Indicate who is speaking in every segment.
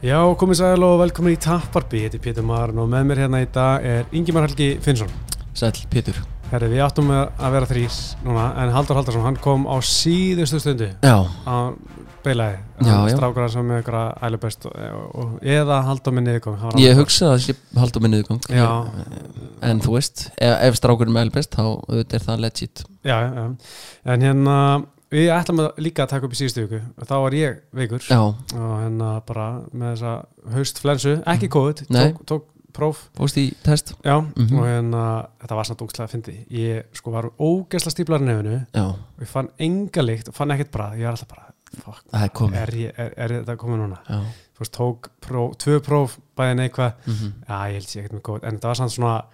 Speaker 1: Já, komið sæl og velkomin í Tapparbi, ég heiti Pétur Marn og með mér hérna í dag er Ingimar Helgi Finnsson.
Speaker 2: Sæll, Pétur
Speaker 1: Herri, við áttum að að vera þrýr núna, en Haldur Haldarsson, hann kom á síðustu stundu
Speaker 2: Já,
Speaker 1: að beilaði.
Speaker 2: Já, já.
Speaker 1: Strákur hann sem með ykkur að ælubest og, og, eða Haldur minni yfirkomi. hann var
Speaker 2: ég
Speaker 1: annað.
Speaker 2: hugsa að ég halda mig niðurgang
Speaker 1: Já.
Speaker 2: En þú veist, ef, ef strákurinn með elbest þá auðvitað er það legit
Speaker 1: Já, já, já. En hérna, við ætlum að líka að taka upp í síðustu viku, þá var ég veikur
Speaker 2: Já,
Speaker 1: og hérna bara með þessa haustflensu, ekki COVID,
Speaker 2: Mm. Nei.
Speaker 1: tók, tók próf
Speaker 2: fórst í test
Speaker 1: Já,
Speaker 2: Mhm.
Speaker 1: og hérna, þetta var samt ógstlega að fyndi. Ég sko var ógeðsla stíplar í nefnu
Speaker 2: Já,
Speaker 1: og ég fann enga lykt og fann ekkert brað. Ég var alltaf bara, fuck,
Speaker 2: það er komið
Speaker 1: er, ég, er, er þetta komið núna?
Speaker 2: Já,
Speaker 1: Þú veist, tók próf, tvö próf, bæði neikvað,
Speaker 2: mm
Speaker 1: já, ég held sér ekkert með góð, en þetta var samt svona,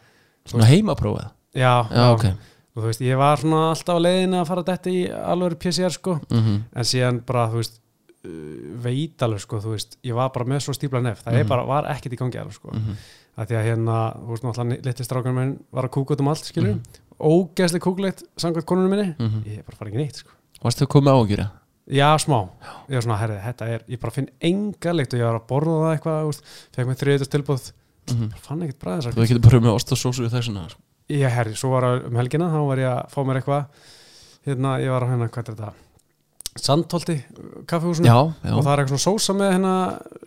Speaker 2: svona heimaprófað
Speaker 1: já,
Speaker 2: Já, ok
Speaker 1: og þú veist, ég var svona alltaf á leiðin að fara þetta í alveg PCR, sko,
Speaker 2: mm
Speaker 1: en síðan bara, þú veist, uh, veit alveg, sko, þú veist, ég var bara með svo stípla nef, það er
Speaker 2: Mhm.
Speaker 1: bara, var ekkert í gangi alveg, sko. að því að hérna, þú veist náttúrulega litli strákunum minn var að kúka út um allt, skilur mm
Speaker 2: Mhm.
Speaker 1: ógeðslega kúklegt samkvæmt konunum minni ég bara fara ekki neitt, sko
Speaker 2: Varst þau Mhm. komið áhugjur
Speaker 1: já, smá, ég var svona, herrið, þetta er ég bara finn enga leikt og ég var að borða það eitthvað, þú veist, fekk mér þriðutast tilbúð
Speaker 2: Mhm.
Speaker 1: bara fann ekkert bræðið
Speaker 2: Þú
Speaker 1: þessar
Speaker 2: getur bara með ost og sósu í þessuna sko.
Speaker 1: ég herri, svo var að- um helgina, þá var ég að fá mér eitthvað hérna, ég var á hérna, hvað er þetta Sandholti, kaffehúsinu
Speaker 2: Já, já
Speaker 1: og það er eitthvað svona sósa með hérna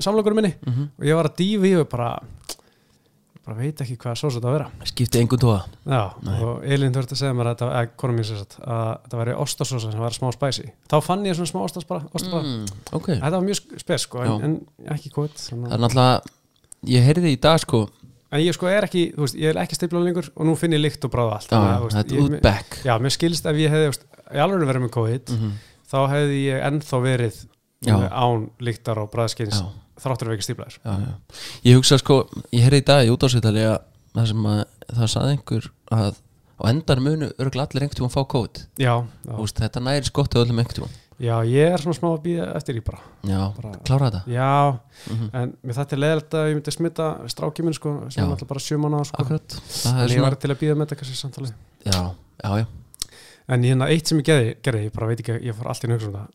Speaker 1: samlokurum minni
Speaker 2: Mhm.
Speaker 1: og ég var að dífi og bara, bara veit ekki hvað sósa þetta að vera
Speaker 2: Skipti engum tóða
Speaker 1: Já,
Speaker 2: Nei.
Speaker 1: og Elin þú ert að segja mér að þetta, að konum mín sér satt, að þetta væri ostasósa sem var smá spæsi. Þá fann ég svona smá ostas bara, ostas bara.
Speaker 2: Mhm. Ok
Speaker 1: Þetta var mjög sk- spes sko,
Speaker 2: Mm. Já.
Speaker 1: en, en ekki kvot.
Speaker 2: Það er
Speaker 1: Þannig.
Speaker 2: náttúrulega Ég heyrði í dag sko
Speaker 1: En ég sko er ekki, þú veist, ég er ekki stiplað lengur og nú finn ég lykt og bráða allt.
Speaker 2: Já,
Speaker 1: Þannig að, þú veist,
Speaker 2: þetta er
Speaker 1: ég-
Speaker 2: út back Mhm.
Speaker 1: Já, mér skilst ef ég hefði, þú veist, í alveg verið með COVID, þá hefði ég ennþá verið eh,
Speaker 2: Mm. Já.
Speaker 1: án lyktar og bræðskins
Speaker 2: Já
Speaker 1: þráttur við ekki stíplaðir.
Speaker 2: já, já. Ég hugsa sko, ég heyrði í dag í útásviðtali að það sem að það saði einhver að á endan munu örgulega allir einhvern tímann fá kót
Speaker 1: Já, já.
Speaker 2: Úst, þetta næri skott á öllum einhvern tímann
Speaker 1: já, ég er svona smá að býða eftir í bara.
Speaker 2: Já,
Speaker 1: Bara-
Speaker 2: klára þetta
Speaker 1: Já,
Speaker 2: Mhm.
Speaker 1: en mér þetta er leðilegt að ég myndi smita strákið minn sko, sem
Speaker 2: Já.
Speaker 1: er alltaf bara sjö manna sko.
Speaker 2: Akkurat Það
Speaker 1: en
Speaker 2: er
Speaker 1: ég
Speaker 2: svona
Speaker 1: var til að býða með þetta kannski samtali
Speaker 2: Já, já, já,
Speaker 1: en hérna eitt sem ég gerði, gerði ég bara veit ekki, ég fór allt í hugsa um það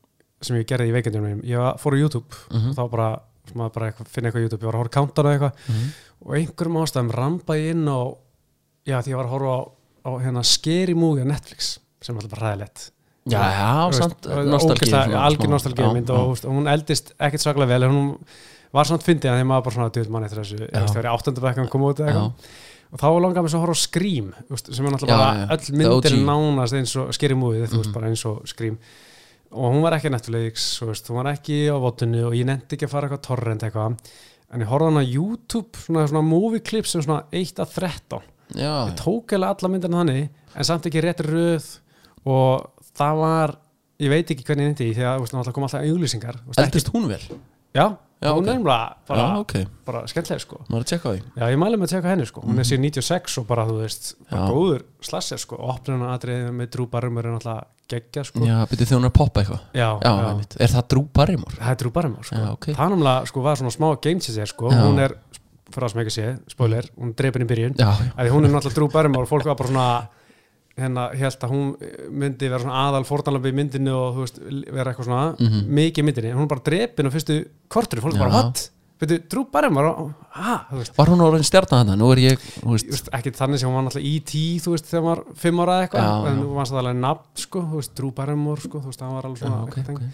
Speaker 1: sem ég gerði í veikendunum mínum, ég var- fór á YouTube
Speaker 2: Mhm.
Speaker 1: og þá bara, maður bara eitthvað, finna eitthvað á YouTube ég var að horfa kántan og eitthvað
Speaker 2: Mhm.
Speaker 1: og einhverjum ástæðum ramba ég inn á já því ég var að horfa á, á hérna Scary Movie á Netflix sem er alltaf bara ræðilegt
Speaker 2: já, já samt nostalgíu svona,
Speaker 1: algjör
Speaker 2: smá.
Speaker 1: nostalgíu mynd
Speaker 2: Já,
Speaker 1: og, og hún eldist ekkert svaklega vel en hún var samt fyndið að því maður bara svona djöfull man eftir þessu,
Speaker 2: Já.
Speaker 1: þegar það er áttundabækkan kom út eða
Speaker 2: já,
Speaker 1: eitthvað og þá langar mér svo að horfa á Scream úst, sem er náttúrulega
Speaker 2: Já,
Speaker 1: bara
Speaker 2: já, já.
Speaker 1: öll myndir
Speaker 2: The Mhm. OG.
Speaker 1: nánast eins og Scary Movie þú veist bara eins og Scream og hún var ekki á Netflix, þú veist, hún var ekki á votinu og ég nefndi ekki að fara eitthvað torrent eitthvað en ég horfði hann á YouTube svona, svona movie clips sem svona 1 að 13
Speaker 2: já,
Speaker 1: ég tók eða alla myndina þannig en samt ekki rétt röð og það var, ég veit ekki hvernig ég nefndi því að þú veist, náttúrulega kom alltaf auglýsingar þú veist, ekki-
Speaker 2: Eldist hún vel?
Speaker 1: já,
Speaker 2: Já,
Speaker 1: hún
Speaker 2: ok.
Speaker 1: er nefnilega bara,
Speaker 2: Já, ok,
Speaker 1: bara skemmtilega sko
Speaker 2: maður er að tjekka á því
Speaker 1: Já, ég mæli með að teka henni sko, hún er síðan 96 og bara, þú veist, bara
Speaker 2: Mhm. Já.
Speaker 1: góður slasser sko, opnuna atriðið með Drew Barrymore er náttúrulega geggja sko.
Speaker 2: Já, byrjuð þjónar að poppa eitthvað
Speaker 1: já,
Speaker 2: Já, einmitt. er það Drew Barrymore?
Speaker 1: það er Drew Barrymore sko.
Speaker 2: Já, ok.
Speaker 1: Það náttúrulega sko var svona smá game changer sko,
Speaker 2: Já.
Speaker 1: hún er, fyrir það sem ekki sé, spoiler, hún er drepin í byrjun,
Speaker 2: Já, já,
Speaker 1: af því hún er náttúrulega Drew Barrymore og fólk var bara svona, hérna, held að hún eh, myndi vera svona aðal fórtanlega í myndinu og þú veist, vera eitthvað svona mikið í myndinni, en hún er bara drepin á fyrstu kortur, fólk bara,
Speaker 2: Mhm. Já.
Speaker 1: what? Veitu, Drew Barrymore, ha, þú veist,
Speaker 2: var hún orðin stjarnan hana? Nú er ég, þú
Speaker 1: Þú
Speaker 2: veist
Speaker 1: veist, ekki þannig sem hún var náttúrulega í tí þú veist, þegar hún var fimm ára eða eitthvað
Speaker 2: Já,
Speaker 1: en
Speaker 2: já.
Speaker 1: hún var það alveg nafn, sko, þú veist, Drew Barrymore sko, þú veist, hann var alveg
Speaker 2: Já,
Speaker 1: svona
Speaker 2: ok,
Speaker 1: eitthvað
Speaker 2: ok
Speaker 1: þannig.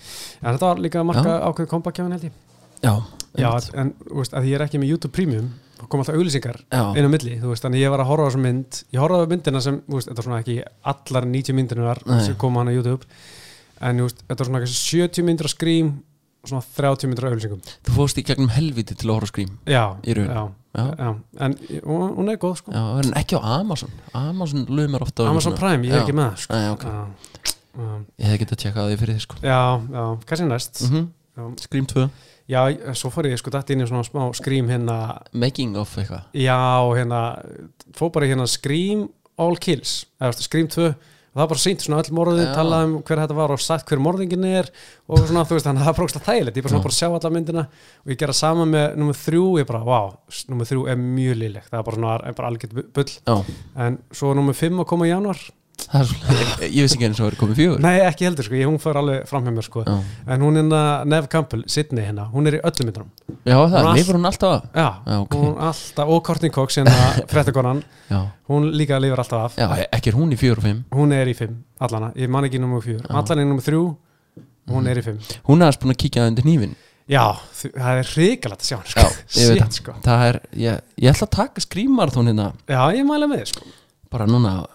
Speaker 1: en þetta var líka að marka ákveð kompakjafan held ég
Speaker 2: Já,
Speaker 1: já,
Speaker 2: einmitt.
Speaker 1: en, þú veist, að því ég er ekki með YouTube Premium þá kom alltaf auglýsingar
Speaker 2: Já.
Speaker 1: inn á milli þú veist, þannig ég var að horfa á þessum mynd ég horfaði á myndina sem, þú veist, þetta er svona ekki allar 90 myndinunar
Speaker 2: Nei.
Speaker 1: sem koma hann á YouTube en, þú veist, þetta er svona kannski 70 myndir að skrím og svona 30 myndir að auglýsingum
Speaker 2: Þú fórst í gegnum helviti til að horfa á skrím
Speaker 1: já,
Speaker 2: Í raun.
Speaker 1: já,
Speaker 2: Já, já,
Speaker 1: já, en hún hún er góð, sko
Speaker 2: en ekki á Amazon Amazon lumar ofta
Speaker 1: Amazon Prime, ég er ekki með, það, sko
Speaker 2: Æ, okay.
Speaker 1: Já, já.
Speaker 2: Ég hef getað tjekkað á því fyrir þið sko
Speaker 1: Já, já, kannski næst
Speaker 2: mm -hmm.
Speaker 1: já.
Speaker 2: Skrím 2
Speaker 1: já, svo fór ég sko dætt inn í svona smá skrím hérna
Speaker 2: Making of eitthvað
Speaker 1: Já, hérna, fór bara í hérna skrím all kills eða skrím 2 það var bara sýnt svona öll morðin,
Speaker 2: Já.
Speaker 1: talað um hver þetta var og sagt hver morðingin er og svona, þú veist, þannig að það er brókslega þægilegt ég bara svona
Speaker 2: Já.
Speaker 1: bara sjá alla myndina og ég gera sama með nummer þrjú, ég bara, vá, nummer þrjú er mjög lýlegt, það er bara svona, er bara algjörn bull
Speaker 2: Já,
Speaker 1: en svo nummer fimm að koma í januar
Speaker 2: það er svona, ég, ég vissi ekki eins og það er komið fjögur
Speaker 1: Nei, ekki heldur sko, ég, hún fór alveg fram hjá mér sko
Speaker 2: Já.
Speaker 1: En hún hérna, Nev Campbell, Sydney hérna Hún er í öllum myndunum
Speaker 2: Já, það,
Speaker 1: Hún
Speaker 2: lifur hún alltaf af
Speaker 1: Já,
Speaker 2: Já, ok.
Speaker 1: hún alltaf, og Courtney Cox hérna, frettakonan,
Speaker 2: Já,
Speaker 1: hún líka lifir alltaf af
Speaker 2: já ekki er hún í fjögur og fimm
Speaker 1: Hún er í fimm, allana, ég man ekki nummer fjör Allan er nummer þrjú,
Speaker 2: Mhm.
Speaker 1: hún er í fimm
Speaker 2: Hún aðeins búin að kíkja undir hnífin
Speaker 1: Já, þ- það er hrikalegt að sjá hann
Speaker 2: Já,
Speaker 1: sko.
Speaker 2: ég veit
Speaker 1: Shit,
Speaker 2: það
Speaker 1: sko.
Speaker 2: Það er, ég, ég ætla að taka skrýmarathon hérna
Speaker 1: Já, ég mæla með þið sko
Speaker 2: bara núna,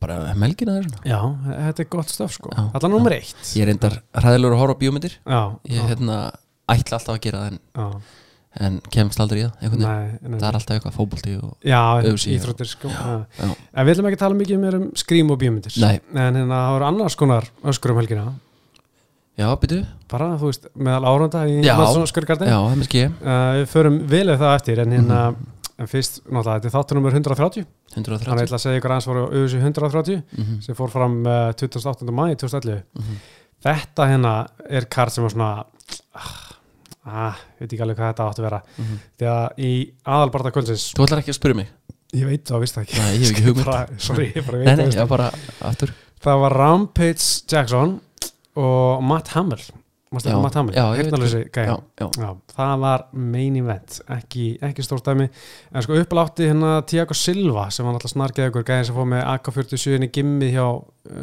Speaker 2: bara um helgina þessuna
Speaker 1: Já, þetta er gott stöf sko
Speaker 2: Já,
Speaker 1: Allan nummer eitt
Speaker 2: Ég er reyndar hræðilegur að horfa á bíómyndir
Speaker 1: Já,
Speaker 2: Ég
Speaker 1: já,
Speaker 2: hérna, ætla alltaf að gera það en,
Speaker 1: já
Speaker 2: en kemst aldrei í það einhvern veginn.
Speaker 1: Nei, nei,
Speaker 2: Það er alltaf eitthvað fótbolti og
Speaker 1: Já,
Speaker 2: Öfugsí, já.
Speaker 1: íþróttir sko já.
Speaker 2: já.
Speaker 1: En við ætlum ekki að tala mikið meir um skrím og bíómyndir
Speaker 2: Nei.
Speaker 1: En hérna það voru annars konar öskur um helgina
Speaker 2: Já, byrju
Speaker 1: Bara, þú veist, meðal áranda í
Speaker 2: Já.
Speaker 1: Madsson öskurgardi
Speaker 2: Já, Mhm. það með skég,
Speaker 1: uh, Við förum vel við það eftir En hérna, en fyrst, náttúrulega, þetta er þáttur nummer 130 Þannig að ég
Speaker 2: 130
Speaker 1: ætla að segja ykkur aðeins voru öfusi 130
Speaker 2: Mhm.
Speaker 1: Sem fór fram uh, 28. maí 2011
Speaker 2: Mhm.
Speaker 1: Þetta hérna er kart sem var svona Ah, ah, veit ekki alveg hvað þetta áttu að vera
Speaker 2: Mhm.
Speaker 1: Því að í aðalbarða kvöldsins
Speaker 2: Þú ætlar ekki að spyrja mig
Speaker 1: Ég veit það, veist það ekki
Speaker 2: Nei, ég hef ekki hugmynd.
Speaker 1: bara, Sorry, ég bara veit
Speaker 2: Nei,
Speaker 1: það
Speaker 2: nei,
Speaker 1: veist
Speaker 2: já,
Speaker 1: það
Speaker 2: bara aftur
Speaker 1: ekki. Það var Rampage Jackson og Matt Hamill Mástu
Speaker 2: Já,
Speaker 1: ekki Matt Hamill?
Speaker 2: já, ég veit
Speaker 1: Heyrnarlausi gæi.
Speaker 2: Já, já,
Speaker 1: Já, það var main event ekki, ekki stórt dæmi en sko upplátti hérna Tiago Silva sem var alltaf snargeð ykkur gæðin sem fóð með AK-47 -inni gimmi hjá uh,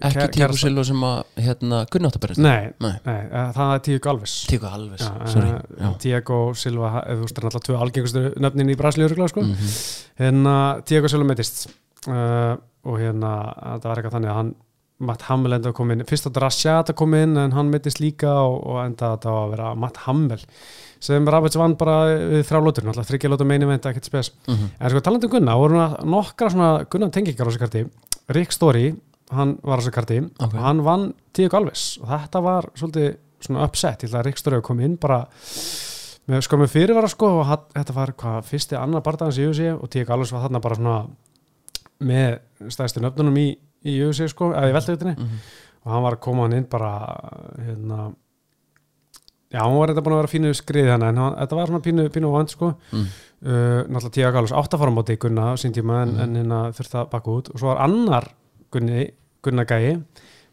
Speaker 2: ekki
Speaker 1: kæ-
Speaker 2: Tíko
Speaker 1: kærasta-
Speaker 2: Silva sem að hérna Gunnáttaberist
Speaker 1: Nei,
Speaker 2: Nei.
Speaker 1: nei, eh, það er Tiago Alves
Speaker 2: Tíko Alves,
Speaker 1: Já, eh,
Speaker 2: sorry Já.
Speaker 1: Tiago Silva, eða þú veist, það er alltaf tvö algengustu nöfnin í Brasilíu örugglega, sko
Speaker 2: Mhm.
Speaker 1: hérna Diego Sjölu meittist uh, og hérna það var eitthvað þannig að hann Matt Hamill enda að koma inn, fyrst átti Rashad að koma inn en hann meittist líka og, og enda þetta á að vera Matt Hamill sem Rabbits vann bara við þrjá lótur náttúrulega þryggja lótur meini veint ekkert spes
Speaker 2: Mhm.
Speaker 1: en sko talandi um Gunna, voru nú nokkra svona Gunna tengingar á þessu karti, Rick Story hann var á þessu karti
Speaker 2: Ok.
Speaker 1: og hann vann Diego Alves og þetta var svolítið svona upset, ég ætla að Rick Story kom inn bara með sko með fyrirvara sko og hatt, þetta var hvað fyrsti annar barndagans í UFC og Tík Alves var þarna bara svona með stæðstu nöfnunum í, í UFC sko, eða í veltegutinni
Speaker 2: Mhm.
Speaker 1: og hann var að koma hann inn bara hérna já, hann var þetta búin að vera fínu skrið hann en hann, þetta var svona pínu, pínu vant sko
Speaker 2: Mm.
Speaker 1: uh, náttúrulega Tíak Alves átt að fara á móti Gunna á sín tíma
Speaker 2: Mhm.
Speaker 1: en, en hérna þurfti að baka út og svo var annar Gunni, Gunna Gæi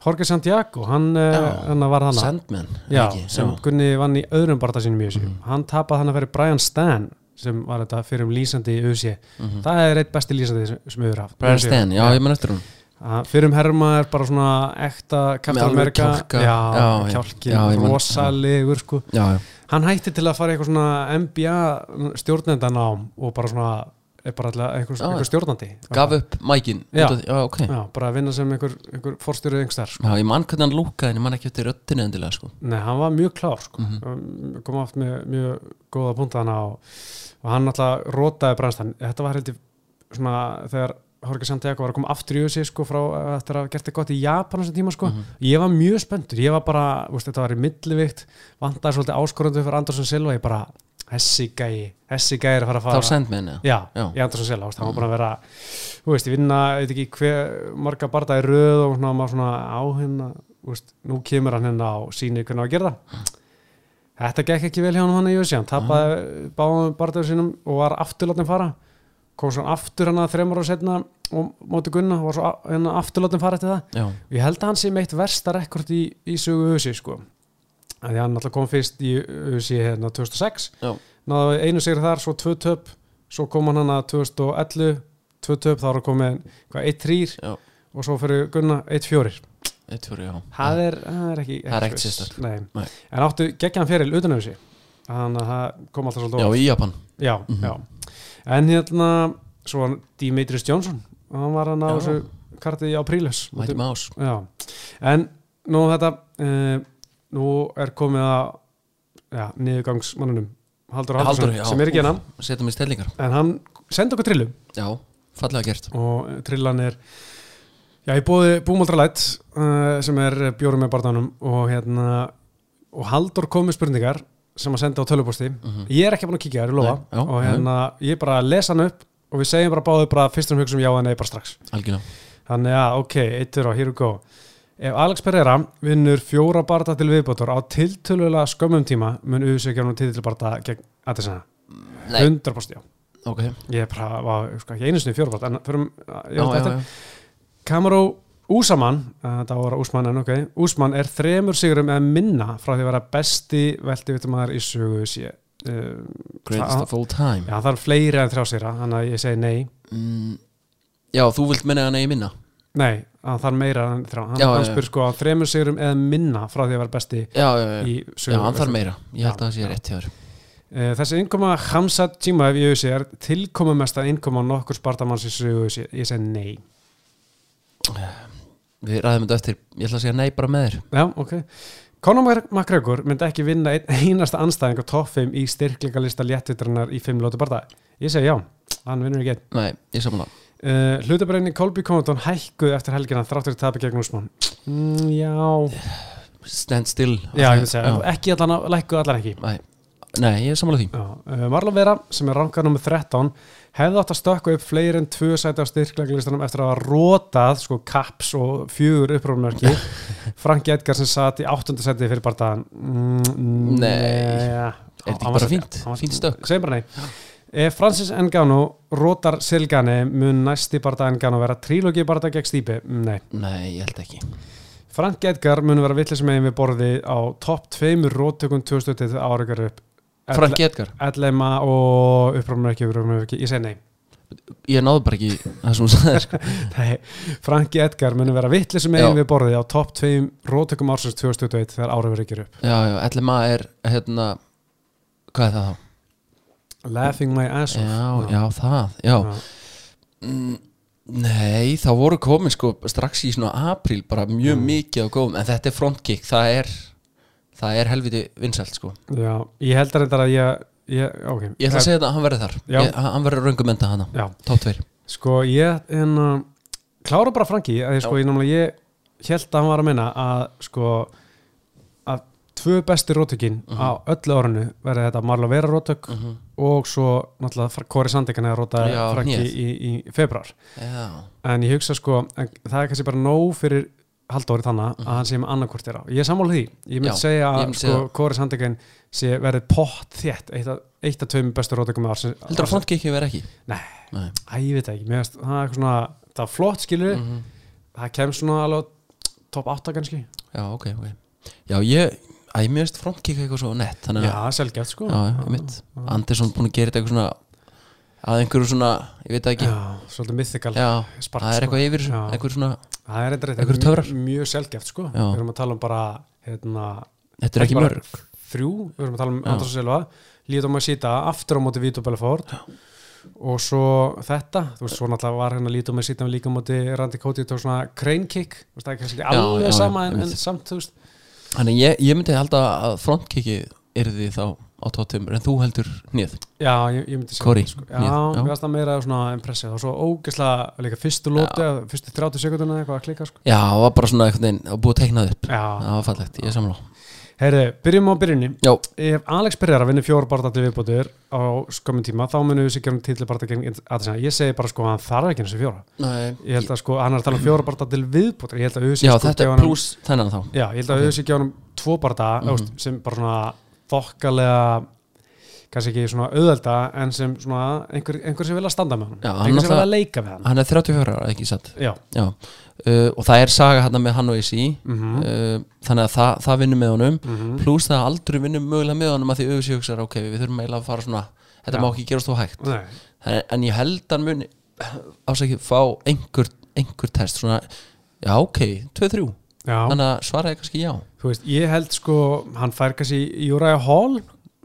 Speaker 1: Jorge Santiago, hann,
Speaker 2: Já.
Speaker 1: uh, hann var hann
Speaker 2: Sandman,
Speaker 1: Já,
Speaker 2: ekki
Speaker 1: sem
Speaker 2: Já.
Speaker 1: Gunni vann í öðrum barða sínum í
Speaker 2: Mhm.
Speaker 1: þessu hann tapaði hann að fyrir Brian Stan sem var þetta fyrir um lýsandi í USA það er eitt besti lýsandi sem- sem við haft
Speaker 2: Mhm. Brian Stan, já, ég menn eftir hún
Speaker 1: Að fyrir um herma er bara svona ekta
Speaker 2: Með
Speaker 1: Captain
Speaker 2: alveg
Speaker 1: America
Speaker 2: kjálka.
Speaker 1: já,
Speaker 2: Já, já.
Speaker 1: kjálkin,
Speaker 2: Já, ég man-
Speaker 1: rosalegur sko.
Speaker 2: Já, já,
Speaker 1: hann hætti til að fara í eitthvað svona MBA stjórnendanám og bara svona er bara alltaf einhver,
Speaker 2: Já,
Speaker 1: einhver stjórnandi
Speaker 2: gaf upp mækin
Speaker 1: Já.
Speaker 2: já ok
Speaker 1: já, bara að vinna sem einhver, einhver forstjórið yngstar sko.
Speaker 2: Já, ég mann hvernig hann lúkaði en ég mann ekki eftir röttinu endilega sko Mhm.
Speaker 1: Nei, hann var mjög klár sko. um, kom oft með mjög góða punta hana og, og hann alltaf rótaði brænstan, þetta var heldur svona þegar Jorge Santiago var að koma aftur í USA sko frá eftir að hafa gert það gott í Japan á þessum tíma sko,
Speaker 2: Mhm.
Speaker 1: ég var mjög spenntur ég var bara, þú veist, þetta var í millivikt vandaði svolítið áskorundu fyrir Andersson Silva ég bara, hessi gæi, hessi gæi er að fara að
Speaker 2: Þá
Speaker 1: fara
Speaker 2: Sandman, já
Speaker 1: Já,
Speaker 2: Já. Mm.
Speaker 1: í Andersson Sela, hann var búin að vera þú veist, ég vinna, ég veit ekki hver marga barða í röð og svona, maður svona á hérna, þú veist, nú kemur hann hérna og sýnir hvernig á að gera það Þetta gekk ekki vel hjá hann hann í Jössi hann tapaði báðum barðaður sínum og var aftur látin fara kom svo aftur hann að þremur og setna og móti Gunna og var svo a- hérna aftur látin fara eftir það
Speaker 2: Já,
Speaker 1: og ég held að hann sé meitt versta rekord í, í sögu Jössi sko Af því að hann alltaf kom fyrst í Jössi hérna 2006
Speaker 2: já,
Speaker 1: náðu einu sigur þar, svo tvö töp svo kom hann hana 2011 tvö töp, þá er hann komið hvað, 1-3
Speaker 2: já,
Speaker 1: og svo fyrir Gunna 1-4
Speaker 2: eitt fyrir, já
Speaker 1: það, er- það er ekki, ekki
Speaker 2: Það er ekkert
Speaker 1: spes.
Speaker 2: sérstakt.
Speaker 1: Nei.
Speaker 2: Nei.
Speaker 1: en áttu geggjan feril utan af þessi þannig að það kom alltaf svolítið
Speaker 2: Já,
Speaker 1: óvart.
Speaker 2: í Japan
Speaker 1: já,
Speaker 2: Mhm.
Speaker 1: já. en hérna svo hann Dimitris Johnson hann var hann á
Speaker 2: Já.
Speaker 1: þessu kartið í Apríles
Speaker 2: Mighty Mouse
Speaker 1: Já, en nú þetta uh, nú er komið að já, niðurgangsmannunum Haldur Haldursson,
Speaker 2: Halldór, já.
Speaker 1: sem er ekki hennan
Speaker 2: Setja mig í stellingar
Speaker 1: en hann sendi okkur trillu
Speaker 2: Já, fallega gert
Speaker 1: og trillan er já, ég bóði Búmaldralætt uh, sem er bjórum með barndanum og hérna og Haldur kom með spurningar sem að senda á töluposti
Speaker 2: Mhm,
Speaker 1: ég er ekki búin að kíkja þær, ég lofa
Speaker 2: Nei, já,
Speaker 1: og hérna, ég bara les hann upp og við segjum bara báðið bara fyrstum hugsun já en nei bara strax
Speaker 2: Algjörlega
Speaker 1: Þannig að, ok, eittur og here we go. Ef Alex Pereira vinnur fjóra barða til viðbótur á tiltölulega skömmum tíma mun uðsökja hann titilbarða gegn Adesina.
Speaker 2: Nei.
Speaker 1: 100% já.
Speaker 2: Ok, já,
Speaker 1: Ég er bara, vá, sko, ekki einu sinni fjóra barða, en förum, já,
Speaker 2: já,
Speaker 1: þetta,
Speaker 2: já
Speaker 1: Kamaró Úsamann, eh, þetta á að vera Úsmann en ok, Úsmann er þremur sigurum eða minna frá því að vera besti veldivitumæðar í sögu sé. Uh,
Speaker 2: Greatest of all time
Speaker 1: já, það er fleiri en þrjá sigra, þannig að ég segi nei.
Speaker 2: mm, Já, þú vilt minna hann eigi minna
Speaker 1: Nei, að það er meira en þrjá. Hann,
Speaker 2: Já,
Speaker 1: hann
Speaker 2: já, já.
Speaker 1: spyr sko á þremur sigurum eða minna frá því að vera besti
Speaker 2: Já, já, já,
Speaker 1: í
Speaker 2: já
Speaker 1: sögu.
Speaker 2: hann þarf meira Ég held
Speaker 1: Já,
Speaker 2: að það sé
Speaker 1: já.
Speaker 2: rétt hjá þér
Speaker 1: Eh, Þessi innkoma Hamza Jimaev í USA er tilkomumesta innkoma nokkur spartamanns í sögu USA. Ég segi nei.
Speaker 2: Við ræðum þetta eftir, ég ætla að segja nei bara með þér
Speaker 1: Já, ok. Conor McGregor myndi ekki vinna einn einasta anstæðing á topp 5 í styrkleikalista léttvitranar í 5 lótu barða. Ég segi já, hann vinnur ekki einn.
Speaker 2: Nei, ég saman það
Speaker 1: Uh, Hlutabræðinni Colby Compton hækkuð eftir helgina þráttur í tapi gegn Úsmann. Mm, já,
Speaker 2: Stand still
Speaker 1: já, ég myndi segja,
Speaker 2: Já.
Speaker 1: ekki allan, að- lækkuð allan ekki.
Speaker 2: Nei, nei ég er saman því
Speaker 1: Já, uh, Marlon Vera, sem er rankað nummer 13, hefði átt að stökka upp fleiri en tvö sæti á styrklegalistanum eftir að hafa rótað, sko, kaps og fjögur upprófumörki. Franki Edgar sem satt í áttunda sæti fyrir bardaðan. Mm,
Speaker 2: Nei.
Speaker 1: ja.
Speaker 2: Er þetta ekki
Speaker 1: Hann var
Speaker 2: bara
Speaker 1: sæti-
Speaker 2: fínt?
Speaker 1: hann var-
Speaker 2: Fínt stökk?
Speaker 1: Segjum bara nei. Ef Francis Ngannou rótar Silgani mun næsti barda Ngannou vera trílógi barda gegn stýpi? Nei.
Speaker 2: Nei, ég held ekki
Speaker 1: Frank Edgar mun vera villis megin við borði á topp tveimur rótökum 2020 ára ykkur upp.
Speaker 2: Frank Edgar,
Speaker 1: Ellema og upprófumur ekki, upprófumur ekki, ég segi nei.
Speaker 2: ég náði bara ekki það sem hún sagði sko.
Speaker 1: nei. Franki Edgar munum vera vittlisum eigin
Speaker 2: Já.
Speaker 1: við borðið á topp tveim rótökum ársins 2021 þegar ára verið ekki upp.
Speaker 2: Já, já, LMA er hérna Hvað er það þá?
Speaker 1: Laughing my ass off.
Speaker 2: Já, já, það, já Mm, Nei, þá voru komin sko strax í svona apríl bara mjög
Speaker 1: Mm.
Speaker 2: mikið á góðum en þetta er frontkick, það er það er helviti vinsælt sko
Speaker 1: Já, ég held að þetta að ég, ég ok.
Speaker 2: Ég ætla að segja þetta að hann verður þar
Speaker 1: Já.
Speaker 2: ég, hann verður raungum enda hana,
Speaker 1: Já,
Speaker 2: top 2
Speaker 1: sko ég, en uh, klára bara Franki, að ég sko, ég náttúrulega, ég held að hann var að minna að sko, að tvö bestu rótökin
Speaker 2: Mhm.
Speaker 1: á öllu árinu verði þetta Marla Vera rótök og svo náttúrulega Kori Sandekan eða róta
Speaker 2: Já,
Speaker 1: Franki
Speaker 2: hnéð.
Speaker 1: í, í, í februar.
Speaker 2: Já,
Speaker 1: en ég hugsa sko en það er kannski bara nóg fyrir Halldóri þannig að hann sé með annarkvort þér á ég er sammála því, ég myndi
Speaker 2: Mhm. Já,
Speaker 1: segja
Speaker 2: ég
Speaker 1: að
Speaker 2: myndi
Speaker 1: sko,
Speaker 2: segja-
Speaker 1: Kóri Sandegin sé verið pott þétt eitt af- eitt af tveim bestu rótökum ársins
Speaker 2: heldur að
Speaker 1: ársins-
Speaker 2: frontkicki verður ekki?
Speaker 1: Nei.
Speaker 2: Nei.
Speaker 1: Æ, ég veit það ekki, mér finnst það er eitthvað svona það er flott skilur,
Speaker 2: Mm.
Speaker 1: það kemst svona alveg top 8 kannski
Speaker 2: Já, ok, ok Já, ég, æ, mér veist frontkicki eitthvað svo nett þannig
Speaker 1: já,
Speaker 2: að,
Speaker 1: selgjast sko
Speaker 2: já, já, mitt Andersson búin að gera þetta eitthvað svona að einhverju svona, ég veit það ekki Já,
Speaker 1: Já, svolítið mythical spark,
Speaker 2: það er eitthvað yfir,
Speaker 1: Já.
Speaker 2: eitthvað svona
Speaker 1: það er eitthvað,
Speaker 2: Einhverjir
Speaker 1: mjög,
Speaker 2: töfrar.
Speaker 1: mjög selgjast sko
Speaker 2: Já.
Speaker 1: við erum að tala um bara hérna,
Speaker 2: Þetta er
Speaker 1: Ekki
Speaker 2: ekki
Speaker 1: bara-
Speaker 2: mörg
Speaker 1: þrjú, við erum að tala um
Speaker 2: Já.
Speaker 1: András og Silva Líðum að sýta aftur á móti Vító Belfort og svo þetta, þú veist, svo náttúrulega var hérna Líðum að sýta líka á móti Randy Cody tók svona crane kick, þú veist, það er kannski ekki
Speaker 2: Já,
Speaker 1: alveg
Speaker 2: já, já,
Speaker 1: sama en, en
Speaker 2: einmitt.
Speaker 1: samt, þú veist
Speaker 2: Þannig ég, ég myndi halda að frontkiki yrði þá á tóttumur en þú heldur nýð
Speaker 1: Já, ég, ég myndi segja
Speaker 2: Corey,
Speaker 1: það, sko. Já,
Speaker 2: nýð, já.
Speaker 1: mér varst það meira svona impressið og svo ógeðslega líka fyrstu lóti, eða fyrstu 30 sekundina eitthvað að klika, sko
Speaker 2: Já, það var bara svona einhvern veginn að búið að teikna það upp
Speaker 1: Já,
Speaker 2: Það var fallegt, ég er samlá
Speaker 1: heyrðu, byrjum á byrjunni
Speaker 2: Já,
Speaker 1: Ef Alex Pereira vinnur fjóra barða til viðbútur á skömmin tíma, þá munum við sér gerum titlibarða gegn Adesanya. Ég segi bara sko að hann þarf ekki eins og fjóra
Speaker 2: nei,
Speaker 1: ég held að sko, hann er að tala um fjóra barða til viðbútur ég held að Uzi
Speaker 2: já
Speaker 1: sko, gef
Speaker 2: þetta er
Speaker 1: honum-
Speaker 2: pluss þennan þá
Speaker 1: já, ég held að
Speaker 2: Ok. Mhm.
Speaker 1: Uzi gefa honum tvo barða mm sem bara svona þokkalega kannski ekki svona auðvelda en sem svona einhver, einhver sem vilja standa með hann
Speaker 2: Já,
Speaker 1: einhver
Speaker 2: hann
Speaker 1: sem vilja
Speaker 2: náttúrulega-
Speaker 1: leika með hann
Speaker 2: Hann er 34 ára, ekki satt
Speaker 1: já,
Speaker 2: Já, uh, og það er saga hérna með hann og Isi
Speaker 1: mm
Speaker 2: uh, Þannig að það, það vinnur með honum
Speaker 1: Mhm.
Speaker 2: Pluss það að aldrei vinnur mögulega með honum að því auðvitað hugsar, ok, við þurfum eiginlega að fara svona Þetta
Speaker 1: Já.
Speaker 2: má ekki gerast þó hægt
Speaker 1: Nei,
Speaker 2: en, en ég held hann muni ásækið fá einhver, einhver test svona, já ok, 2-3
Speaker 1: já,
Speaker 2: þannig að svaraði kannski já
Speaker 1: þú veist, ég held sko hann fær kannski í Uriah Hall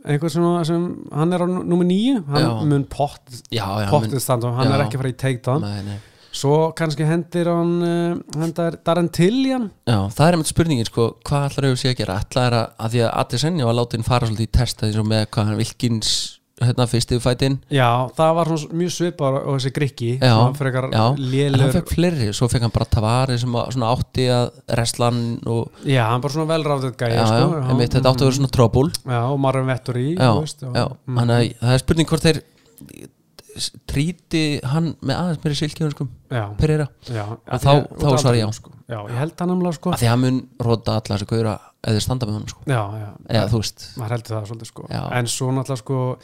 Speaker 1: einhver sem, sem hann er á nummer nýju hann
Speaker 2: Já.
Speaker 1: mun pott,
Speaker 2: já, já,
Speaker 1: pottið standa hann er
Speaker 2: Já.
Speaker 1: ekki að fara í takedown
Speaker 2: nei, nei.
Speaker 1: svo kannski hendir hann uh, hendar Darren Tillian
Speaker 2: já það er einmitt spurningin sko, hvað ætlar auðvitað sé að gera ætlar er að, að því að Adesenja var látin fara svolítið í testa eins og með hvað hann Vilkins hérna fyrstu fætin
Speaker 1: Já, það var svona mjög svipar og þessi grikki
Speaker 2: Já,
Speaker 1: svona frekar
Speaker 2: já, en hann
Speaker 1: lélur
Speaker 2: fekk fleiri, svo fekk hann bara Tavari sem að, svona átti að reslan og
Speaker 1: Já, hann bara svona velráðið
Speaker 2: já,
Speaker 1: gæja
Speaker 2: já,
Speaker 1: sko, mm,
Speaker 2: einmitt, þetta átti að vera svona tróbul
Speaker 1: Já, og Marvin Vettur í
Speaker 2: já,
Speaker 1: þú veist, mm,
Speaker 2: já, þannig að það er spurning hvort þeir tríti hann með aðeins meiri silkjónskum
Speaker 1: já,
Speaker 2: Pereira,
Speaker 1: já
Speaker 2: Og þá-
Speaker 1: ég-
Speaker 2: þá
Speaker 1: út af
Speaker 2: svarar ég
Speaker 1: aldrinum,
Speaker 2: já.
Speaker 1: sko. Já, ég held hann umlega sko
Speaker 2: af því að hann mun róta alla þessu gauðra eða þeir standa með honum sko.
Speaker 1: Já, já,
Speaker 2: eða þú veist,
Speaker 1: maður heldur það svolítið sko
Speaker 2: Já.
Speaker 1: En svo náttúrulega sko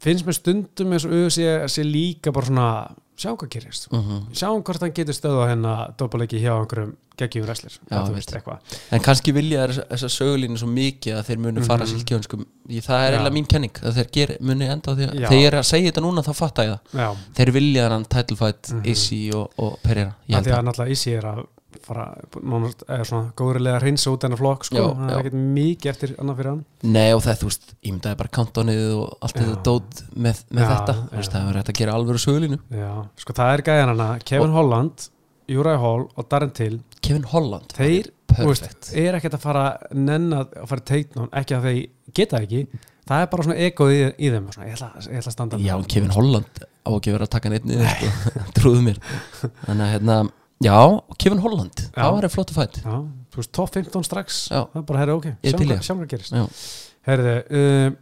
Speaker 1: finnst mér stundum eins og auðvitað sé, sé líka bara svona sjá hvað gerist
Speaker 2: mm
Speaker 1: sjáum hvort hann getur stöðu á hennar doppalegi hjá einhverjum geggjum wrestler
Speaker 2: Já,
Speaker 1: þú
Speaker 2: ég
Speaker 1: veist
Speaker 2: veit.
Speaker 1: eitthvað
Speaker 2: En kannski vilja þær þessa sögulínu svo mikið að þeir munu fara mm
Speaker 1: Mhm.
Speaker 2: -hmm. silkjónskum Það er
Speaker 1: Já.
Speaker 2: eiginlega mín kenning að þeir geri, muni enda á því að
Speaker 1: Já.
Speaker 2: þeir eru að segja þetta núna þá fatta ég það
Speaker 1: já,
Speaker 2: Þeir vilja þannig title fight
Speaker 1: Mhm.
Speaker 2: Issy og, og Pereira Ég
Speaker 1: af
Speaker 2: held
Speaker 1: því
Speaker 2: að
Speaker 1: að náttúrulega Isi er að fara, nánast, eða svona góðurlega að reynsa út hennar flokk, sko,
Speaker 2: Já,
Speaker 1: hann er
Speaker 2: já.
Speaker 1: ekkert mikið eftir annað fyrir hann
Speaker 2: Nei og það, þú veist, ímyndaði bara kantónið og allt þetta
Speaker 1: Já.
Speaker 2: dót með, með
Speaker 1: Já,
Speaker 2: þetta
Speaker 1: já.
Speaker 2: Þú veist, það er hægt að gera alvöru sögulínu
Speaker 1: já, sko það er gæðan hana Kevin Holland, Júræði Hall og Darren Till,
Speaker 2: Kevin Holland,
Speaker 1: þeir þú
Speaker 2: perfect
Speaker 1: er ekkert að fara nenn að fara teiknum, ekki að þeir geta ekki það er bara svona egoð í, í þeim svona, ég, ætla, ég ætla að standa
Speaker 2: Já, en Kevin Holland á ekki verið að taka neitt niður sko. Trúðu mér Þannig að hérna, já, Kevin Holland
Speaker 1: Já.
Speaker 2: Það var flottu fætt
Speaker 1: já, þú veist, top 15 strax
Speaker 2: Já.
Speaker 1: það er bara, herri, ok,
Speaker 2: Ég er
Speaker 1: sjáum
Speaker 2: til í
Speaker 1: hvað-
Speaker 2: það.
Speaker 1: sjáum hvað gerist
Speaker 2: Já.
Speaker 1: herriði um,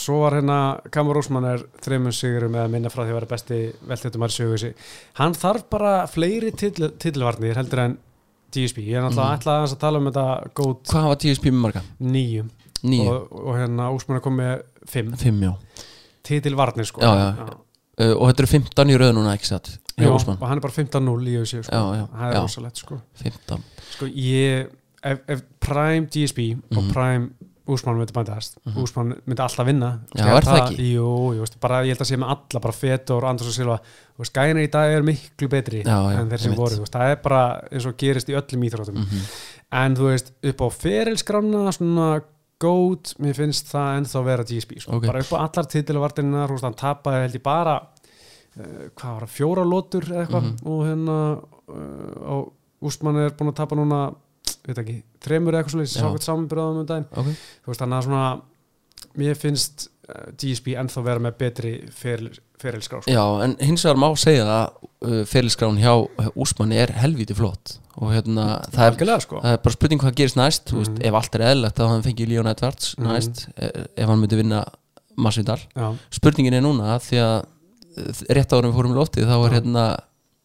Speaker 1: svo var hérna Kamur Úsmann er þreymum sigurum eða minna frá því að vera besti veltjötumar sögusi hann þarf bara fleiri titl, titlvarnir heldur en DSP ég er náttúrulega mm.
Speaker 2: Mhm.
Speaker 1: ætlað aðeins að tala um þetta gót
Speaker 2: Hvað var TSP með marga?
Speaker 1: nýju
Speaker 2: Nýju,
Speaker 1: og, og hérna Úsmann er komið með fimm
Speaker 2: fimm, já
Speaker 1: titlvarnir sko
Speaker 2: Já, já. uh, Og þetta eru 15 í röð núna, ekki satt?
Speaker 1: Já,
Speaker 2: Jó,
Speaker 1: og hann er bara 15-0 í þessu sko.
Speaker 2: Já, já,
Speaker 1: það er
Speaker 2: já.
Speaker 1: rosalegt sko.
Speaker 2: 15
Speaker 1: sko ég, ef, ef Prime DSB og
Speaker 2: Mhm.
Speaker 1: Prime Úsmann myndi bandast, mm
Speaker 2: Mhm.
Speaker 1: Úsmann myndi alltaf vinna
Speaker 2: Já,
Speaker 1: Þegar
Speaker 2: er það ekki?
Speaker 1: Jú, jú, veist, bara, ég held að sé með alla, bara Fetor, Andrós og Silva og Skæna í dag er miklu betri
Speaker 2: Já, já,
Speaker 1: en þeir sem
Speaker 2: einmitt.
Speaker 1: voru, þú veist, það er bara eins og gerist í öllum íþróttum
Speaker 2: mm
Speaker 1: en þú veist, upp á ferilskrána svona góð, mér finnst það ennþá vera DSB, sko,
Speaker 2: Ok.
Speaker 1: bara upp á allar titilvartinina, þú veist, hann tapaði held ég bara uh, hvað var það, fjóra lótur eða eitthvað,
Speaker 2: Mhm.
Speaker 1: og hérna uh, og Úsmann er búin að tapa núna veit ekki, þremur eða eitthvað svo leys
Speaker 2: Já.
Speaker 1: sá hvert samanbyrðaðum um daginn,
Speaker 2: Ok,
Speaker 1: þú veist, þannig að svona mér finnst uh, DSB ennþá vera með betri feril, ferilskrá, sko
Speaker 2: já, en hins vegar má segja að uh, ferilskrán hjá Úsmanni er helvíti flott og hérna, það er
Speaker 1: algjörlega, sko
Speaker 2: það er bara spurning hvað gerist næst þú veist,
Speaker 1: Mhm.
Speaker 2: ef allt er eðlilegt þá hann fengið Leon Edwards
Speaker 1: Mhm.
Speaker 2: næst eh, ef hann myndi vinna Masvidal
Speaker 1: já,
Speaker 2: spurningin er núna að því að eh, rétt árum við fórum í lofti þá er
Speaker 1: Já.
Speaker 2: hérna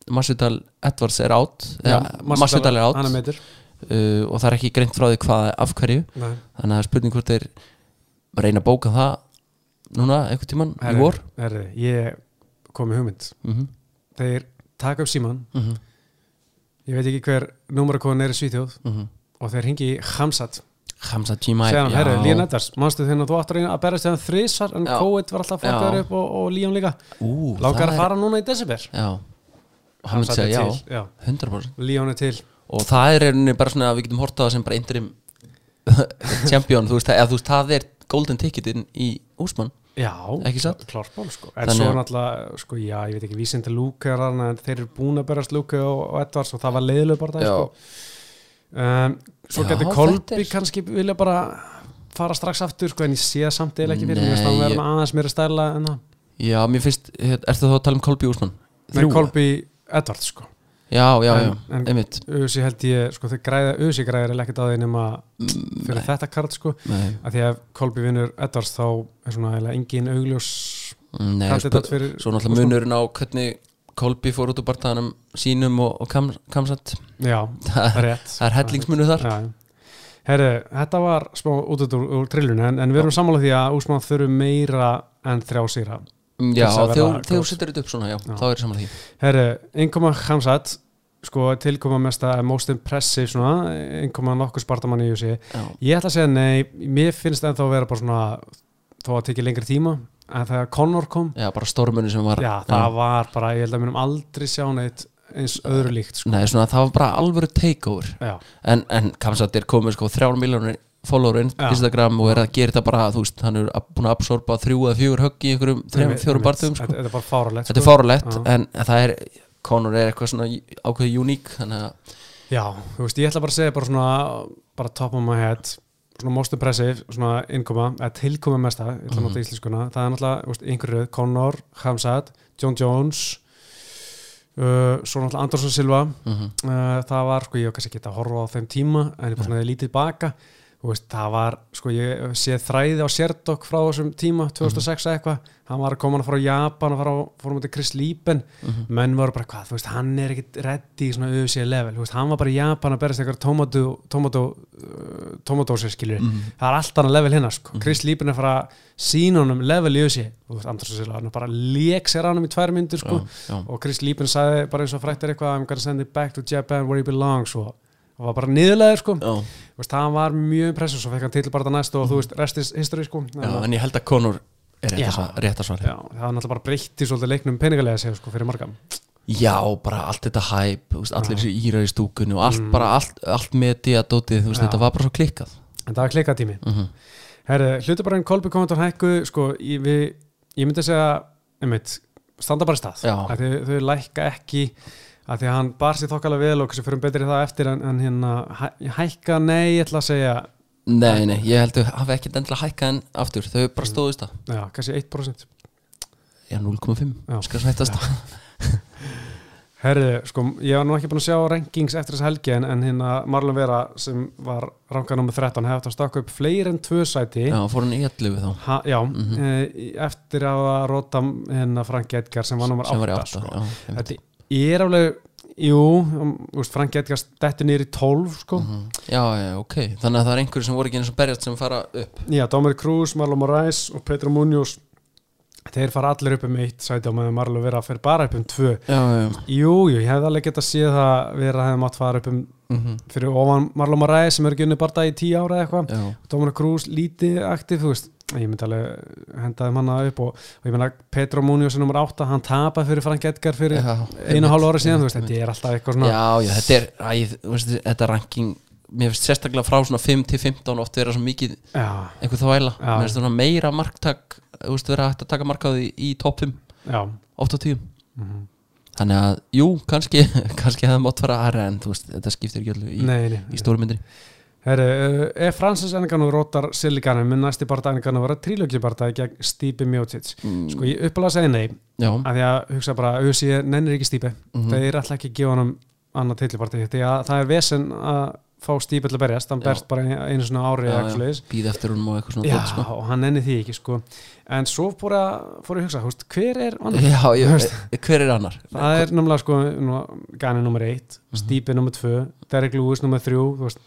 Speaker 2: Masvidal Edwards er átt
Speaker 1: Já,
Speaker 2: Masvidal er átt
Speaker 1: hann er meitur
Speaker 2: uh, og það er ekki greint frá því hvað af hverju
Speaker 1: Nei.
Speaker 2: þannig að það er spurning hvort þeir reyna að bóka það núna einhvern tímann í
Speaker 1: Herri,
Speaker 2: vor
Speaker 1: herri, ég kom með hugmynd
Speaker 2: mm -hmm.
Speaker 1: þeir taka upp síman
Speaker 2: Mm -hmm.
Speaker 1: ég veit ekki hver númarakon er í Svíþjóð
Speaker 2: Mm -hmm.
Speaker 1: og þeir ringi í Hamsat
Speaker 2: Hamza G-Mai
Speaker 1: segja hann, herru, Líon Edvars, manstu þegar þú áttur hérna að berast þegar þrísar en
Speaker 2: Já.
Speaker 1: COVID var alltaf
Speaker 2: Já.
Speaker 1: fokkaður upp og, og Líon líka
Speaker 2: Ú,
Speaker 1: langar
Speaker 2: það
Speaker 1: að
Speaker 2: er-
Speaker 1: fara núna í desember
Speaker 2: Já, og hann myndi
Speaker 1: Hamsat er
Speaker 2: segja já,
Speaker 1: til, já,
Speaker 2: 100%
Speaker 1: Líon er til
Speaker 2: og það er einnig bara svona að við getum horta það sem bara interim champion, þú veist, eða, þú veist, það er golden ticketin í Úsmann
Speaker 1: já,
Speaker 2: Ekki satt?
Speaker 1: klartból sko en
Speaker 2: Þannig
Speaker 1: svo
Speaker 2: að-
Speaker 1: náttúrulega, sko, já, ég veit ekki vísindi Luke er hann, en þeir eru búin að berast Luke og, og Edvars og það var leiðilega bara það,
Speaker 2: Já.
Speaker 1: sko um, svo
Speaker 2: Já,
Speaker 1: getur
Speaker 2: þetta
Speaker 1: Kolbi
Speaker 2: er-
Speaker 1: kannski vilja bara fara strax aftur, sko, en ég sé það samt eða ekki fyrir,
Speaker 2: Nei,
Speaker 1: mér finnst hann
Speaker 2: ég-
Speaker 1: verður aðeins mér að stæla en það
Speaker 2: Já, mér finnst, er það þá að tala um Kolby Úsmann?
Speaker 1: Nei, Kolbi Edvards sko
Speaker 2: Já, já, já,
Speaker 1: En- en-
Speaker 2: einmitt
Speaker 1: Ösi held ég, sko þau græða Ösi græðir eiginlega ekkert á því nema fyrir þetta kart sko
Speaker 2: Nei,
Speaker 1: að því að ef Kolbi vinnur Edvards þá er svona eiginlega engin augljós
Speaker 2: nei
Speaker 1: kandidat
Speaker 2: spyr,
Speaker 1: fyrir
Speaker 2: svo náttúrulega munurinn á hvernig Kolby fór út úr barndaðanum sínum og, og kam, kamsat
Speaker 1: Já,
Speaker 2: það er-
Speaker 1: rétt
Speaker 2: það er hellingsmunur þar
Speaker 1: Já, já. Herri, þetta var smá út úr, úr trillun en, en við erum sammála því að Úsmann þurfum meira en þrjá sýra
Speaker 2: Já,
Speaker 1: þess að vera
Speaker 2: þegar
Speaker 1: góð.
Speaker 2: þegar þú setur þetta upp svona, já,
Speaker 1: Já.
Speaker 2: þá er saman því
Speaker 1: Herri, innkoma Hamsat sko tilkoma mesta most impressive svona, innkoma nokkuð spartamann í Ösi
Speaker 2: Já,
Speaker 1: Ég ætla að segja nei, mér finnst ennþá að vera bara svona þó að tekja lengri tíma en þegar Connor kom,
Speaker 2: já bara stormunni sem var
Speaker 1: já það var bara, ég held að minnum aldrei sjá neitt eins öðru líkt sko.
Speaker 2: Nei, svona, það var bara alvöru takeover
Speaker 1: Já,
Speaker 2: en, en Kamsat er komið sko þrjár miljónir follower
Speaker 1: Já.
Speaker 2: á Instagram og er að gera þetta bara þú veist, hann er ab- búin að absorba þrjú eða fjögur högg í einhverjum þrejum,
Speaker 1: Einmitt,
Speaker 2: fjórum
Speaker 1: einmitt.
Speaker 2: barðum sko.
Speaker 1: Þetta þetta er bara fáralegt
Speaker 2: þetta er fáralegt,
Speaker 1: Já.
Speaker 2: en það er Conor er eitthvað svona ákveðið uník þannig að,
Speaker 1: Já, þú veist, ég ætla bara að segja bara svona, bara top of my head svona most impressive, svona innkoma eða tilkoma mesta, ég ætla að nota
Speaker 2: Mhm.
Speaker 1: íslenskuna það er náttúrulega, þú veist, einhverju, röð, Connor Hamsat, John Jones uh, svo náttúrulega Anderson Silva
Speaker 2: mhm,
Speaker 1: Eh, uh, það var sko, ég var kannski ekki að horfa á þeim tíma en ég bara svona lítið baka þú og veist, það var, sko, ég sé þræði á Serdok frá þessum tíma 2006 eða eitthvað, hann var að koma frá Japan og fara á- fór á mútið Chris Lieben menn voru bara hvað, þú veist, hann er ekkit reddi í svona öfusíða level, þú veist, hann var bara í Japan að berist eitthvað tomató tomató, uh, tomatósir skilur, það er allt annað level hérna, sko, Chris Lieben er að fara að sína honum level í öfusíð, þú veist, Andrés Silva hann bara lék sér á honum í tvær myndir, sko
Speaker 2: já.
Speaker 1: og Chris Lieben sagði bara eins og frættir eitthvað I'm gonna send it back to Japan where it belongs og og var bara niðurlegaður sko
Speaker 2: Já. Mm.
Speaker 1: Þú veist, hann var mjög impressið svo fekk hann til bara það næst og þú veist restis history sko
Speaker 2: Já,
Speaker 1: Þannig að-
Speaker 2: en ég held að konur er
Speaker 1: Já.
Speaker 2: réttarsvar
Speaker 1: já, það var náttúrulega bara breytti svolítið leiknum peningalega séð sko fyrir marga
Speaker 2: Já, bara allt þetta hæp, þú veist, allir þessu írar í stúkunni og allt bara, allt, allt mediadótið, þú veist,
Speaker 1: Mm. Já.
Speaker 2: þetta var bara svo klikkað
Speaker 1: en það var klikatími mm
Speaker 2: Mhm.
Speaker 1: -hmm. herru, hlutabarinn Kolby Komendur hækku sko, ég, við, ég myndi að segja einmitt, standa bara í stað
Speaker 2: Já.
Speaker 1: Af því þau, lækka ekki að því að hann bar sér þokkalega vel og kannski fyrir betri í það eftir en, en hérna hæ, hækka nei, ég ætla að segja
Speaker 2: Nei, nei, ég held að hafa ekkert endilega hækkað en aftur, þau
Speaker 1: Mm.
Speaker 2: bara stóðist það
Speaker 1: já, kannski 1%
Speaker 2: Já, 0,5,
Speaker 1: Já.
Speaker 2: skal svættast það
Speaker 1: Herri, sko, ég var nú ekki búin að sjá rankings eftir þess helgi en, en hérna Marlon Vera sem var rankað nummer 13 hefði átt að stakka upp fleiri en tvö sæti
Speaker 2: Já, Mhm. fór hann í allu við þá
Speaker 1: ha, já e, eftir að rota hérna Frank Edgar sem var nummer 8,
Speaker 2: sem var í 8
Speaker 1: sko.
Speaker 2: já, einmitt.
Speaker 1: Þetta er alveg, jú um, úst, Frank Edgar stættu niður í 12 sko.
Speaker 2: Mhm. já, já, ok, þannig að það er einhverju sem voru ekki eins og berjast sem fara upp
Speaker 1: já, Dominic Cruz, Marlon Moraes og Pedro Munoz þeir fara allir upp um eitt sæti á meðan Marlon Vera fer bara upp um tvö
Speaker 2: Já, já,
Speaker 1: jú, jú, ég hefði alveg getað séð að Vera hefði mátt fara upp um
Speaker 2: mhm,
Speaker 1: fyrir ofan Marlon Moraes sem er ekki unni barða í tíu ára eða eitthvað
Speaker 2: já,
Speaker 1: Dominic Cruz lítið aktiv þú veist ég myndi alveg hendaði manna upp og, og ég meina Petro Munoz er nummer 8 hann tapaði fyrir Frank Edgar fyrir
Speaker 2: Já,
Speaker 1: einu
Speaker 2: einmitt,
Speaker 1: og hálf ára síðan þú veist
Speaker 2: einmitt,
Speaker 1: þetta er alltaf eitthvað
Speaker 2: já,
Speaker 1: svona
Speaker 2: já, þetta er, æ, þú veist, þetta ranking Mér finnst sérstaklega frá svona 5 til 15 oft vera svo mikið
Speaker 1: já,
Speaker 2: einhver þvæla
Speaker 1: Já.
Speaker 2: Mér finnst svona meira marktak, þú veist, vera hægt að taka markaði í toppum
Speaker 1: já,
Speaker 2: oft á tíum
Speaker 1: Mhm.
Speaker 2: Þannig að, jú, kannski, kannski hefði mátt fara aðra en, þú veist, þetta skiptir ekki alveg í,
Speaker 1: nei, nei,
Speaker 2: í
Speaker 1: nei.
Speaker 2: stóru myndri
Speaker 1: Herru, uh, ef Francis Enganú rótar Silikanum mun næsti barða Enganú vera trílökjubardaði gegn Stípi Mjótits
Speaker 2: Mm.
Speaker 1: sko ég uppalega segi nei
Speaker 2: Já,
Speaker 1: að því að hugsa bara að USI nennir ekki stýpi
Speaker 2: Mhm.
Speaker 1: þeir ætla ekki að gefa honum annað tilliparti því að það er vesen að fá stýpi til að berjast, hann
Speaker 2: Já.
Speaker 1: berst bara einu svona ári eða eitthvað leiðis
Speaker 2: býð eftir húnum og eitthvað svona
Speaker 1: Já,
Speaker 2: dót, sko.
Speaker 1: og hann nenni því ekki sko en svo fór, að, fór ég að hugsa, húst, hver er annar?
Speaker 2: Já, ég, hver er annar?
Speaker 1: það er námlega sko Gani nummer 1,
Speaker 2: Mhm.
Speaker 1: Stípi nummer 2 Derek Lewis nummer 3 veist,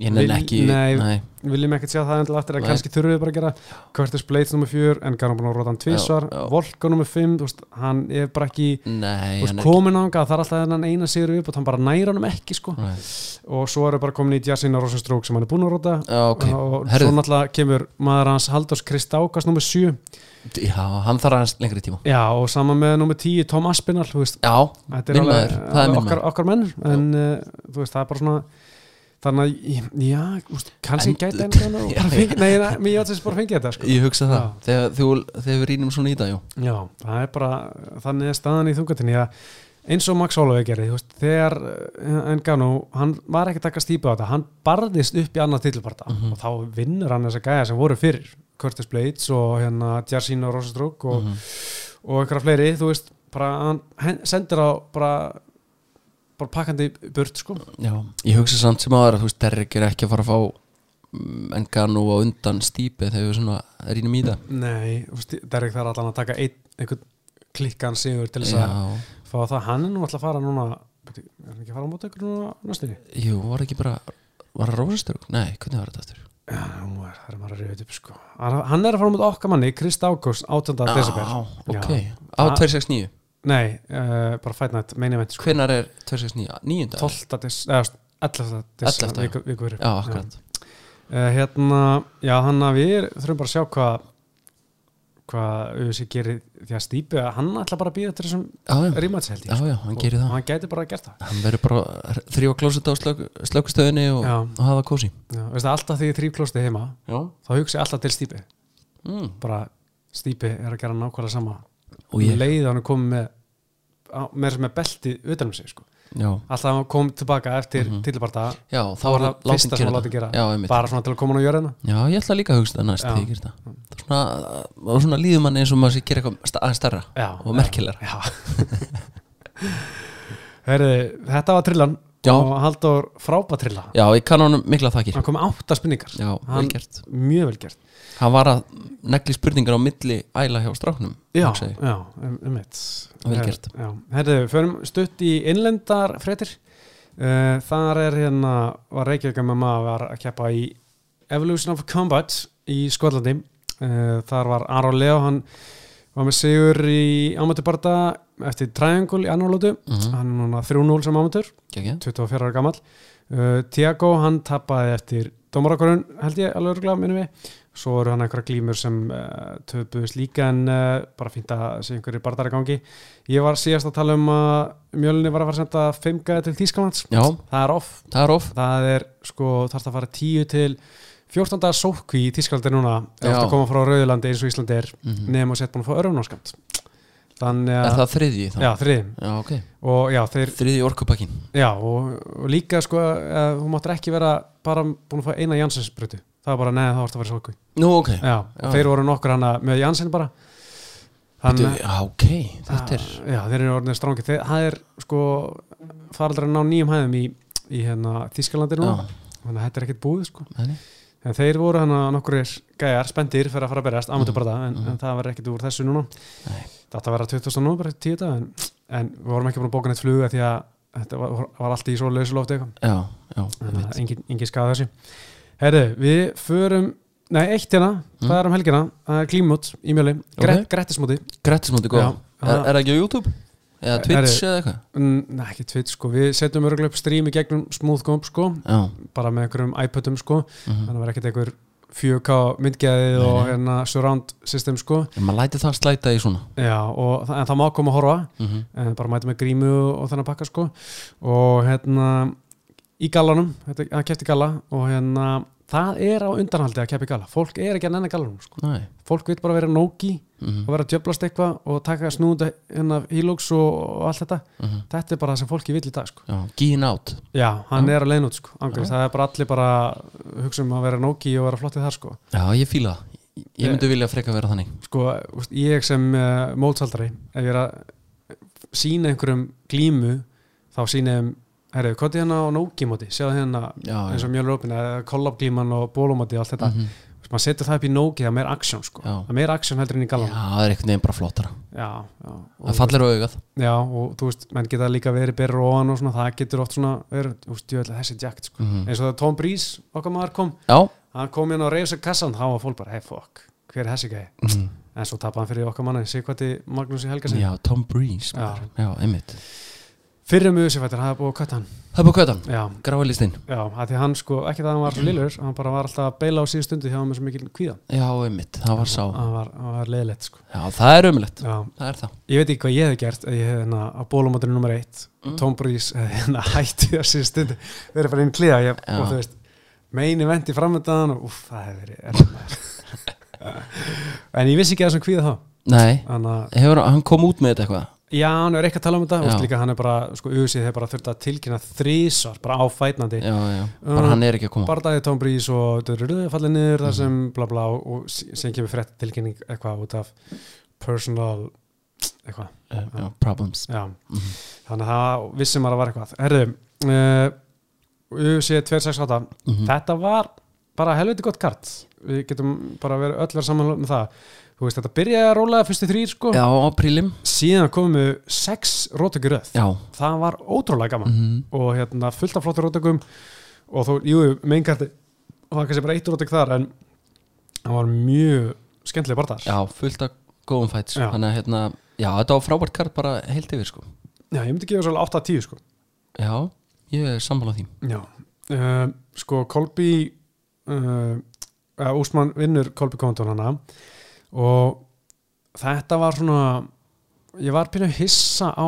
Speaker 2: Ég nenni
Speaker 1: Vil-
Speaker 2: ekki
Speaker 1: nei. viljum ekkert sjá það endilega aftur að
Speaker 2: Nei.
Speaker 1: kannski þurfum við bara að gera Curtis Blades nummer 4, en Gani búin að róta hann tvísvar
Speaker 2: Já, já.
Speaker 1: Volko nummer 5, veist, hann er bara ekki
Speaker 2: Nei,
Speaker 1: Þú
Speaker 2: hann
Speaker 1: veist,
Speaker 2: er
Speaker 1: komin ángað, það er alltaf þennan eina sigur upp og hann bara næra honum ekki sko
Speaker 2: Nei.
Speaker 1: og svo eru bara komin í Jasina Rósastrók sem hann er búin að róta
Speaker 2: Já, ok,
Speaker 1: og
Speaker 2: herðu
Speaker 1: svo náttúrulega kemur maður hans Haldós Kristákas nummer 7
Speaker 2: Já, hann þarf aðeins lengri tíma
Speaker 1: já og saman með nummer 10 Tom Aspinall þú veist,
Speaker 2: Já,
Speaker 1: þetta er
Speaker 2: minn maður, það
Speaker 1: alveg
Speaker 2: er minn
Speaker 1: okkar,
Speaker 2: maður
Speaker 1: okkar menn en uh, þú veist, það er bara svona þannig að, ég- já, úst, kannski en,
Speaker 2: En-
Speaker 1: gæti enn og bara
Speaker 2: Já,
Speaker 1: fengi, nei, nei, mér átt þess bara fengi þetta sko.
Speaker 2: Ég hugsa það,
Speaker 1: Já.
Speaker 2: þegar, þú, þegar við rýnum svona í dag, jú
Speaker 1: já, það er bara, þannig er staðan í þungatinni að eins og Max Holloway gerði, þú veist, þegar Engano, hann var ekki að taka stípa á þetta hann barðist upp í annað tilbarta og þá vinnur hann þessa gæja sem voru fyrir Curtis Blades og hérna Jarsino Rosastrúk og,
Speaker 2: Mhm.
Speaker 1: og einhverja fleiri, þú veist, bara hann hen- sendir á bara bara pakkandi burt, sko
Speaker 2: Já, ég hugsa samt sem aðra, þú veist, Derrick er ekki að fara að fá enga nú á undan stípi þegar við svona rýnum í það
Speaker 1: Nei, þú veist, Derek þarf allan að taka einn, einhvern klikkan sigur til þess að
Speaker 2: Já,
Speaker 1: fá það, hann er nú alltaf að fara núna beti, er hann ekki að fara á móti ykkur núna næstinni?
Speaker 2: jú, var ekki bara var það rósastrug? Nei, hvernig var þetta aftur?
Speaker 1: Já, nú er, það er maður að reyða upp sko. Hann hann er að fara mút okkar manni, Krist Ágúst, 18. desember.
Speaker 2: Á, ok,
Speaker 1: Já.
Speaker 2: á
Speaker 1: Það-
Speaker 2: 269
Speaker 1: Nei, uh, bara fætna þetta, meina veit, sko.
Speaker 2: Hvenær er 269? 9.
Speaker 1: 12. des, eða, þú veist, 11.
Speaker 2: 11.,
Speaker 1: desember,
Speaker 2: já.
Speaker 1: viku, viku verið.
Speaker 2: Já, akkurat
Speaker 1: hérna, já, hann að við þurfum bara að sjá hvað hvað auðvitað gerir því að stýpi að hann ætla bara að býða til þessum
Speaker 2: Já, já,
Speaker 1: rímatsi held ég.
Speaker 2: já,
Speaker 1: sko.
Speaker 2: já, hann gerir
Speaker 1: Og
Speaker 2: það
Speaker 1: Hann gæti bara að gera það.
Speaker 2: Hann verður bara að þrjá klósita á slök, slökustöðinni og,
Speaker 1: Já.
Speaker 2: og hafa kósi
Speaker 1: Já, veistu, alltaf því ég þrýf klósti heima,
Speaker 2: Já
Speaker 1: þá hugsa ég alltaf til stýpi.
Speaker 2: mm.
Speaker 1: Bara stýpi er að gera nákvæmlega sama.
Speaker 2: Og ég,
Speaker 1: leið að hann er komið með á- með sem er belti utanum sig sko.
Speaker 2: já,
Speaker 1: alltaf að hann kom tilbaka eftir mm
Speaker 2: Mhm. já, þá
Speaker 1: þá
Speaker 2: er
Speaker 1: var
Speaker 2: það
Speaker 1: það
Speaker 2: látum
Speaker 1: fyrsta sem hann
Speaker 2: gera þetta.
Speaker 1: láti gera
Speaker 2: Já, einmitt
Speaker 1: bara svona til að koma hann á jörðina
Speaker 2: Já, ég ætla líka að hugsa það næst
Speaker 1: Já.
Speaker 2: þegar ég gerir það Það er svona, og svona líður manni eins og maður sé gera eitthvað sta- aðeins starra
Speaker 1: já,
Speaker 2: og merkilegra
Speaker 1: já. Heri, þetta var trillan
Speaker 2: Já.
Speaker 1: og Halldór frábatrilla
Speaker 2: Já, ég kann honum mikla þakir
Speaker 1: hann kom með átta spurningar
Speaker 2: Já,
Speaker 1: Hann-
Speaker 2: vel gert
Speaker 1: mjög vel gert
Speaker 2: Hann var að negli spurningar á milli æla hjá stráknum
Speaker 1: já,
Speaker 2: hugsa ég.
Speaker 1: já, um, um eitt
Speaker 2: Vel gert.
Speaker 1: já. herðu, förum stutt í innlendar fréttir uh, þar er hérna var Reykjavík MMA var að keppa í Evolution of Combat í Skotlandi uh, þar var Aron Leo hann var með sigur í ámættubarta eftir triangle í annarlótu
Speaker 2: Mhm.
Speaker 1: hann er núna 3-0 sem ámættur
Speaker 2: Geggjað.
Speaker 1: 24 ára gammal uh, Tiago, hann tappaði eftir dómarakorun, held ég, alveg örgla minnum við, svo eru hann einhverja glímur sem uh, töpuðust líka en uh, bara fínt að sé einhverju bardar í gangi ég var síðast að tala um að mjölunni var að fara að senda 5 gæði til Þýskalands
Speaker 2: Já,
Speaker 1: það er off,
Speaker 2: það er of
Speaker 1: það er sko, þarf að fara 10 til 14. daga sótkví í Þýskalandi núna
Speaker 2: Já.
Speaker 1: eftir að koma frá Rauðilandi eins og Íslandi er
Speaker 2: Mhm.
Speaker 1: nefnum að setja búin að fá örfnarskamt þannig
Speaker 2: Er
Speaker 1: að,
Speaker 2: það þriðji þá?
Speaker 1: já, þriðum
Speaker 2: Já, ok
Speaker 1: og já, þeir
Speaker 2: Þriðji orkupakkin
Speaker 1: Já, og, og líka sko að hún máttur ekki vera bara búin að fá eina Jansens brutu það var bara neða það vart að vera sóku
Speaker 2: Nú, ok
Speaker 1: Já,
Speaker 2: Já.
Speaker 1: og þeir voru nokkur hana með Jansen bara
Speaker 2: Bíddu, Já, ok, þetta er
Speaker 1: að- Já, þeir eru orðinir strángi þeir, það er sko faraldar að ná nýjum hæðum í, í hérna Þískalandi
Speaker 2: Já,
Speaker 1: núna þannig að þetta er ekkert búið sko
Speaker 2: þannig
Speaker 1: en þeir voru hana nokkur gæjar spendir fyrir að fara að berjast, ámyndu bara það en, en það var ekkert úr þessu núna
Speaker 2: Mm. Nei.
Speaker 1: þetta átti að vera 20. nómur, 10 dag en, en við vorum ekki búin að bóka neitt fluga því að þetta var, var allt í svo lausulofti eitthvað
Speaker 2: Já, já,
Speaker 1: þannig
Speaker 2: einmitt.
Speaker 1: að engin, engin skaða þessu Herðu, við förum Nei, eitt hérna, það er um helgina Það er klímut í mjöli, Gret,
Speaker 2: Hmm? Ok.
Speaker 1: Grettismóti
Speaker 2: Grettismóti góð
Speaker 1: Já,
Speaker 2: Er
Speaker 1: það-
Speaker 2: er það ekki á YouTube? Eða Twitch eða eitthvað?
Speaker 1: Mm, Nei, ekki tvit, sko, við setjum örgulega upp stream í gegnum smoothgomp, sko
Speaker 2: Já,
Speaker 1: bara með einhverjum iPodum, sko
Speaker 2: mhm.
Speaker 1: þannig að vera ekkert einhver 4K myndgæði og
Speaker 2: nei.
Speaker 1: hérna surround system, sko
Speaker 2: En maður læti það slæta í svona
Speaker 1: Já, og, þa- en það má koma að horfa
Speaker 2: Mhm.
Speaker 1: en Eh, bara mæta með grímu og þennan pakka sko og hérna í gallanum, þetta að keppt í galla og hérna það er á undanhaldi að keppa í galla, fólk er ekki að nenni gallanum sko.
Speaker 2: Næ
Speaker 1: fólk vil bara vera nógi
Speaker 2: Mhm,
Speaker 1: og vera að djöblast eitthvað og taka snúnda hérna hílóks og, og allt þetta
Speaker 2: mhm.
Speaker 1: þetta er bara það sem fólki vil í dag sko
Speaker 2: Já, Gín átt
Speaker 1: já, hann
Speaker 2: Já.
Speaker 1: er að leiðin út sko, angriðs, það er bara allir bara uh, hugsa um að vera nógi og vera flottið þar sko
Speaker 2: Já, ég fíla það Ég- Ég myndi vilja freka vera þannig
Speaker 1: sko, þú veist, ég sem uh, mótsaldari, ef ég er að sína einhverjum glímu þá sína þeim, herru, hvað er hérna á nógimóti, sjáðu hérna
Speaker 2: Já,
Speaker 1: eins og mjölur opin, kollabglíman og bólumóti og allt þetta,
Speaker 2: Mhm.
Speaker 1: mm maður setur það upp í nógi það er meira aksjón, sko,
Speaker 2: Já.
Speaker 1: það er meira aksjón heldur inn í
Speaker 2: Já,
Speaker 1: galan,
Speaker 2: það er einhvern veginn bara flottara
Speaker 1: já, já og,
Speaker 2: Það fallir á augað
Speaker 1: já, og þú veist, menn geta líka verið berra ofan og svona, það getur oft svona verið, þú veist, jöðlega þessi jakt, sko
Speaker 2: Mhm.
Speaker 1: eins og það Tom Breeze, okkar maður kom
Speaker 2: Já
Speaker 1: hann kom hérna og reysa kassan, þá var fólk bara, hey, fuck hver er þessi gæði?
Speaker 2: Mhm.
Speaker 1: En svo tapaði hann fyrir okkar manni, Sigvati Magnúsi Helgasen
Speaker 2: Já, Tom Breeze
Speaker 1: Já.
Speaker 2: maður. Já, einmitt
Speaker 1: Fyrir um Usifættir, það er búið að kvæta hann
Speaker 2: Það er búið kvötan
Speaker 1: Já,
Speaker 2: Gráilistinn
Speaker 1: já, að því hann sko, ekki það að hann var svo
Speaker 2: Mm.
Speaker 1: lillur Hann bara var alltaf að beila á síðu stundu hjá hann með svo mikil kvíða
Speaker 2: Já, einmitt, það var sá
Speaker 1: Hann var, hann var leiðilegt sko
Speaker 2: Já, það er ömulegt
Speaker 1: Já,
Speaker 2: Það er það
Speaker 1: ég veit ekki hvað ég hefði gert ef Ég hefði hérna á bólumótinu nummer eitt
Speaker 2: Mm.
Speaker 1: Tom Breeze hefði hérna hætti á síðu stundu Verið bara inn kliða ég,
Speaker 2: Já.
Speaker 1: Og þú veist, meini vendi framöndaðan Og úff, það hefði verið erfitt, maður. En ég vissi ekki að þessum kvíða þá
Speaker 2: Nei,
Speaker 1: Þannig að
Speaker 2: hefur hann kom út með þetta eitthvað
Speaker 1: Já, hann er ekki að tala um þetta, þú veist
Speaker 2: Já.
Speaker 1: líka hann er bara, sko, USI hefur bara þurft að tilkynna þrísvar, bara áfætnandi
Speaker 2: Já, já, Mhm. bara
Speaker 1: Um,
Speaker 2: hann er ekki að koma
Speaker 1: bardaði Tom Breeze og dörrurðu fallið niður þar sem bla bla og- og sí- síðan kemur frétt tilkynning eitthvað út af personal eitthvað,
Speaker 2: Já, já, Problems
Speaker 1: já
Speaker 2: Mhm.
Speaker 1: þannig að það vissi maður að var eitthvað Herðu, uh, UFC 268
Speaker 2: Mhm.
Speaker 1: þetta var bara helviti gott kart við getum bara verið öllar saman með um það þú veist þetta byrjaði að rólaða fyrstu þrýr sko
Speaker 2: Já, á prílim
Speaker 1: síðan komu sex rótökuröð
Speaker 2: Já
Speaker 1: það var ótrúlega gaman
Speaker 2: Mhm.
Speaker 1: og hérna fullt af flottur rótökum og þó, jú, meinkarti var kannski bara eitt rótök þar en það var mjög skemmtileg barðar
Speaker 2: Já, fullt af góðum fæts
Speaker 1: Já.
Speaker 2: Þannig að hérna, já, þetta var frábært kart bara heilt yfir sko
Speaker 1: Já, ég myndi gefa svolítið 8 að 10 sko
Speaker 2: Já, ég er sammálað því
Speaker 1: Já, uh, sko Kolbi uh, uh, Úsmann vinnur Kolbi Kondon hana og þetta var svona ég var pínu hissa á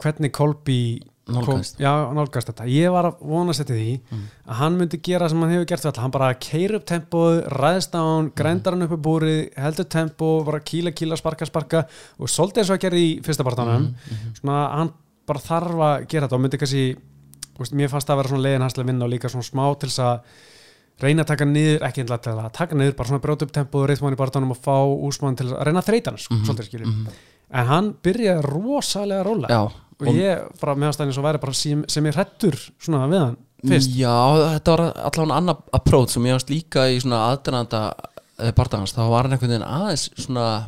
Speaker 1: hvernig Kolbi
Speaker 2: Nálgast
Speaker 1: kom,
Speaker 2: Mm.
Speaker 1: já, nálgast þetta, ég var að vonast þetta því að hann myndi gera sem hann hefur gert þetta, hann bara keir upp tempóð, ræðst á hann
Speaker 2: Mhm.
Speaker 1: grændar hann upp í búrið, heldur tempó bara kýla, kýla, sparka, sparka og svolítið eins og að gera í fyrsta barðanum
Speaker 2: Mhm.
Speaker 1: svona að hann bara þarf að gera þetta og myndi kannski, þú veist, mér fannst það að vera svona leiðin hans til að vinna og líka svona smá til þess að reyna að taka niður, ekki einlega til að taka niður, bara svona brjóta upp tempóð, reyðmann í barðanum og fá úsmann til að reyna að þreyta hann, mm
Speaker 2: Mhm.
Speaker 1: svolítið skilur en hann byrjaði rosalega róla
Speaker 2: Já,
Speaker 1: og ég bara meðan stæðin svo væri bara sem, sem ég hrettur svona við hann
Speaker 2: Mm.
Speaker 1: fyrst
Speaker 2: Já, þetta var allavega annar approach sem ég ást líka í svona aðduranda barndagans, þá var hann einhvern veginn aðeins svona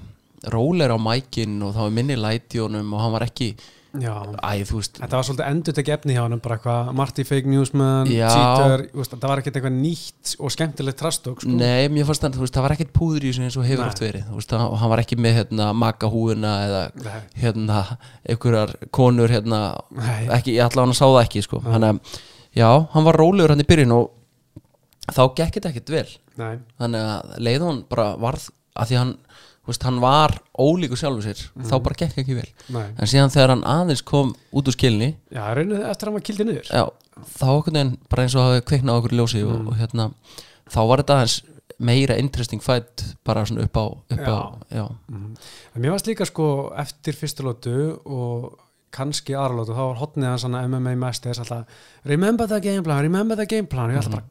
Speaker 2: róler á mækin og þá var minni læti í honum og hann var ekki
Speaker 1: já.
Speaker 2: æ, þú veist,
Speaker 1: þetta var svolítið endur tekið efni hjá hann bara eitthvað Marty fake newsman,
Speaker 2: Já.
Speaker 1: cheater þú veist, þetta var ekkert eitthvað nýtt og skemmtilegt trastók sko.
Speaker 2: nei, mér fannst hann, þú veist, það var ekkert púður í þessu eins og hefur
Speaker 1: Nei.
Speaker 2: oft verið, þú veist, það- og hann var ekki með hérna makahúuna eða
Speaker 1: Nei.
Speaker 2: hérna, einhverjar konur hérna,
Speaker 1: Nei.
Speaker 2: ekki, ég allavega hann sá það ekki, sko, þannig að, já, hann var rólegur hann í byrjun og þá gekk þetta ekkert vel
Speaker 1: Nei.
Speaker 2: þannig að leið hún bara varð að því hann, þú veist, hann var ólíku sjálfur sér,
Speaker 1: Mhm.
Speaker 2: þá bara gekk ekki vel
Speaker 1: Nei.
Speaker 2: en síðan þegar hann aðeins kom út úr skilni
Speaker 1: já, raunnið eftir að hann var kildið niður
Speaker 2: já, þá okkur neginn bara eins og hafi kveiknað okkur ljósi
Speaker 1: Mhm.
Speaker 2: og, og hérna þá var þetta aðeins meira interesting fight bara svona upp á, upp á já.
Speaker 1: Mm. En mér varst líka sko eftir fyrstu lótu og kannski aðra lótu, þá var hotnið hans hann MMA mesters alltaf, remember the game plan, remember the game plan, og ég alltaf bara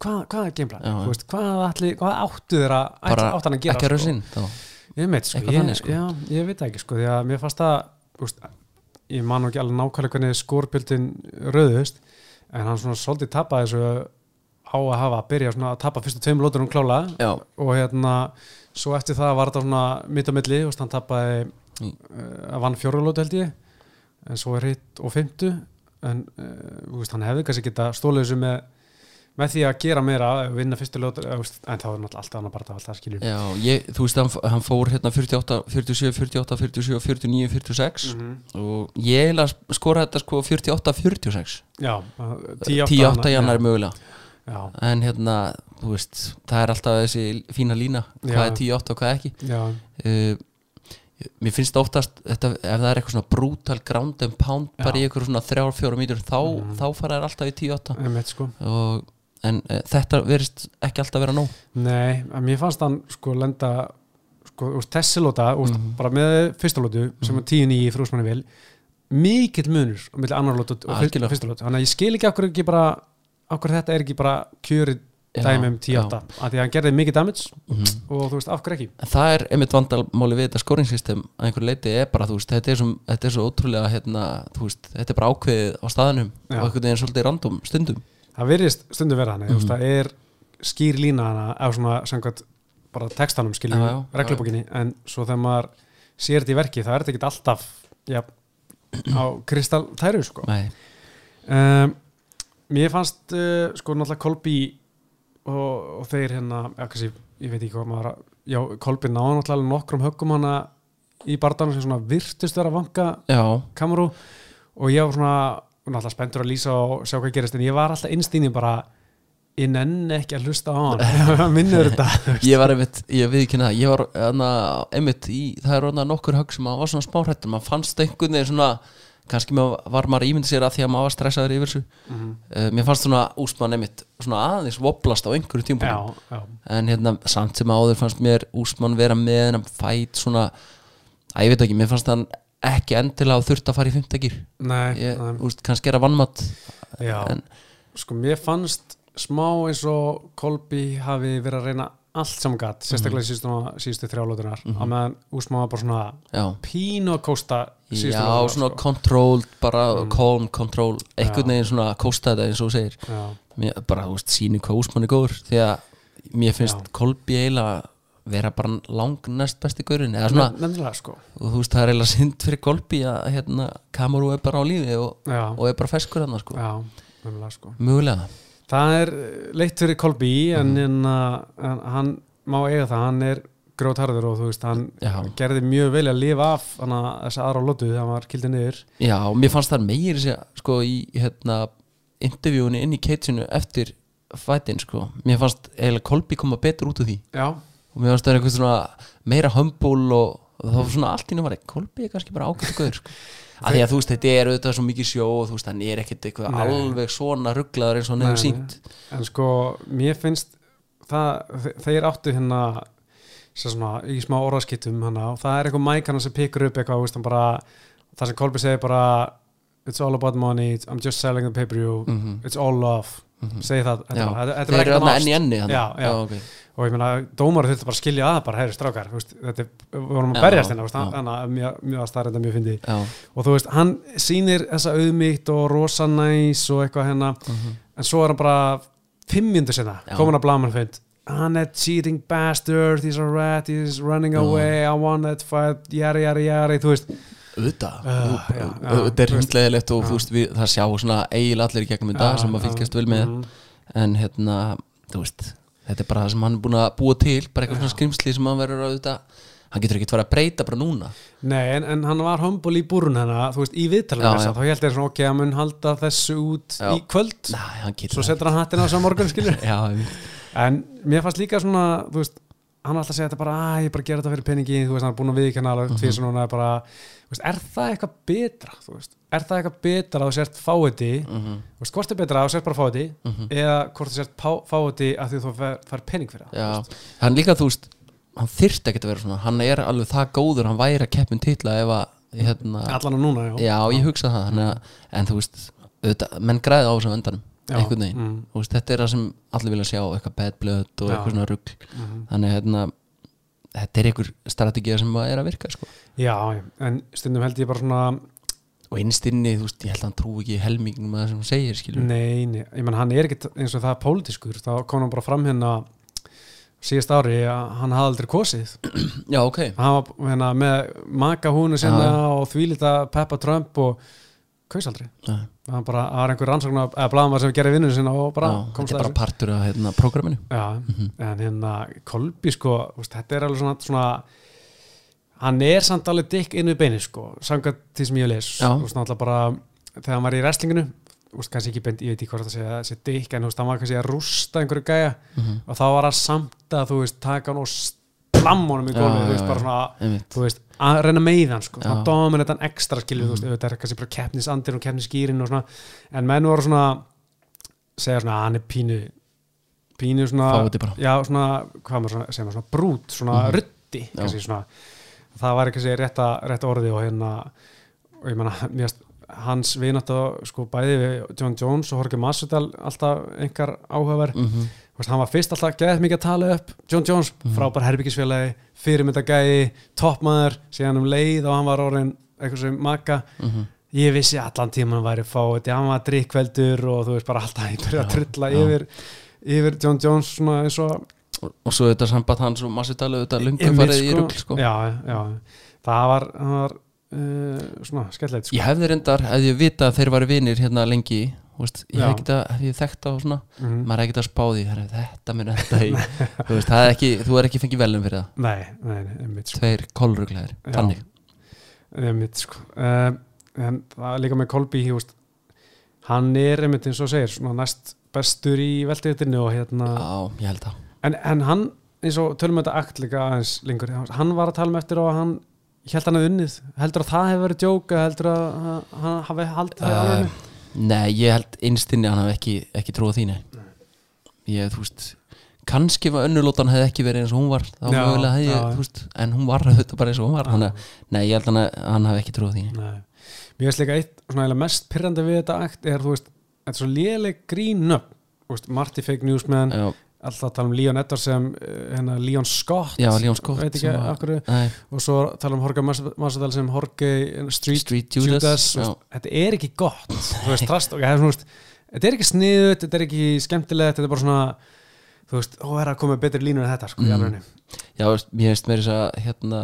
Speaker 1: hvað, hvað er game plan,
Speaker 2: Mhm. Já, já.
Speaker 1: þú veist, hvað, ætli, hvað áttu þeirra,
Speaker 2: bara
Speaker 1: ætla- áttu hann að gera
Speaker 2: ekki að
Speaker 1: sko?
Speaker 2: rausinn þá.
Speaker 1: Ég veit sko,
Speaker 2: Eitthvað
Speaker 1: ég,
Speaker 2: þannig, sko.
Speaker 1: Já, ég veit það ekki sko, því að mér fannst það, úst, ég man nú ekki alveg nákvæmlega hvernig skórbjöldin röðust, en hann svona svolítið tapaði þessu á að hafa að byrja svona að tapa fyrstu tveim lótur um klála
Speaker 2: já,
Speaker 1: og hérna, svo eftir það var þetta svona mitt á milli, úst, hann tapaði
Speaker 2: Mm.
Speaker 1: uh, vann fjórulótu held ég en svo er hitt og fymtu en uh, úst, hann hefði kannski geta stólið þessu með, með því að gera meira vinna fyrstu lótur, en þá er náttúrulega allt annað bara það, það skiljum
Speaker 2: já ég, þú veist, hann, hann fór hérna 48, 47, 48, 47, 49, 46
Speaker 1: Mm.
Speaker 2: og ég eiginlega skora þetta sko 48, 46
Speaker 1: Já,
Speaker 2: 10-8 í annar mögulega
Speaker 1: Já,
Speaker 2: en hérna, þú veist, það er alltaf þessi fína lína, hvað
Speaker 1: Já.
Speaker 2: er 10-8 og hvað ekki
Speaker 1: já,
Speaker 2: uh, mér finnst oftast þetta, ef það er eitthvað svona brutal ground and pound bara í
Speaker 1: Já. Mhm.
Speaker 2: eitthvað svona 3-4 mítur þá, þá fara þær alltaf í 10-8
Speaker 1: einmitt sko
Speaker 2: og, en uh, þetta verist ekki alltaf vera nóg
Speaker 1: Nei, en mér fannst hann sko lenda sko, úst, þessi lóta, úst,
Speaker 2: Mhm.
Speaker 1: bara með fyrsta lótu sem var 10-9 í frúsmanni vil mikill munur á milli annar lótu og fyr-
Speaker 2: Algjörlega.
Speaker 1: fyrsta lótu, þannig að ég skil ekki okkur ekki bara okkur þetta er ekki bara kjöri
Speaker 2: Já,
Speaker 1: dæmi um 10-8, af því að hann gerði mikið damage
Speaker 2: Mhm.
Speaker 1: og þú veist, af hverju ekki
Speaker 2: En það er einmitt vandamáli við þetta skoringsystem að einhver leiti er bara, þú veist, þetta er, som, þetta er svo ótrúlega, hérna, þú veist, þetta er bara ákveðið á staðanum
Speaker 1: Já.
Speaker 2: og einhvern veginn svolítið random stundum
Speaker 1: það virðist stundum vera hann, mm
Speaker 2: Mhm.
Speaker 1: -hmm. það er skýr lína hana af svona samkvæmt bara textanum skiljum
Speaker 2: Já, já,
Speaker 1: við reglubókinni en svo þegar maður sér þetta í verki það er þetta ekki alltaf já, á kristaltæru sko
Speaker 2: Nei,
Speaker 1: um, mér fannst uh, sko náttúrulega Kolbi og, og þeir hérna já, kannski, ég veit ekki hvað maður að- já, Kolbi náði náttúrulega nokkrum höggum hana í barðanum sem svona virtust vera að vanka
Speaker 2: já,
Speaker 1: kamerú og ég var svona náttúrulega spenntur að lýsa og sjá hvað gerist en ég var alltaf innstýni bara ég nenni ekki að hlusta á hann minnur þetta
Speaker 2: ég var einmitt, ég viðkynna það ég var anna, einmitt í, það er orðna nokkur högg sem maður var svona smáhrættur, maður fannst einhvern veginn svona, kannski maður var maður ímynd sér að því að maður var stressaður yfir þessu mm mér fannst svona Úsmann einmitt svona aðeins voblast á einhverju
Speaker 1: já,
Speaker 2: tímpum
Speaker 1: já,
Speaker 2: en hérna, samt sem áður fannst mér Úsmann vera með hennar fæt svona að ég veit ekki, mér fannst hann ekki endilega þurft að fara í fymtagir
Speaker 1: nei,
Speaker 2: ég,
Speaker 1: nei
Speaker 2: úst, kannski er að vannmatt
Speaker 1: já.
Speaker 2: en-
Speaker 1: sko mér fannst smá eins og Kolbi hafi verið að reyna allt saman gatt,
Speaker 2: Mhm.
Speaker 1: sérstaklega síðustu, síðustu þrjálótunar mm -hmm. að meðan Úsma var bara svona
Speaker 2: já
Speaker 1: pínu að kósta síðustu sko.
Speaker 2: Já,
Speaker 1: lóturnar,
Speaker 2: svona controlled, bara
Speaker 1: Mm.
Speaker 2: calm control, einhvern veginn svona kósta þetta eins og þú segir
Speaker 1: já,
Speaker 2: mér, bara, þú veist, síni hvað Úsmann er góður því að mér finnst
Speaker 1: Já.
Speaker 2: Kolbi eiginlega vera bara lang næst besti gaurin eða svona,
Speaker 1: nefnilega sko
Speaker 2: og þú veist, það er eiginlega synd fyrir Kolbi að hérna, Kamaru er bara á lífi og,
Speaker 1: já,
Speaker 2: og er bara feskur hann, sko,
Speaker 1: já, nefnilega sko
Speaker 2: mögulega
Speaker 1: Það er eh, leitt fyrir Kolbi
Speaker 2: Mhm.
Speaker 1: en, en, uh, en hann má eiga það, hann er grótarður og þú veist, hann
Speaker 2: Já.
Speaker 1: gerði mjög vel að lifa af hana, þessa aðra lótu þegar hann var kildið niður
Speaker 2: Já, og mér fannst það meiri sér, sko, í hérna, intervjúinu inn í keitsinu eftir fætin, sko, mér fannst eiginlega Kolbi koma betur út úr því
Speaker 1: Já,
Speaker 2: og mér fannst það eitthvað svona meira humble og, og þá var svona allt ínum var ekki Kolbi er kannski bara ágætt gauður sko. að því að þú veist þetta er auðvitað svo mikið sjó og þú veist hann er ekkit eitthvað
Speaker 1: Nei.
Speaker 2: alveg svona rugglaður eins og hann hefur
Speaker 1: Nei,
Speaker 2: sínt
Speaker 1: en sko, mér finnst það, þe- þeir áttu hérna sem svona, í smá orðaskiptum hana og það er eitthvað mæk hann sem pikur upp eitthvað, þú veist, hann bara það sem Kolbi segir bara it's all about money, it's- I'm just selling the pay-per-view it's all love, segi það þetta
Speaker 2: Mhm. Já.
Speaker 1: var- þetta- þetta
Speaker 2: Mhm. Þeir
Speaker 1: var
Speaker 2: eru
Speaker 1: ekkert um
Speaker 2: þarna
Speaker 1: ást.
Speaker 2: enn í enni þarna.
Speaker 1: já, já.
Speaker 2: Já, ok.
Speaker 1: og ég meina, dómar þurfti bara að skilja að bara, heyri strákar, þú veist, þetta, er- við vorum að
Speaker 2: Já,
Speaker 1: berjast hérna, þú veist,
Speaker 2: já.
Speaker 1: þannig að mjög- mjög að staðrenda mjög fyndi
Speaker 2: Já.
Speaker 1: og þú veist, hann sýnir þessa auðmýkt og rosa næs og eitthvað hérna en svo er hann bara fimm myndu sinna,
Speaker 2: Já.
Speaker 1: komin að blaman fund hann er cheating bastard, he's a rat he's running
Speaker 2: Já.
Speaker 1: away, I won that fight jari, jari, jari, þú veist
Speaker 2: auðvitað
Speaker 1: Ah,
Speaker 2: Þú-
Speaker 1: já, já,
Speaker 2: þetta er
Speaker 1: þú veist.
Speaker 2: hundleðilegt og
Speaker 1: Já.
Speaker 2: þú veist við, það sjá svona eiginlega allir í gegnum þetta sem að fylgjast vel með
Speaker 1: Mhm.
Speaker 2: en hérna, þú veist þetta er bara það sem hann er búin að búa til bara eitthvað svona skrimsli sem hann verður auðvitað hann getur ekkert verið að breyta bara núna
Speaker 1: Nei, en, en hann var humble í búrun hennar, þú veist, í viðtalinu
Speaker 2: Já,
Speaker 1: þess
Speaker 2: já.
Speaker 1: að þá held ég svona, ok, hann mun halda þessu út
Speaker 2: Já.
Speaker 1: í kvöld,
Speaker 2: Nei, hann getur
Speaker 1: svo
Speaker 2: það
Speaker 1: setur hann hattin á þessu á morgun, skilur
Speaker 2: ekki. já, einmitt.
Speaker 1: En mér fannst líka svona, þú veist, hann er alltaf að segja þetta bara, að ég bara gera þetta fyrir peningi, þú veist, hann er búin að viðkjanna alveg mm -hmm. tvísa núna, bara, þú veist, er það eitthvað betra, þú veist, er það eitthvað betra að þú sért fáiði,
Speaker 2: Mhm.
Speaker 1: þú veist, hvort er betra að þú sért bara fáiði, eða hvort þú sért pá- fáiði að því þú fær, fær pening fyrir það,
Speaker 2: já, hann líka þú veist hann þyrft ekkert að vera svona, hann er alveg það góður hann væri að keppin titla ef að hérna,
Speaker 1: allan á núna, já.
Speaker 2: já, ég hugsa það þannig að, en þú veist, auðvitað, menn græði á þessum endanum,
Speaker 1: Já,
Speaker 2: einhvern veginn
Speaker 1: mm.
Speaker 2: Þú veist, þetta er það sem allir vilja sjá eitthvað bad blood og
Speaker 1: Já.
Speaker 2: eitthvað svona rugg
Speaker 1: mm.
Speaker 2: þannig að hérna, þetta er einhver strategið sem að er að virka sko.
Speaker 1: Já, já, en stundum held ég bara svona,
Speaker 2: og innst inni, þú veist, ég held að hann trú ekki helmingum að það sem hún segir, skilur
Speaker 1: Nei, nei, ég menn hann er ekkit eins og það er pólitískur, þá kom hann bara fram hérna síðast ári að hann hafði aldrei kosið
Speaker 2: já, ok,
Speaker 1: hann var hérna, með maka húnu sinna og þvílita Peppa Trump og kaus aldrei
Speaker 2: já,
Speaker 1: hann bara, það var einhver rannsókn að blaðamar sem gerði vinnun sinna og bara
Speaker 2: já,
Speaker 1: komst
Speaker 2: þetta
Speaker 1: að
Speaker 2: er bara Mhm.
Speaker 1: þessu
Speaker 2: partur af hérna, prógraminu
Speaker 1: Já, en hérna Kolbi sko, úst, þetta er alveg svona, svona hann er samt alveg dikk inn við beinir sko, samkvæmt því sem ég les
Speaker 2: Já.
Speaker 1: og náttúrulega bara þegar hann var í restlinginu úst, kannski ekki beint, ég veit ekki hvort það sé, það sé dikk en úst, hann var kannski að rústa einhverju gæja og þá var hann samt að þú veist taka hann og slam honum í
Speaker 2: Já,
Speaker 1: gólfið þú
Speaker 2: já,
Speaker 1: veist, bara
Speaker 2: já.
Speaker 1: svona
Speaker 2: einmitt,
Speaker 1: þú veist, að reyna með hann sko,
Speaker 2: Já.
Speaker 1: þá dóminn þetta ekstra skilju, þú veist, auðvitað er kannski bara keppnisandir og keppnisgýrin og svona, en menn voru svona segja svona, að hann er pínu pínu svona
Speaker 2: Fáviti bara.
Speaker 1: já, svona, hvað maður svona, segja maður svona brút svona mm ruddi, kannski svona það var kannski rétta, rétta orði og hérna og ég meina, mér finnst hans vinátt og sko bæði við John Jones og Jorge Masvidal alltaf einhver áhugaver mm
Speaker 2: Mhm.
Speaker 1: -hmm. hann var fyrst alltaf geðið mikið að tala upp John Jones, frábær herbyggisfélagi fyrirmyndagæði, toppmaður síðan um leið og hann var orðin eitthvað sem maka, ég vissi allan tíma hann væri fáið, hann var drikkveldur og þú veist bara alltaf, ég byrja að trulla
Speaker 2: já.
Speaker 1: yfir, yfir John Jones svona eins og
Speaker 2: og, og svo þetta samband hans og massutælu þetta lungu
Speaker 1: Einmitt,
Speaker 2: farið í rugg, sko
Speaker 1: Já, já, það var, það var uh, svona skellilegt sko.
Speaker 2: ég hefði reyndar, ef ég vita að þeir varu vinir hérna lengi, þú veist, ég
Speaker 1: Já.
Speaker 2: hef ekki hef ég þekkt á svona,
Speaker 1: Mhm.
Speaker 2: maður er ekki að spá því herra, þetta minn þetta í þú veist, það er ekki, þú er ekki fengið velum fyrir það
Speaker 1: Nei, nei, nei, einmitt sko,
Speaker 2: tveir kolruglegar,
Speaker 1: Já.
Speaker 2: þannig
Speaker 1: einmitt, sko. Uh, en það er líka með Kolby húst, hann er einmitt eins og segir svona næst bestur í veldiðinu og hérna,
Speaker 2: Já, ég held það
Speaker 1: en, en hann eins og tölum við þetta akt líka aðeins lengur hann var að tala um eftir og hann held hann að unnið, heldur að það hefur verið djók eða heldur að að hann hafi haldið það alveg
Speaker 2: uh, Nei, ég held innstinni að hann hafði ekki, ekki trúið þínu Ég, þú veist kannski var önnulótan hefði ekki verið eins og hún var þá
Speaker 1: Já,
Speaker 2: mögulega hefði,
Speaker 1: já.
Speaker 2: ég, þú veist en hún var þetta bara eins og hún var þannig að, nei, ég held hann að hann hafði ekki trúið þínu
Speaker 1: Nei. Mér finnst líka eitt svona eiginlega mest pyrrandi við þetta akt er, þú veist, þetta er svo léleg grínöfn, þú veist, Marty Fake Newsman,
Speaker 2: Já,
Speaker 1: alltaf að tala um Leon Edwards sem, eh, hérna, Leon Scott,
Speaker 2: já Leon Scott
Speaker 1: veit ekki
Speaker 2: sem að-
Speaker 1: af hverju,
Speaker 2: Nei,
Speaker 1: og svo tala um Horga Masadal sem Horge Street,
Speaker 2: Street
Speaker 1: Judas,
Speaker 2: Judas,
Speaker 1: þú veist, þetta er ekki gott, þú veist, trast, ok, það er svona, þú veist, þetta er ekki sniðut, þetta er ekki skemmtilegt, þetta er bara svona, þú veist, ó, er að koma með betri línur en þetta, sko, í alvegni.
Speaker 2: Já, veist, mér finnst meira þess að hérna,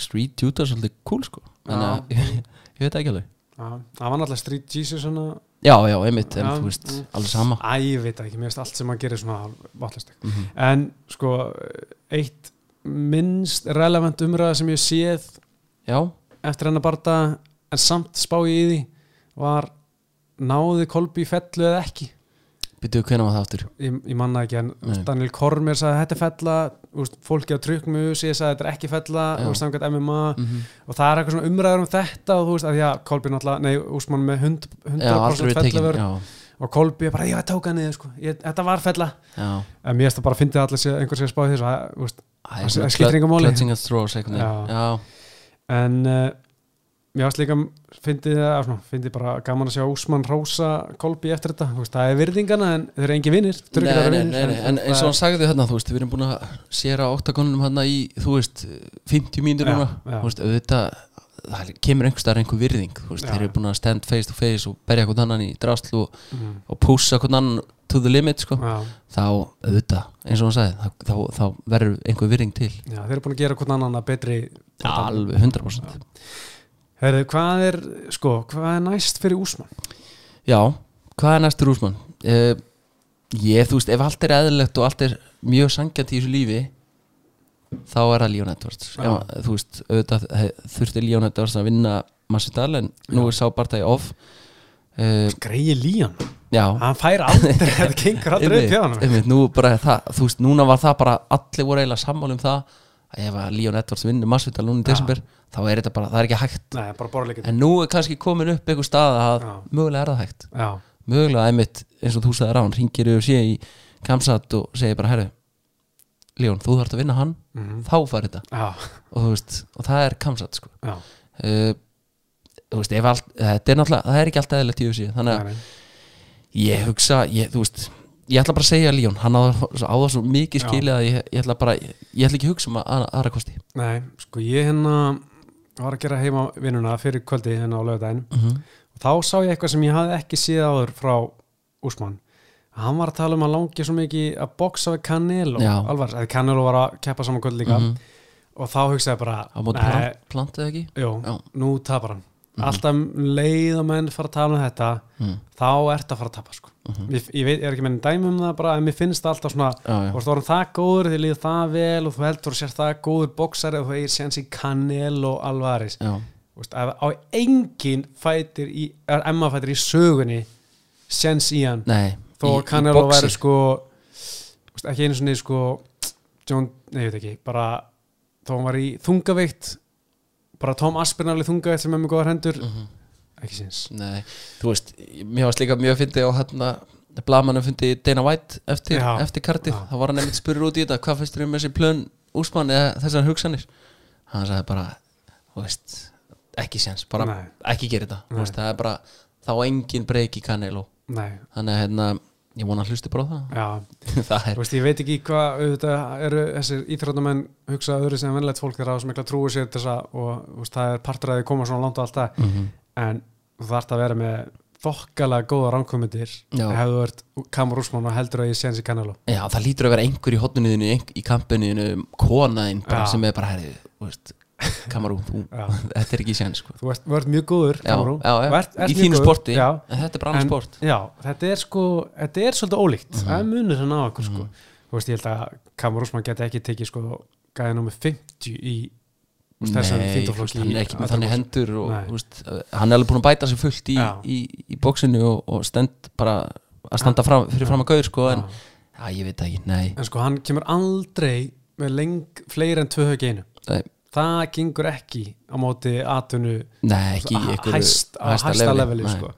Speaker 2: Street Judas er svolítið cool sko þannig að, ég veit það ekki alveg
Speaker 1: Já, Það var náttúrulega Street Jesus, svona,
Speaker 2: Já, já, einmitt, en
Speaker 1: Já,
Speaker 2: þú veist,
Speaker 1: mm.
Speaker 2: alveg sama
Speaker 1: Æ, ég veit það ekki, mér finnst allt sem hann gerir svona vatnlist
Speaker 2: Mhm.
Speaker 1: En sko, eitt minnst relevant umræða sem ég séð
Speaker 2: Já,
Speaker 1: eftir hennar barða en samt spá ég í því var náði Kolbi í fellu eða ekki
Speaker 2: byrjuðu hvenær var það aftur
Speaker 1: Ég, ég manna ekki, en
Speaker 2: Nei.
Speaker 1: Daniel Kormir sagði þetta er fella, úst, fólki á tryggmu ég sagði þetta er ekki fella,
Speaker 2: Já.
Speaker 1: úst, samkvæmt MMA
Speaker 2: mm -hmm.
Speaker 1: og það er eitthvað svona umræður um þetta og þú veist að já, Kolbi náttúrulega, nei, úsmann með 100%,
Speaker 2: Já,
Speaker 1: 100
Speaker 2: aldrei verið tekin
Speaker 1: fellavörn
Speaker 2: Já,
Speaker 1: og Kolbi er bara, já, ég tók hann niður sko. ég, þetta var fella
Speaker 2: já
Speaker 1: en mér finnst það bara að fyndi allir sé, einhver sé að spá í þessu að, þú veist,
Speaker 2: Æ,
Speaker 1: Það-
Speaker 2: svona
Speaker 1: það skiptir
Speaker 2: klut-
Speaker 1: engu máli.
Speaker 2: Clutching at straws eitthvað
Speaker 1: Já.
Speaker 2: Já,
Speaker 1: en uh, mér varst líka fyndið að svona, fyndið bara gaman að sjá Úsmann Rósa Kolbi eftir þetta, þú veist, það er virðingana en þeir eru engin vinnir,
Speaker 2: Nei, nei, nei, nei, en eins og hann sagði hérna, þú veist, við erum búin að séra oktagonum hérna í, þú veist, 50 mínútur
Speaker 1: Já,
Speaker 2: núna,
Speaker 1: já.
Speaker 2: þú veist, auðvitað, það kemur einhvers staðar einhver virðing, þú veist,
Speaker 1: Já.
Speaker 2: þeir eru búin að stand face to face og berja hvort annan í drastlu og,
Speaker 1: mm,
Speaker 2: og púsa hvort annan to the limit, sko,
Speaker 1: já,
Speaker 2: þá auðvitað, eins og hann sagði, þá, þá, þá verður einhver virðing til,
Speaker 1: já, þeir eru búin að gera hvern annan að betri
Speaker 2: alveg 100%.
Speaker 1: Herðu, hvað er, sko, hvað er næst fyrir Úsmann?
Speaker 2: Já, hvað er næstur úrsmann? Uh, ég, þú veist, ef allt er eðlilegt og allt er mjög sangjant í þessu lífi þá er það Leon Edwards
Speaker 1: Já.
Speaker 2: Já. Þú veist, auðvitað he- þurfti Leon Edwards að vinna Masvidal en nú er sá barndagi off uh,
Speaker 1: Greiði Líon,
Speaker 2: Já
Speaker 1: hann fær aldrei þetta gengur aldrei upp hjá hann
Speaker 2: einmitt, nú bara það, þú veist, núna var það bara allir voru eiginlega sammáli um það að ef að Leon Edwards vinnur Masvidal núna í
Speaker 1: Já.
Speaker 2: desember þá er þetta bara, það er ekki hægt
Speaker 1: Nei, bara borleikin
Speaker 2: en nú er kannski komin upp einhver stað að
Speaker 1: Já.
Speaker 2: mögulega er það hægt
Speaker 1: Já,
Speaker 2: mögulega einmitt eins og þú sagði rán ringir yfir sé í kamsat og segir bara herru, Leon, þú þarft að vinna hann
Speaker 1: mhm,
Speaker 2: þá fær þetta
Speaker 1: já,
Speaker 2: og, þú veist, og það er kamsat sko.
Speaker 1: já
Speaker 2: uh, þú veist, ef allt, þetta er náttúrulega það er ekki alltaf eðlilegt í þessu þannig að
Speaker 1: Nei, nei.
Speaker 2: ég hugsa, ég, þú veist ég ætla bara að segja Leon, hann á, á það svo mikið
Speaker 1: Já.
Speaker 2: skilið að ég, ég ætla bara ég ætla ekki að hugsa um að, aðra kosti
Speaker 1: Nei, sko ég hérna var að gera heima vinnuna fyrir kvöldi hérna á lögudaginn
Speaker 2: mm -hmm.
Speaker 1: og þá sá ég eitthvað sem ég hafði ekki séð áður frá Úsmann hann var að tala um að langi svo mikið að boksa við Canelo,
Speaker 2: Já. Mhm.
Speaker 1: alveg, eða Canelo var að keppa saman kvöld líka og þá hugsaði ég bara,
Speaker 2: á móti
Speaker 1: nei,
Speaker 2: plant, plantið ekki
Speaker 1: jú,
Speaker 2: Já.
Speaker 1: nú tapar hann alltaf leið og menn fara að tala um þetta
Speaker 2: mm.
Speaker 1: þá ert að fara að tapa sko.
Speaker 2: Mhm.
Speaker 1: ég, ég veit, ég er ekki með dæmi um það bara en mér finnst það alltaf svona
Speaker 2: já, já.
Speaker 1: Þú ert orðin það góður, þið líður það vel og þú heldur sér það góður boksari og þú eigir séns í Canel og Alvaris
Speaker 2: Já.
Speaker 1: Þú veist, ef á engin fætir í, er Emma fætir í sögunni séns í hann
Speaker 2: Nei,
Speaker 1: þó
Speaker 2: í-
Speaker 1: að
Speaker 2: í
Speaker 1: Canelo
Speaker 2: boxi.
Speaker 1: væri sko þú veist, ekki einu svona sko John, nei, ég veit ekki, bara þó hann var í þungaveikt bara Tom Aspinall í þungaveikt sem er með góðar hendur
Speaker 2: Mhm.
Speaker 1: ekki séns
Speaker 2: Nei, þú veist, mér varst líka mjög fyndið og hérna blamanum fyndi Dana White eftir,
Speaker 1: Já.
Speaker 2: eftir kartið,
Speaker 1: Já.
Speaker 2: þá var hann einmitt spurur út í þetta hvað finnst þér um þessi plön úsmann eða þessar hugsanir hann sagði bara, þú veist ekki séns, bara
Speaker 1: Nei.
Speaker 2: ekki gera þetta Þú
Speaker 1: Nei.
Speaker 2: veist, það er bara, þá á engin breyki kannel og
Speaker 1: Nei,
Speaker 2: þannig að hérna, ég vona að hlusti bara á
Speaker 1: já,
Speaker 2: það það
Speaker 1: Þú
Speaker 2: er,
Speaker 1: veist, ég veit ekki hvað auðvitað eru þessir íþróttamenn hugsa öðru sem vennlegt fólk þeirra á sem ekki trúi sér til þess að og þú veist, það er partur að þið koma svona langt og allt það
Speaker 2: mm
Speaker 1: en þú þarft að vera með þokkalega góða ránkomundir
Speaker 2: Já.
Speaker 1: hefur þú ert kamur úrsmann og heldur að ég séns í kannaló
Speaker 2: já, það lítur að vera einhver í hotnuniðinu í kampuniðinu, konaðin bara,
Speaker 1: Já.
Speaker 2: sem er bara, herri, þú veist kamarú, þú,
Speaker 1: Já.
Speaker 2: þetta er ekki séns sko.
Speaker 1: þú ert, þú ert mjög góður
Speaker 2: já,
Speaker 1: Kamarú.
Speaker 2: já, já.
Speaker 1: Þú ert- ert
Speaker 2: í
Speaker 1: mjög
Speaker 2: þínu
Speaker 1: góður.
Speaker 2: sporti
Speaker 1: já,
Speaker 2: en þetta er bara annars sport
Speaker 1: já, þetta er sko, þetta er svolítið ólíkt það er munur hann á okkur sko þú veist, ég held að kamur úrsmann geti ekki tekið sko gæði nummer 50 í þú veist, þessum
Speaker 2: Nei, þú veist,
Speaker 1: fintoflokki
Speaker 2: hann er ekki með þannig hendur og
Speaker 1: Nei.
Speaker 2: þú veist, hann er alveg búin að bæta sig fullt í,
Speaker 1: Já.
Speaker 2: í, í bóksinu og, og stend bara að standa fram, fyrir fram að gauður sko, en
Speaker 1: Já.
Speaker 2: já, ég veit það ekki, nei,
Speaker 1: En sko hann kemur aldrei með leng, fleiri en tvö högg í einu
Speaker 2: nei,
Speaker 1: Það gengur ekki á móti atunu
Speaker 2: nei ekki í einhverju
Speaker 1: hæst, á hæsta, leveli,
Speaker 2: nei.
Speaker 1: sko.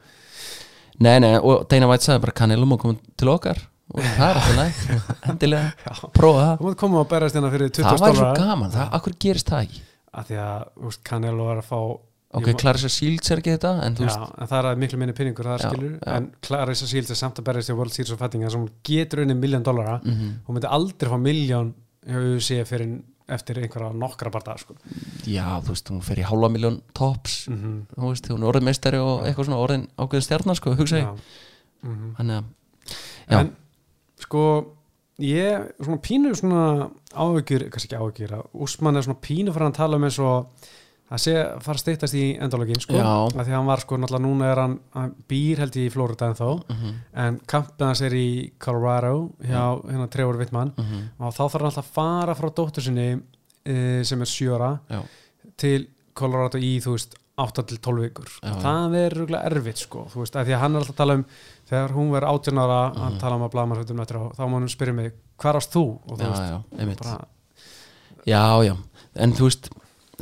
Speaker 2: nei, nei, og Dana White sagði bara kannelum og komum til okkar og það er alltaf næg, endilega prófa
Speaker 1: Þú
Speaker 2: það,
Speaker 1: mátt koma að berast hérna fyrir 20
Speaker 2: það var svo
Speaker 1: stólar
Speaker 2: gaman, það, akkur gerist það ekki
Speaker 1: að því að úst, Canelo er að fá
Speaker 2: ok,
Speaker 1: ég má-
Speaker 2: Clarissa Shields er ekki þetta en þú
Speaker 1: Já, en það er að miklu minni pinningur það
Speaker 2: Já,
Speaker 1: skilur
Speaker 2: já.
Speaker 1: en Clarissa Shields er samt að berjast í World Series of Fighting þar sem hún getur unni miljón dollara
Speaker 2: veist
Speaker 1: hún myndi aldrei fá miljón hefur við séð fyrir eftir einhverja nokkra barða sko.
Speaker 2: já, þú veist, hún fer í hálfa miljón tops
Speaker 1: mm -hmm.
Speaker 2: þú veist, hún er orðin meistari og eitthvað svona orðin ákveðin stjarnar, sko, hugsa ég
Speaker 1: mm -hmm.
Speaker 2: þannig að, Já.
Speaker 1: en sko ég svona pínu svona áhyggjur, kannski ekki áhyggjur að Úsmann er svona pínu fyrir að tala um eins og að sé fara að steytast í endalogin sko,
Speaker 2: Já.
Speaker 1: að því að hann var sko náttúrulega núna er hann, hann býr held ég í Florida en þá
Speaker 2: mm -hmm,
Speaker 1: en kampið hans er í Colorado hjá hérna Trevor Wittmann
Speaker 2: mm -hmm,
Speaker 1: og þá þarf hann alltaf að fara frá dóttur sinni e, sem er sjöra
Speaker 2: já,
Speaker 1: til Colorado í þú veist 8 til 12 vikur
Speaker 2: Já, já.
Speaker 1: það er rúglega erfitt sko þú veist, af því að hann er alltaf að tala um þegar hún verður 18 ára hann
Speaker 2: Mhm.
Speaker 1: tala um að blama hlutum eftir á þá má hann spyrja mig hvar ást þú og þú
Speaker 2: já,
Speaker 1: veist
Speaker 2: já, einmitt
Speaker 1: bara,
Speaker 2: já, já, en þú veist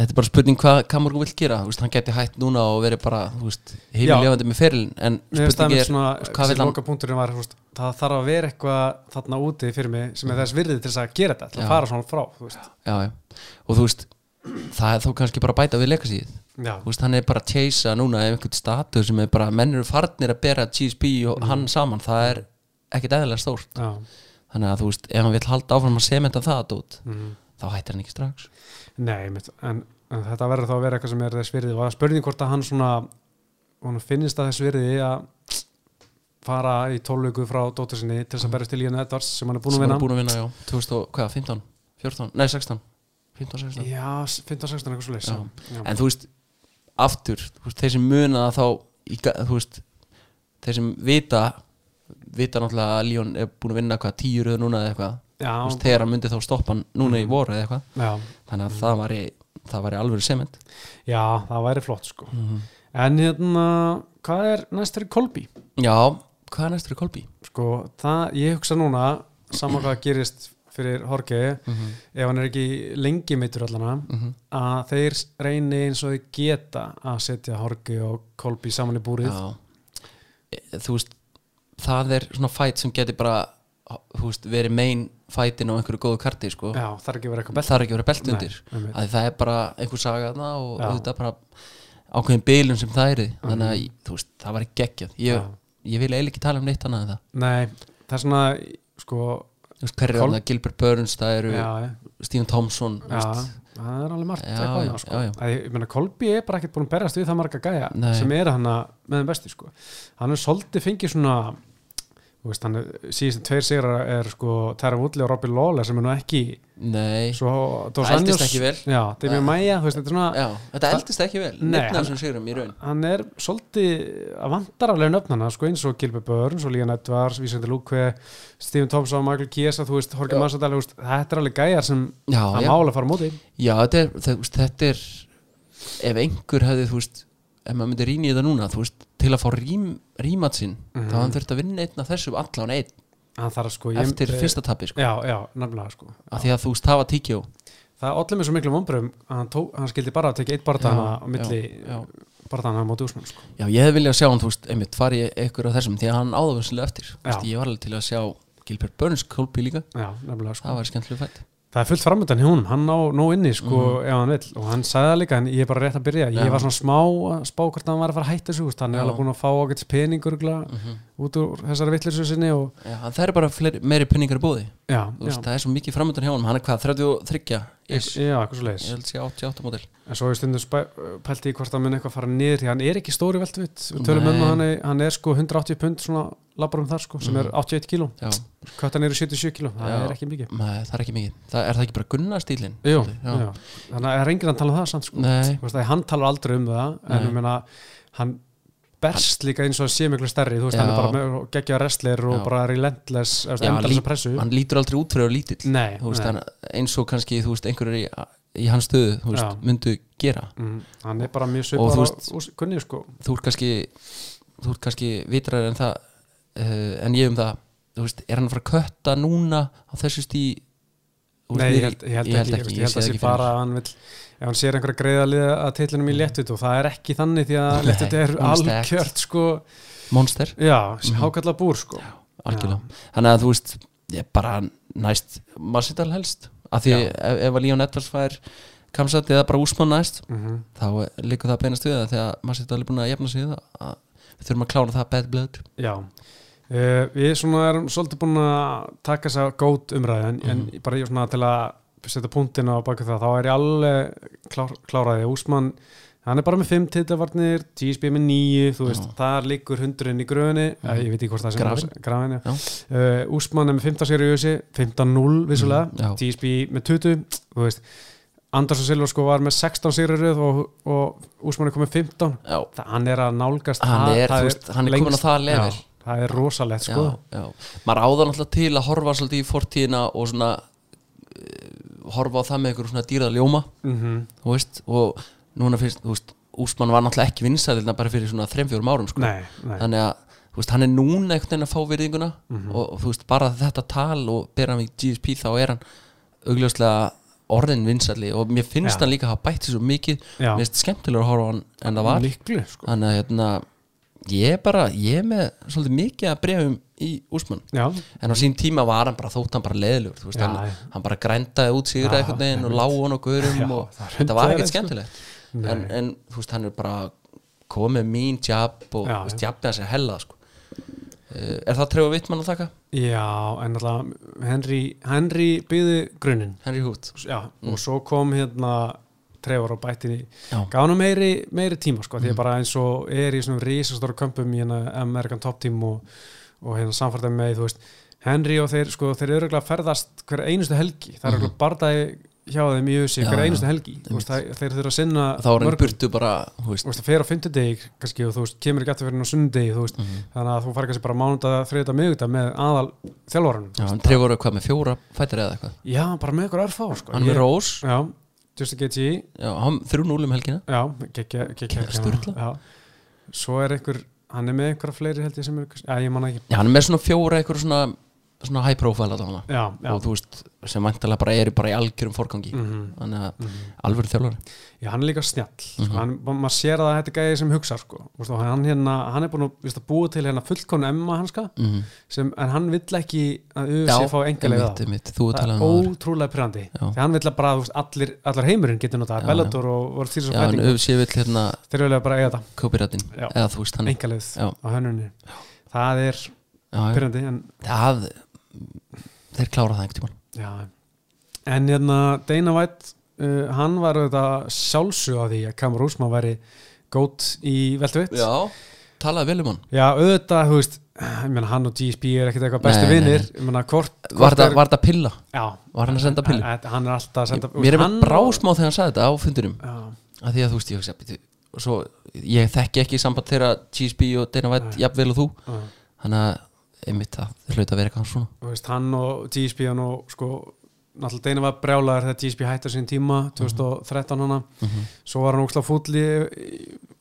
Speaker 2: þetta er bara spurning hvað Kamorgu vil gera þú veist, hann geti hætt núna og verið bara þú veist,
Speaker 1: Já.
Speaker 2: hefur lefandi með ferilin en
Speaker 1: mér finnst það
Speaker 2: spurning
Speaker 1: með
Speaker 2: er,
Speaker 1: svona
Speaker 2: hvað vill
Speaker 1: sem
Speaker 2: hann-
Speaker 1: loka punkturinn var þú veist, það þarf að vera eitthvað þarna úti fyrir mig sem er þess virðið til þess að gera þetta til
Speaker 2: Mhm. Já.
Speaker 1: að fara svona frá þú veist
Speaker 2: já, já, og þú veist það er þá kannski bara að bæta við leikasíð
Speaker 1: já,
Speaker 2: Þú veist, hann er bara að tjeysa núna ef einhvern statu sem er bara menn eru farnir að bera GSP
Speaker 1: Mm.
Speaker 2: og hann saman, það er ekkit eðlilega stórt
Speaker 1: já,
Speaker 2: þannig að þú veist, ef hann vil halda áfram að sementa það út,
Speaker 1: mhm.
Speaker 2: þá hættir hann ekki strax
Speaker 1: nei, mitt, en, en þetta verður þá að vera eitthvað sem er þess virði og það er spurning hvort að hann svona hann finnist að þess virði að fara í tólvöku frá dóttur sinni til þess að berjast til Ian Edwards sem hann er búin
Speaker 2: Mhm. sem
Speaker 1: að vinna
Speaker 2: hann er búin að vinna, já, 2000, og- hvað, 15, 14 nei, 16, 15, 16
Speaker 1: já, 15-16 eitthvað svo leys
Speaker 2: Já. en þú veist, aftur þú veist, þeir sem muna það þá í, ga- þú veist, þeir sem vita vita náttúrulega að Leon er búin að vinna hvað, tíu röð núna eða eitthvað Þú veist,
Speaker 1: já, Mhm.
Speaker 2: þegar hann myndi þá stoppa hann núna í voru eða eitthvað
Speaker 1: já,
Speaker 2: þannig að það væri, það væri alveg sement
Speaker 1: já, það væri flott sko en hérna, hvað er næst fyrir Kolby?
Speaker 2: já, hvað er næstur í Kolbi?
Speaker 1: sko, það, ég hugsa núna saman hvað gerist fyrir Horki ef hann er ekki lengi meittur allana,
Speaker 2: Mhm.
Speaker 1: að þeir reyni eins og þeir geta að setja Horki og Kolby saman í búrið
Speaker 2: Já. E- þú veist það er svona fæt sem geti bara þú veist, verið main fætin á einhverju góðu karti sko.
Speaker 1: já, þarf ekki að vera eitthvað
Speaker 2: það er ekki verið belt
Speaker 1: Nei,
Speaker 2: undir
Speaker 1: einmitt.
Speaker 2: að það er bara einhver saga þarna og
Speaker 1: Já. Mhm.
Speaker 2: auðvitað bara ákveðin bilun sem það er þannig að þú veist, það var geggjað ég,
Speaker 1: Já.
Speaker 2: ég vil eiginlega ekki tala um neitt annað en það
Speaker 1: nei, það er svona sko,
Speaker 2: Þú veist, hverju er
Speaker 1: Kol-
Speaker 2: það, Gilbert Burns, það eru
Speaker 1: já,
Speaker 2: Stephen Thompson þú
Speaker 1: já
Speaker 2: veist.
Speaker 1: það er alveg margt
Speaker 2: Já,
Speaker 1: eitthvað
Speaker 2: já,
Speaker 1: annað, sko.
Speaker 2: já, já.
Speaker 1: Að ég, ég meina, Kolby er bara ekkert búin að berjast við það marga gæja
Speaker 2: Nei.
Speaker 1: sem er hann með þeim bestu sko. hann er svolítið fengið svona þú veist, hann er, síðan tveir sigrar er sko Tara Woodley og Robbie Lawler sem er nú ekki
Speaker 2: nei,
Speaker 1: svo Dos
Speaker 2: Það eldist
Speaker 1: Anjos-
Speaker 2: ekki vel.
Speaker 1: já, Demi
Speaker 2: Nei.
Speaker 1: Maia, þú veist, þetta er svona
Speaker 2: já, þetta eldist ekki vel
Speaker 1: Nei,
Speaker 2: neitt
Speaker 1: hann-
Speaker 2: sem sigurum í raun
Speaker 1: hann er svolítið að vantar alveg nöfnana, sko, eins og Gilbert Burns og Líðan Edvards, Vísandi Lúkve Stephen Thompson, Michael Kiesa, þú veist, Jorge
Speaker 2: Já.
Speaker 1: Massadal veist, þetta er alveg gæjar sem
Speaker 2: já,
Speaker 1: að
Speaker 2: já,
Speaker 1: mála fara á móti
Speaker 2: Já, þetta er, það, þú veist, þetta er ef einhver hefði, þú veist ef maður myndi rýna í þetta núna, þú veist til að fá rím, rímat sinn þá hann þurft að vinna einn af þessu allan einn
Speaker 1: hann þarf að sko Mhm. ég-
Speaker 2: eftir fyrsta tappi, sko,
Speaker 1: já, já, nefnilega, sko
Speaker 2: af því að þú veist það var tíkjó
Speaker 1: það olli mér svo miklu vombröðum að hann, tók, hann skildi bara að tekja eitt barðana á milli
Speaker 2: já,
Speaker 1: barðana á móti úsmann, sko
Speaker 2: já, ég hefði viljað sjá hann, þú veist, einmitt fari einhver af þessum, því að hann áðurvæslega eftir Þú veist,
Speaker 1: Já.
Speaker 2: ég var alveg til að sjá Gilbert Burns Kolby líka,
Speaker 1: já, nefnilega, sko
Speaker 2: það var skemmtilega fætt
Speaker 1: Það er fullt framöndan hjá honum, hann á nóg inni sko ef hann vill og hann sagði það líka en ég er bara rétt að byrja, ég
Speaker 2: Mhm. Já.
Speaker 1: var svona smá að spá hvort hann var að fara að hætta þessu, þú veist, hann er
Speaker 2: Já.
Speaker 1: alveg búin að fá ágætt peningur mm út úr þessari vittlisu sinni og
Speaker 2: já, en það er bara fleiri, meiri penningar í bóði
Speaker 1: já,
Speaker 2: þú
Speaker 1: já,
Speaker 2: veist, það er svo mikið framöndan hjá hann, hann er hvað, 33
Speaker 1: Ek-
Speaker 2: ish,
Speaker 1: já, eitthvað svo
Speaker 2: ég
Speaker 1: leiðis
Speaker 2: held sé 88 mótil
Speaker 1: en svo ég stundum spæ, pælti í hvort hann mun eitthvað fara niður því hann er ekki stóri veltvitt, við tölum um
Speaker 2: Nei.
Speaker 1: að hann, er- hann er sko 180 pund svona labbarum þar sko, sem er 81 kíló
Speaker 2: já,
Speaker 1: köttan eru 77 kíló, það
Speaker 2: Mm. Já.
Speaker 1: er ekki mikið
Speaker 2: Nei, það er ekki mikið það, Er það ekki bara Gunnar stílinn?
Speaker 1: Jú,
Speaker 2: já.
Speaker 1: já. þannig að það er enginn að tala um það samt sko.
Speaker 2: Nei,
Speaker 1: Þú veist, að hann talar aldrei um það en
Speaker 2: Nei.
Speaker 1: ég meina, hann berst líka eins og hann sé miklu stærri þú veist,
Speaker 2: Já.
Speaker 1: hann er bara með geggja wrestler og
Speaker 2: Já.
Speaker 1: bara relentless, þú veist,
Speaker 2: Já, hann
Speaker 1: endaless
Speaker 2: lít-
Speaker 1: að pressu
Speaker 2: hann lítur aldrei út fyrir að vera lítill
Speaker 1: nei,
Speaker 2: Þú veist,
Speaker 1: nei.
Speaker 2: hann, eins og kannski, þú veist, einhverjur í, í hans stöðu, þú veist,
Speaker 1: Já.
Speaker 2: myndu gera
Speaker 1: Mm, hann er bara mjög
Speaker 2: Og þú
Speaker 1: svipar
Speaker 2: veist-
Speaker 1: og kunni sko
Speaker 2: Þú ert kannski þú ert kannski vitrar en það uh, en ég um það, þú veist, er hann að fara að kötta núna á þessu stí
Speaker 1: nei, ég held, ég held ekki, ekki, Mm. ég
Speaker 2: ég
Speaker 1: held
Speaker 2: sé
Speaker 1: að
Speaker 2: það
Speaker 1: sé
Speaker 2: ekki
Speaker 1: bara
Speaker 2: fyrir
Speaker 1: að hann vill ef hann sér einhverja greiða liða að titlinum í léttvit og það er ekki þannig því að
Speaker 2: Nei,
Speaker 1: léttvit er
Speaker 2: hún er sterk.
Speaker 1: algjört sko,
Speaker 2: Monster,
Speaker 1: já, hákalla búr sko
Speaker 2: algjörlega Þannig að þú veist, ég bara næst Massidal helst, af því
Speaker 1: Já.
Speaker 2: ef, ef að Leon Edwards fær kamsat eða bara úsmann næst,
Speaker 1: Mhm.
Speaker 2: þá líka það að beinast við það þegar maður sér alveg búin að jafna sig í það að við þurfum að klána það bad blood
Speaker 1: Já, uh, við svona erum svolítið búin að taka þess að gót umræði en,
Speaker 2: Mhm.
Speaker 1: en bara ég svona til að setja punktin á baki það, þá er ég alveg klár, kláraði, Úsmann hann er bara með fimm titavarnir, TSB með níu þú veist,
Speaker 2: Já.
Speaker 1: þar liggur hundurinn í gröðinni mm ég veit ekki hvort það sem
Speaker 2: Grafin.
Speaker 1: grafin, já.
Speaker 2: Já.
Speaker 1: Uh, Úsmann er með 15 sér í ösi 15-0 vissulega,
Speaker 2: Mhm, já.
Speaker 1: TSB með 20 þú veist, Andersson Silva sko var með 16 sér í röð og, og Úsmann er komið 15
Speaker 2: já,
Speaker 1: það, hann er að nálgast
Speaker 2: hann
Speaker 1: það-
Speaker 2: er,
Speaker 1: það
Speaker 2: þú veist, hann er
Speaker 1: lengst-
Speaker 2: komin á það level
Speaker 1: Já, það er rosalegt
Speaker 2: já,
Speaker 1: sko
Speaker 2: já, maður áða náttúrulega til að horfa svolítið í fortíðina og svona uh, horfa á það með einhverjum svona dýrða ljóma
Speaker 1: mm -hmm.
Speaker 2: þú veist, og núna finnst, þú veist Úsmann var náttúrulega ekki vinsæðilna bara fyrir svona 3-4 árum, sko,
Speaker 1: Nei, nei, Mhm.
Speaker 2: þannig að þú veist, hann er núna einhvern veginn að fá virðinguna og, og þú veist, bara þetta tal og bera hann í GSP þá er hann augljóslega orðin vinsæli og mér finnst
Speaker 1: Já.
Speaker 2: hann líka að hafa bætt þessu mikið
Speaker 1: Já.
Speaker 2: mér finnst skemmtilega að horfa á hann en það var
Speaker 1: miklu sko
Speaker 2: þannig að hérna, ég er bara ég er með svolítið mikið að brefum í úsmann
Speaker 1: Já,
Speaker 2: en á sín tíma var hann bara þótt hann bara leðilegur þú veist,
Speaker 1: Já,
Speaker 2: hann,
Speaker 1: já.
Speaker 2: hann bara grændaði út sigra
Speaker 1: Já,
Speaker 2: einhvern veginn og
Speaker 1: einmitt.
Speaker 2: lág hann og gurum
Speaker 1: Já,
Speaker 2: og
Speaker 1: það er
Speaker 2: þetta var
Speaker 1: hundaðið,
Speaker 2: ekkert
Speaker 1: sko.
Speaker 2: skemmtilegt
Speaker 1: Nei.
Speaker 2: en, en þú veist, hann er bara komið mín jab og
Speaker 1: Já,
Speaker 2: þú veist, jabbi hans er hella sko. uh, er það trefa vittmann að taka?
Speaker 1: Já, en alltaf Henry, Henry byggði grunin
Speaker 2: Henry Hood
Speaker 1: Já,
Speaker 2: Mm.
Speaker 1: og svo kom hérna trefur og bættinni
Speaker 2: Já.
Speaker 1: gána meiri, meiri tíma sko,
Speaker 2: Mhm.
Speaker 1: því að bara eins og er í svona risastóru kömpum í hérna Amerikan Top Team og, og hérna samfartar með, þú veist Henry og þeir, sko, þeir eru að ferðast hver einustu helgi, það eru mm -hmm. bardaði hjá þeim í USA
Speaker 2: Mhm. Já,
Speaker 1: hver
Speaker 2: já,
Speaker 1: einustu helgi þú veist, það, þeir þurfa að sinna
Speaker 2: þá er hann burtu bara þú
Speaker 1: þú
Speaker 2: veist,
Speaker 1: veist, það fer á fimmtudegi kannski og þú veist, kemur ekki aftur fyrir á sunnudegi þú veist,
Speaker 2: Mhm.
Speaker 1: þannig að þú fari kannski bara mánudag þriðdag miðugdag með aðal þjálfarunum
Speaker 2: já, hann trefa hvað með fjóra fættir eða eitthvað
Speaker 1: já, bara með ykkur örfá sko.
Speaker 2: hann
Speaker 1: Ég-
Speaker 2: með Rós,
Speaker 1: já, just a GT
Speaker 2: já, hann þrjú núlum helgina
Speaker 1: já, gekkja gekkja-
Speaker 2: Gekkja Sturla.
Speaker 1: já. svo er einhver, hann er með einhverja fleiri held ég sem er, já, ég man ekki
Speaker 2: já, hann er með svona fjóra eitthvað svona, svona high profile að hana
Speaker 1: já, já,
Speaker 2: og þú veist, sem vantilega bara eru bara í algjörum forgangi
Speaker 1: Mhm.
Speaker 2: þannig að alvöru þjálfari
Speaker 1: já hann er líka snjall
Speaker 2: Mhm.
Speaker 1: sko, hann, ma- maður sér að þetta er gæði sem hugsa sko. Þú veist, og hann, hérna, hann er búin að þú veist, að búa til hérna fullkonu emma hanska
Speaker 2: Mhm.
Speaker 1: sem, en hann vill ekki að auðvitað fá engalega
Speaker 2: einmitt, einmitt, þú
Speaker 1: það er
Speaker 2: talaði um það áður.
Speaker 1: ótrúlega pyrrandi því hann vill að bara, þú veist, allir, allar heimurinn getur notað, Bellator og voru þýr
Speaker 2: já,
Speaker 1: svo
Speaker 2: hann
Speaker 1: fæting,
Speaker 2: öfsi vill hérna
Speaker 1: þeir vilja bara eiga það,
Speaker 2: kópirættin
Speaker 1: Já.
Speaker 2: eða þú veist hann
Speaker 1: engalið
Speaker 2: Mm. Já.
Speaker 1: á hönnunni það er
Speaker 2: já, já.
Speaker 1: pyrrandi en,
Speaker 2: það, þeir klára það einhvern tímann
Speaker 1: já. en hérna Dana White, uh, hann var auðvitað sjálfsög að því að Kamar Úsman væri gótt í veltuvitt
Speaker 2: já, talaði vel um hann
Speaker 1: já, auðvitað, þú veist ég meina, hann og GSP er ekkert eitthvað bestu
Speaker 2: Nei, nei, nei.
Speaker 1: vinnir ég meina, hvort,
Speaker 2: var,
Speaker 1: hvort
Speaker 2: það, var það pilla,
Speaker 1: já,
Speaker 2: var hann að senda pillu
Speaker 1: Hann- hann er alltaf að senda
Speaker 2: mér er
Speaker 1: hann-
Speaker 2: með brásmá þegar hann sagði þetta á fundunum
Speaker 1: Já.
Speaker 2: að því að þú veist, ég hugsa býtu, og svo, ég þekki ekki samband þeirra GSB og Dana White, jafnvel og þú
Speaker 1: Já.
Speaker 2: þannig að einmitt það hlaut að vera eitthvað svona
Speaker 1: þú veist, hann og GSP hann og sko, náttúrulega Deina var brjálaður þegar GSP hætti á sín tíma
Speaker 2: Mhm.
Speaker 1: 2013 hana, svo var hann ókslega fúlli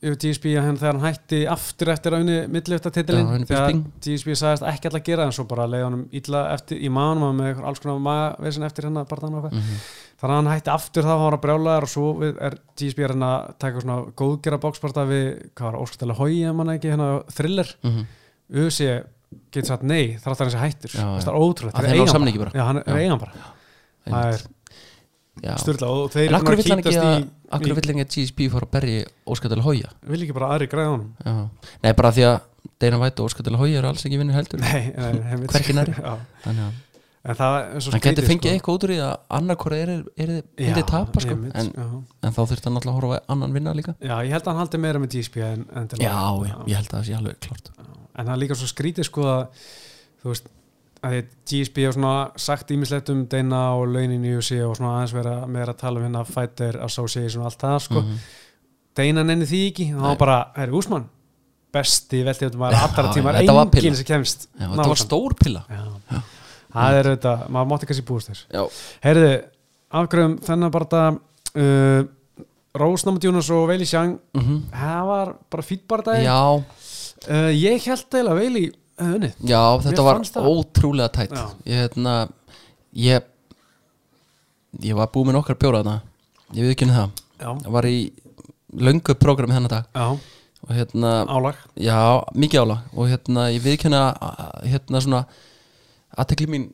Speaker 1: yfir GSP að hann þegar hann hætti aftur eftir að unni millifta
Speaker 2: Já,
Speaker 1: titilin,
Speaker 2: unni
Speaker 1: þegar
Speaker 2: Bisping.
Speaker 1: GSP sagðist ekki alltaf að gera en svo bara leiði hann illa eftir í manum með einhver alls konar maðurvesin eftir hennar bara þannig mm
Speaker 2: mhm,
Speaker 1: -hmm. þannig að hann hætti aftur þá var hann brjálaður og svo við- er GSP er hann að taka svona góðgera bóksparta við, hvað var óskastlega hói ef mann ekki, hérna thriller
Speaker 2: mm -hmm.
Speaker 1: UFC getur sagt nei þrátt að hann sé hættur það
Speaker 2: Já, já.
Speaker 1: er ótrúlegt,
Speaker 2: Að
Speaker 1: þeir
Speaker 2: þeir ná
Speaker 1: eiga hann
Speaker 2: samningi
Speaker 1: bara.
Speaker 2: bara.
Speaker 1: Já, hann er
Speaker 2: Já.
Speaker 1: eigan bara það er
Speaker 2: einmitt, já
Speaker 1: styrla og þeir
Speaker 2: en
Speaker 1: eru
Speaker 2: akkur
Speaker 1: búin
Speaker 2: vill hann ekki
Speaker 1: kýtast
Speaker 2: að
Speaker 1: í-
Speaker 2: akkur vill hann ekki að GSB fór að berja óskatilega hója
Speaker 1: í- vil ekki bara aðri græða honum
Speaker 2: já. nei bara því að Dana White og óskatilega hója eru alls ekki vinnur heldur
Speaker 1: nei, nei, nei, veit-
Speaker 2: Hvergi nærri.
Speaker 1: Já.
Speaker 2: þannig að
Speaker 1: en það er svo
Speaker 2: hann getur
Speaker 1: skrítið,
Speaker 2: fengið
Speaker 1: sko.
Speaker 2: eitthvað út úr því að annarkora er, er,
Speaker 1: Já,
Speaker 2: er þið tapa sko.
Speaker 1: einmitt,
Speaker 2: en,
Speaker 1: já.
Speaker 2: en þá þurfti hann alltaf að horfa á annan vinna líka
Speaker 1: já, ég held að hann haldi meira með GSP en, en, til
Speaker 2: já,
Speaker 1: að-
Speaker 2: já, ég held að það sé alveg klart
Speaker 1: en það er líka svo skrítið sko að þú veist að því GSP hefur svona sagt ímislegt um Deina og launin í UFC og svona aðeins vera meira að tala um hérna Fighter Association og allt það sko Deina nenni því ekki, þá
Speaker 2: Mhm. Nei.
Speaker 1: bara, herri Úsmann besti veltið um
Speaker 2: Já,
Speaker 1: maður allra
Speaker 2: já,
Speaker 1: tíma
Speaker 2: þetta var pilla.
Speaker 1: enginn sem kemst
Speaker 2: já,
Speaker 1: nálægt
Speaker 2: þetta var
Speaker 1: honum.
Speaker 2: stór pilla
Speaker 1: Já. það er þetta, maður mátti kannski búist þess
Speaker 2: já,
Speaker 1: heyrðu, afgröðum þennan bara þetta uh, Rósnamund Jónas og Veili Sjang
Speaker 2: mm
Speaker 1: það var bara fýtt bara dag
Speaker 2: já,
Speaker 1: uh, ég held eiginlega að Veili hefði unnið
Speaker 2: já
Speaker 1: Mér
Speaker 2: þetta var
Speaker 1: fannst það-
Speaker 2: ótrúlega tætt
Speaker 1: Já.
Speaker 2: ég, hérna, ég ég var búið með nokkar bjóra þarna ég við ekki það
Speaker 1: já,
Speaker 2: ég var í löngu prógrami þennan dag
Speaker 1: já,
Speaker 2: og hérna,
Speaker 1: álag
Speaker 2: já, mikið ála og hérna, ég viðkynna hérna svona, aðtekli mín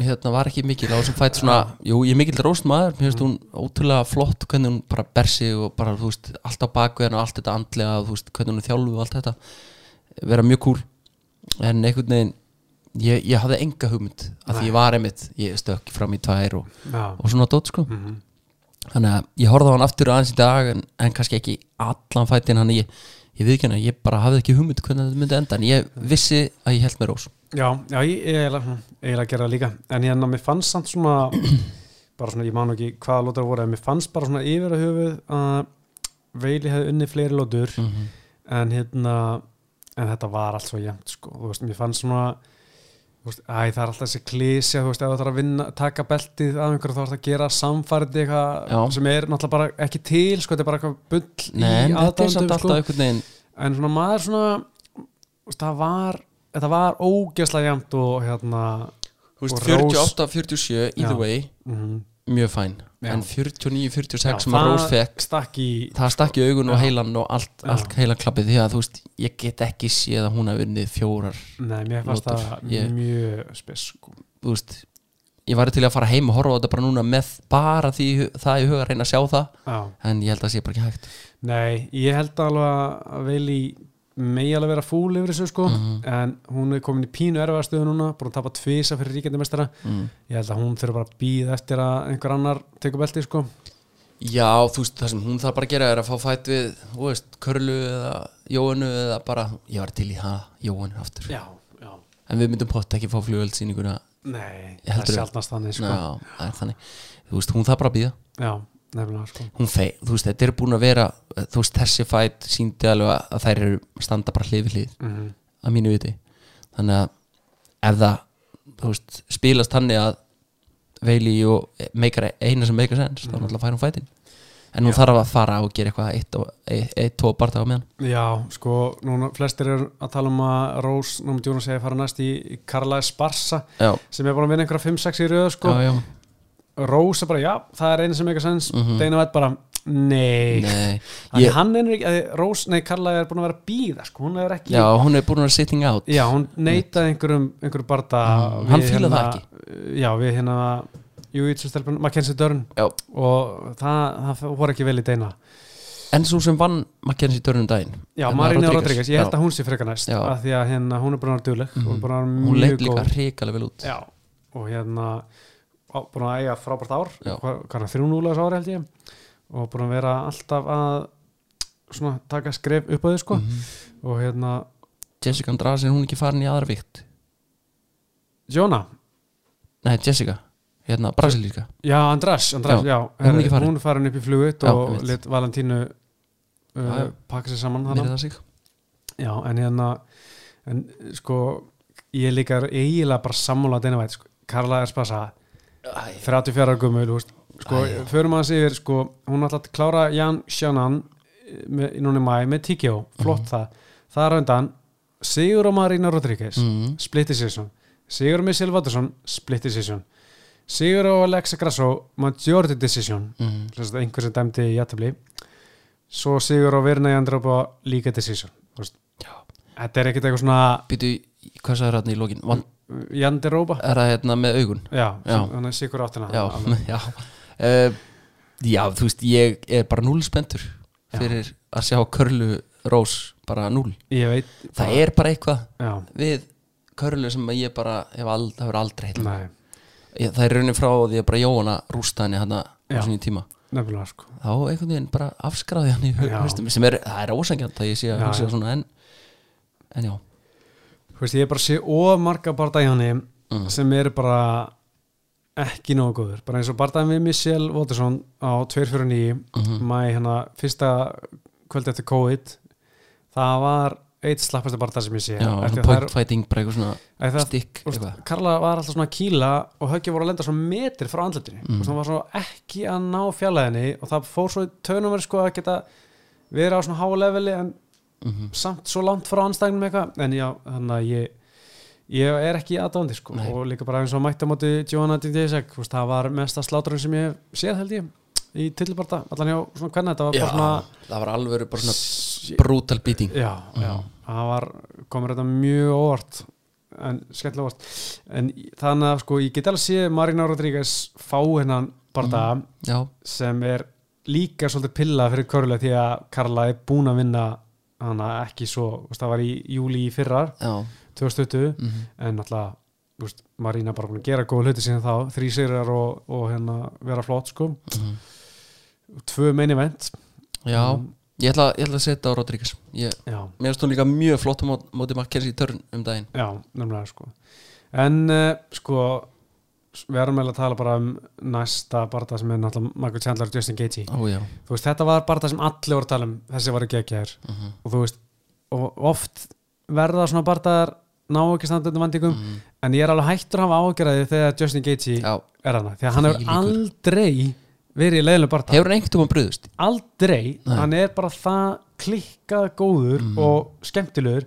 Speaker 2: hérna var ekki mikil á þessum fætt svona, jú, ég er mikil róst maður mér finnst hún ótrúlega flott hvernig hún bara ber sig og bara, þú veist, allt á baku henni og allt þetta andlega, og, þú veist, hvernig hún er þjálfu og allt þetta vera mjög kúl en einhvern veginn ég, ég hafði enga hugmynd að því ég var einmitt ég stökk fram í tvær og,
Speaker 1: já,
Speaker 2: og svona dót sko
Speaker 1: Mhm.
Speaker 2: þannig að ég horfði á hann aftur aðeins í dag en, en kannski ekki allan fætin hann ég, ég viðkjana, ég bara hafði ekki hugmynd hvernig þetta myndi enda en ég vissi að ég held mér ós
Speaker 1: já, já ég ég eiginlega eiginlega gera það líka en hérna, mér fannst samt svona bara svona, ég man nú ekki hvaða lótar voru en mér fannst bara svona yfir að höfuð að Veili hefði unnið fleiri lótur
Speaker 2: Mhm.
Speaker 1: en hérna en þetta var allt svo jæmt sko þú veist, mér fannst svona þú veist, æ, það er alltaf þessi klísja, þú veist, ef þú ætlar að vinna taka beltið að einhverju þá ætlar að gera samfærdi eitthvað
Speaker 2: Já.
Speaker 1: sem er náttúrulega bara ekki til, sko, þetta er bara eitthvað bull
Speaker 2: Nei, en
Speaker 1: í
Speaker 2: þetta er samt
Speaker 1: aðdándum,
Speaker 2: alltaf
Speaker 1: sko
Speaker 2: einhvern veginn
Speaker 1: en svona maður svona þú veist, það var, þetta var ógeðslega jæmt og hérna
Speaker 2: þú veist,
Speaker 1: Og
Speaker 2: 48, 47, either
Speaker 1: Já.
Speaker 2: way
Speaker 1: mm,
Speaker 2: mjög fæn,
Speaker 1: Já.
Speaker 2: en 49, 46 sem að
Speaker 1: það
Speaker 2: rós fekk
Speaker 1: stakk í
Speaker 2: það stakk í augun og heilan og allt,
Speaker 1: Já.
Speaker 2: allt heilan klappið því að þú veist, ég get ekki séð að hún hafi unnið fjórar
Speaker 1: nei, mér fannst
Speaker 2: Lótur,
Speaker 1: það
Speaker 2: ég-
Speaker 1: mjög spes sko
Speaker 2: þú veist ég væri til að fara heim og horfa á þetta bara núna með bara því í hu- það í huga að reyna að sjá það
Speaker 1: Já.
Speaker 2: en ég held að það sé bara ekki hægt
Speaker 1: Nei, ég held alveg að Vili megi alveg vera fúl yfir þessu sko
Speaker 2: Mhm.
Speaker 1: en hún er komin í pínu erfaðastöðu núna búin að tapa tvisa fyrir ríkjandi mestara
Speaker 2: mm.
Speaker 1: ég held að hún þurfa bara að býða eftir að einhver annar tekur belti sko
Speaker 2: Já, þú veist, það sem hún þarf bara að gera er að fá fætt við, þú veist, Körlu eða Jóinu eða bara, ég var til í það Jóinu aftur,
Speaker 1: Já, já
Speaker 2: en við myndum pott ekki fá flugöldsýninguna
Speaker 1: Nei,
Speaker 2: Ég
Speaker 1: það er
Speaker 2: heldur-
Speaker 1: sjaldnast þannig sko
Speaker 2: Já, það er þannig, þú veist, hún þarf bara að býða
Speaker 1: Já, nefnilega sko
Speaker 2: hún fei, þú veist, þetta er búin að vera þú veist, þessi fætt síndi alveg að- að þær eru standa bara hlið við hlið
Speaker 1: mm
Speaker 2: að mínu viti, þannig að ef það, þú veist, spilast þannig að veili og meikar eina sem meikar sens,
Speaker 1: Mhm.
Speaker 2: þá náttúrulega fær hún fætin en hún þarf að fara og gera eitthvað eitt, og- eitt, eitt tvo barða á meðan
Speaker 1: Já, sko, núna flestir eru að tala um að Rós, námið Jónas segi að fara næst í Karlaði Sparsa
Speaker 2: Já,
Speaker 1: sem er búin að vinna einhverja 5-6 í röðu sko
Speaker 2: já, já
Speaker 1: Rós er bara, já, það er einu sem eitthvað sens mm -hmm. Deina veit bara, nei,
Speaker 2: Mhm. Nei,
Speaker 1: Þannig
Speaker 2: ég,
Speaker 1: hann er ekki, að Rós, nei, Karlaði er búin að vera að býða sko, hún er ekki
Speaker 2: já, hún er búin að vera sitting out
Speaker 1: Já, hún neitaði einhverjum, einhverjum barda
Speaker 2: Mm, hann fílaði það
Speaker 1: ekki hérna- Já, við hérna Jújitsustelpun, Mackenzie Dörn
Speaker 2: Já.
Speaker 1: og það, það voru ekki vel í deina
Speaker 2: En svo sem vann Mackenzie Dörnum daginn
Speaker 1: Já,
Speaker 2: Hérna,
Speaker 1: Marina Rodríguez, ég held að hún sé frekar næst
Speaker 2: Já. Mhm.
Speaker 1: af því að hérna, hún er búin að vera duðleg hún er búin að
Speaker 2: Hún
Speaker 1: vera
Speaker 2: leit
Speaker 1: mjög
Speaker 2: líka
Speaker 1: góð
Speaker 2: hrikalega vel út
Speaker 1: Já, og hérna á- búin að eiga frábært ár
Speaker 2: Já.
Speaker 1: hvað þrjúnúlega ári held ég og búin að vera alltaf að svona taka skref upp á því
Speaker 2: Mhm.
Speaker 1: sko og hérna,
Speaker 2: Jessica Andrasen, hún er ekki farin í aðra vikt
Speaker 1: Jóna
Speaker 2: Nei, Jessica, hérna, brasilíska
Speaker 1: Já, Andras, Andras,
Speaker 2: Já,
Speaker 1: já,
Speaker 2: hún er
Speaker 1: herri,
Speaker 2: ekki farin.
Speaker 1: hún er farin upp í flugut
Speaker 2: Já,
Speaker 1: og
Speaker 2: einmitt.
Speaker 1: lit Valentínu
Speaker 2: Já,
Speaker 1: uh,
Speaker 2: já.
Speaker 1: pakka sér saman hana
Speaker 2: Mér það sig
Speaker 1: Já, en hérna en sko, ég er líka eiginlega bara sammála að deyna væt sko. Karla Erspasa,
Speaker 2: Æ,
Speaker 1: 34 ára gömul þú veist. sko,
Speaker 2: Æ, já.
Speaker 1: förum aðeins yfir sko, hún ætla að klára Jan Shannon með, núna í mæ með Tíkjó flott
Speaker 2: Mhm.
Speaker 1: það, það er undan Sigur og Marina Rodríguez
Speaker 2: Mhm.
Speaker 1: split decision, Sigur og Missel Vattersson split decision, Sigur og Alexa Grasso majority decision
Speaker 2: mm,
Speaker 1: Sem sagt, einhver sem dæmdi í jættabli svo Sigur og Virna í andra líka decision Þú veist,
Speaker 2: Já.
Speaker 1: þetta er ekkert eitthvað svona uh,
Speaker 2: Býtu, hvað sagði hérna í lokin? Van,
Speaker 1: Jandi Róba
Speaker 2: er það hérna með augun?
Speaker 1: já,
Speaker 2: Já.
Speaker 1: þannig að Sigur áttina
Speaker 2: Já,
Speaker 1: Alveg.
Speaker 2: já uh, Já, þú veist, ég er bara núl spendur fyrir að sjá Körlu Rós bara núl
Speaker 1: ég veit
Speaker 2: Það er bara eitthvað
Speaker 1: já,
Speaker 2: við Körlu sem að ég bara hef ald, það hefur aldrei heilt
Speaker 1: nei
Speaker 2: Það er raunin frá því að bara Jóhanna rústa henni hann á
Speaker 1: Já.
Speaker 2: svona tíma
Speaker 1: Nefnilega sko
Speaker 2: þá einhvern veginn bara afskráði hann í hau-
Speaker 1: Já.
Speaker 2: haustum sem er, það er ósengjant að ég sé að
Speaker 1: Já,
Speaker 2: hugsa
Speaker 1: já.
Speaker 2: svona en, en já,
Speaker 1: Þú veist, Ég er bara að sé of marga bardaði hann
Speaker 2: Mhm.
Speaker 1: sem eru bara ekki nógu góður bara eins og bardaði með Michelle Waterson á 249
Speaker 2: mhm. Mm.
Speaker 1: mæ hérna fyrsta kvöldi eftir COVID það var eitt slappasta bardaði sem ég sé
Speaker 2: já,
Speaker 1: Af því að
Speaker 2: svona
Speaker 1: það er-
Speaker 2: point fighting bara eitthvað svona
Speaker 1: af því að-
Speaker 2: stikk
Speaker 1: þú veist,
Speaker 2: eitthvað
Speaker 1: Karla var alltaf svona að kýla og höggið voru að lenda svona metri frá andlutinu mm. og það var svona ekki að ná fjallaðinni og það fór svo í tönum sko að geta verið á svona háa leveli en
Speaker 2: Mhm.
Speaker 1: samt svo langt frá anstæðinum eitthvað en já, þannig að ég ég er ekki aðdándi sko
Speaker 2: Nei.
Speaker 1: og líka bara eins og mættamóti Johanna Dindesek það var mesta sláturinn sem ég hef séð held ég í tilbarta, allan hjá svona hvernig þetta var
Speaker 2: já,
Speaker 1: bara svona
Speaker 2: það var alveg bara Mhm. svona brutal beating
Speaker 1: já, já, það var komur þetta mjög óvart en skemmtilega óvart en í- þannig að sko, ég get alveg séð Marina Rodríguez fá hennan
Speaker 2: Mhm.
Speaker 1: barða
Speaker 2: já,
Speaker 1: sem er líka svolítið pilla fyrir Körle því að Karla er búin að vinna hana ekki svo, þú veist, það var í júli í fyrrar
Speaker 2: já, Mhm,
Speaker 1: 2020 en náttúrulega þú veist, Marina bara búin að gera góða hluti síðan þá þrý sigrar og, og hérna vera flott sko tvö meini vent
Speaker 2: mhm. já ég ætla, ég ætla að setja á Rodríguez ég,
Speaker 1: já,
Speaker 2: mér finnst hún líka mjög flott á mót, móti Mackenzie Törn um daginn
Speaker 1: Já, nefnilega sko En uh, sko s- við erum meðlega að tala bara um næsta barða sem er náttúrulega Michael Chandler og Justin Gaethje
Speaker 2: ó já,
Speaker 1: Þú veist, þetta var barða sem allir voru að tala um þessi voru geggjaðir
Speaker 2: Mhm.
Speaker 1: og þú veist, og oft verða svona barðar ná ekki standundum vandingum en ég er alveg hættur að hafa ágjörði þegar Justin Gaethje
Speaker 2: Mhm. já.
Speaker 1: er hana því að hann hefur
Speaker 2: Þvílíkur.
Speaker 1: aldrei verið í leiðinu barða
Speaker 2: hefur hann einhvern tímann brugðust
Speaker 1: aldrei,
Speaker 2: Nei. Mhm.
Speaker 1: hann er bara það klikkað góður og skemmtilegur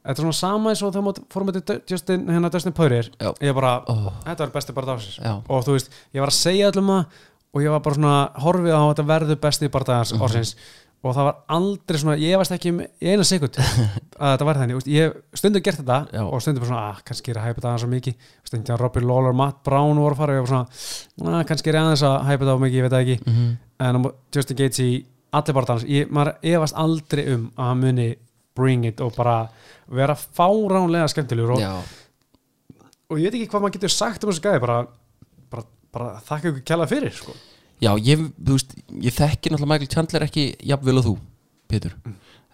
Speaker 1: þetta er svona sama eins og þegar mót- fórum þetta Justin, hérna Justin Poirier
Speaker 2: Já.
Speaker 1: ég bara,
Speaker 2: Ó.
Speaker 1: þetta var besti barða ásins
Speaker 2: Já.
Speaker 1: og þú
Speaker 2: Mhm.
Speaker 1: veist, ég var að segja öllum það og ég var bara svona horfið á að þetta verður besti barða ársins og það var aldrei svona, ég varst ekki um eina sekund að þetta var þannig, þú veist, ég hef stundum gert þetta
Speaker 2: Já.
Speaker 1: og stundum bara svona, að kannski er að hæpa þetta aðeins svo mikið, stundum að Robbie Lawler, Matt Brown voru að fara og ég var svona, að kannski er ég aðeins að hæpa þetta of mikið, ég veit það ekki,
Speaker 2: mm -hmm.
Speaker 1: en um, Justin Gaethje, allir bara dans, ég, maður efast aldrei um að hann muni bring it og bara vera fáránlega skemmtilegur og,
Speaker 2: Já,
Speaker 1: og ég veit ekki hvað maður getur sagt um þessu gæði, bara, bara, bara þakka ykkur kjalla fyrir, sko.
Speaker 2: já ég, þú veist, ég þekki náttúrulega Michael Chandler ekki jafnvel og þú, Pétur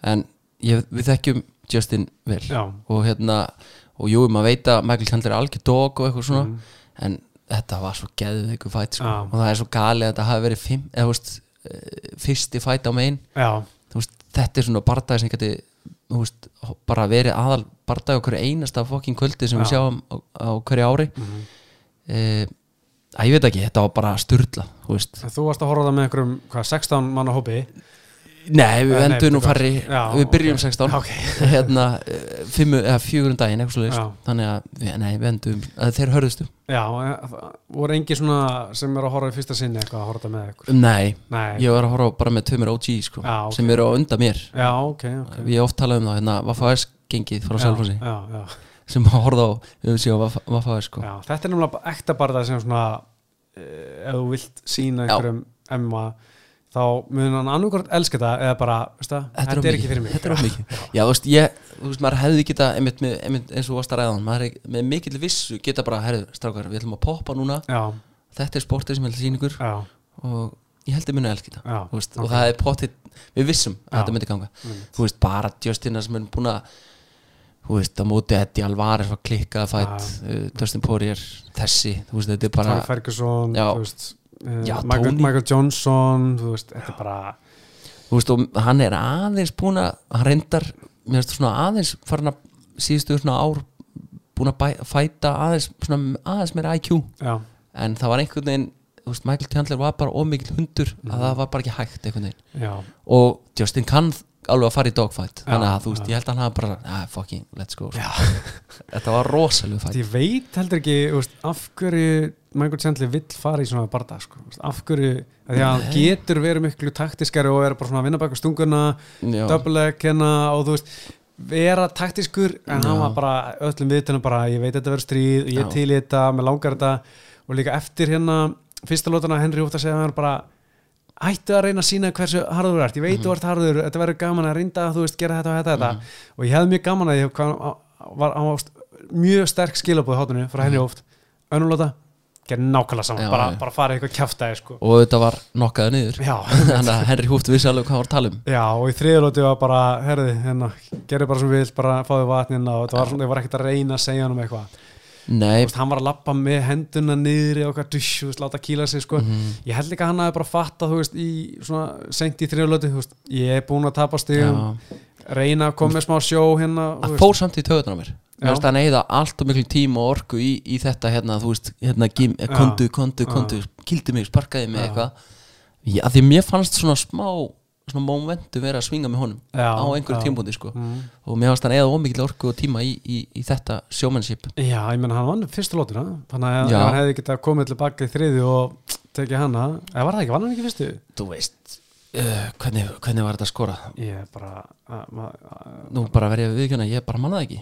Speaker 2: en ég, við þekkjum Justin vel
Speaker 1: Mm. Já.
Speaker 2: og hérna, og jú, maður veit að Michael Chandler er algjör dog og eitthvað svona
Speaker 1: Mm.
Speaker 2: en þetta var svo geðið ykkur fætt sko.
Speaker 1: Já.
Speaker 2: og það er svo galið að þetta hafi verið fimm, eða, þú veist, eh, fyrsti fætt á megin
Speaker 1: Já,
Speaker 2: þú veist, þetta er svona bardaði sem geti þú veist, ho- bara verið aðal bardaði okkur einasta fokkin kvöldi sem við
Speaker 1: Já.
Speaker 2: sjáum á, á hverju ári mm
Speaker 1: Mhm.
Speaker 2: ég veit ekki, þetta var bara styrla þú veist,
Speaker 1: En þú varst að horfa á það með einhverjum hvað, 16 manna hópi
Speaker 2: nei við
Speaker 1: Nei,
Speaker 2: endum nú
Speaker 1: betur.
Speaker 2: farri,
Speaker 1: Já,
Speaker 2: við byrjum
Speaker 1: ok.
Speaker 2: 16
Speaker 1: Ok.
Speaker 2: hérna, eh, fimmu, eða fjögurum daginn eitthvað slúðist,
Speaker 1: Já.
Speaker 2: þannig að við- nei, við endum, að þeir hörðustu
Speaker 1: Já, en það voru engi svona sem eru að horfa í fyrsta sinni eitthvað að horfa það með ykkur
Speaker 2: nei,
Speaker 1: Nei,
Speaker 2: ég var að horfa á bara með tveimur OG sko,
Speaker 1: Já, ok.
Speaker 2: sem eru á undan mér
Speaker 1: já, ok, ok
Speaker 2: við oft talaðum um það, hérna, Vaffa S gengið frá
Speaker 1: já,
Speaker 2: Salfossi,
Speaker 1: já, já,
Speaker 2: sem að horfa á við séum Vaffa S sko
Speaker 1: já, þetta er náttúrulega bara ekta barða sem svona eh, ef þú vilt sína
Speaker 2: Já.
Speaker 1: einhverjum MMA þá mun hann annarkort elska það eða bara, veist það,
Speaker 2: Þetta er of mikið.
Speaker 1: ekki fyrir mig
Speaker 2: Þetta er of mikið. Já, þú veist, ég, þú veist, maður hefði geta einmitt, með, einmitt eins og þú varst að ræðan, maður er með mikill vissu geta bara, herðu, strákar, við ætlum að poppa núna
Speaker 1: Já,
Speaker 2: þetta er sportið sem ég ætlum sýningur
Speaker 1: já,
Speaker 2: og ég held ég muni að elska þetta
Speaker 1: Já,
Speaker 2: þú
Speaker 1: ok.
Speaker 2: veist, og það er potið, við vissum að
Speaker 1: Já.
Speaker 2: þetta myndi ganga
Speaker 1: Einmitt.
Speaker 2: þú veist, bara Justina sem er búin að þú veist, á móti Eddie Alvarez var klikkað fætt, uh, Dustin Poirier þessi, þú veist, þetta er bara
Speaker 1: Tony Ferguson
Speaker 2: Já.
Speaker 1: þú veist, eh,
Speaker 2: Já,
Speaker 1: Michael,
Speaker 2: Tony.
Speaker 1: Michael Johnson þú veist, þetta er bara
Speaker 2: þú veist, og hann er aðeins búin að hann reyndar, mér veist, svona aðeins farin að síðustu svona ár búin að bæ- fæta aðeins svona aðeins meira IQ,
Speaker 1: já,
Speaker 2: en það var einhvern veginn þú veist, Michael Chandler var bara ómikil hundur
Speaker 1: Mhm.
Speaker 2: að það var bara ekki hægt einhvern veginn
Speaker 1: já,
Speaker 2: og Justin kann alveg að fara í dogfight
Speaker 1: Já,
Speaker 2: þannig að þú veist,
Speaker 1: já.
Speaker 2: ég held að hann hafa bara ah, fucking, let's go þetta var rosalega fætt
Speaker 1: Ég veit heldur ekki þú veist, af hverju Michael Chandler vill fara í svona barða sko. Þú veist, af hverju, af því að hann
Speaker 2: Nei.
Speaker 1: getur verið miklu taktiskari og vera bara svona að vinna baka stunguna
Speaker 2: Já.
Speaker 1: double kenna og þú veist vera taktiskur en hann
Speaker 2: Já.
Speaker 1: var bara öllum viðtunum bara ég veit þetta verður stríð, ég
Speaker 2: Já.
Speaker 1: til í þetta, mér langar þetta og líka eftir hérna fyrsta lótana Henry út að segja hann bara hættu að reyna að sína hversu harður þú ert ég veit
Speaker 2: Mhm.
Speaker 1: þú ert harður, þetta verður gaman að reynda að þú veist gera þetta og þetta, og þetta. og ég hefði mjög gaman að ég hvað, var á, mjög sterk skilabóð hátinu frá Henry oft önnulóta, gerði nákvæmlega saman
Speaker 2: Mhm. Já,
Speaker 1: bara,
Speaker 2: já.
Speaker 1: bara farið eitthvað kjaftaði sko.
Speaker 2: og þetta var nokkaða niður
Speaker 1: já,
Speaker 2: þannig að Henry Húft vissi alveg hvað hann var að tala um
Speaker 1: Já, og í þriðlóti var bara, herði, hérna, gerði bara sem við vill, bara fáðu vatnina hérna og það var, svona, ég var ekkert að reyna að segja hann um eitthvað. Þú
Speaker 2: Nei,
Speaker 1: veist, hann var að lappa með henduna niðri og eitthvað, dusch, þú veist, láta kýla sig,
Speaker 2: Mhm.
Speaker 1: sko. Ég held líka að hann hafi bara fattað, þú veist, í svona, sent í þriðlóti, þú veist, ég er búin að tapa stigum,
Speaker 2: já
Speaker 1: reyna að koma með smá sjó hérna, þú
Speaker 2: það
Speaker 1: veist.
Speaker 2: fór samt í töðunar á mér
Speaker 1: Já.
Speaker 2: mér finnst að neyða allt og miklu tíma og orku í, í þetta hérna, þú veist, hérna gim, eh, kondu, kondu, kondu, kildi mig, sparkaði mig eitthvað, Já, af því mér fannst svona smá, svona momentum vera að svinga með honum
Speaker 1: Já,
Speaker 2: á einhverjum
Speaker 1: já.
Speaker 2: tímbúndi sko
Speaker 1: Mm.
Speaker 2: og mér fannst að neyða ómikil orku og tíma í, í, í þetta sjómennship
Speaker 1: Já, ég menn, hann vann fyrstu lótuna, þannig að ef
Speaker 2: Já.
Speaker 1: hann hefði getað komið til baka í þriði og tekið hana, eða var það ekki, vann hann ekki fyrstu?
Speaker 2: þú veist, uh, hvernig, hvernig var þetta að skora
Speaker 1: Ég er bara, að- ma- að-
Speaker 2: nú bara verið að viðkjöna, ég bara mannaði ekki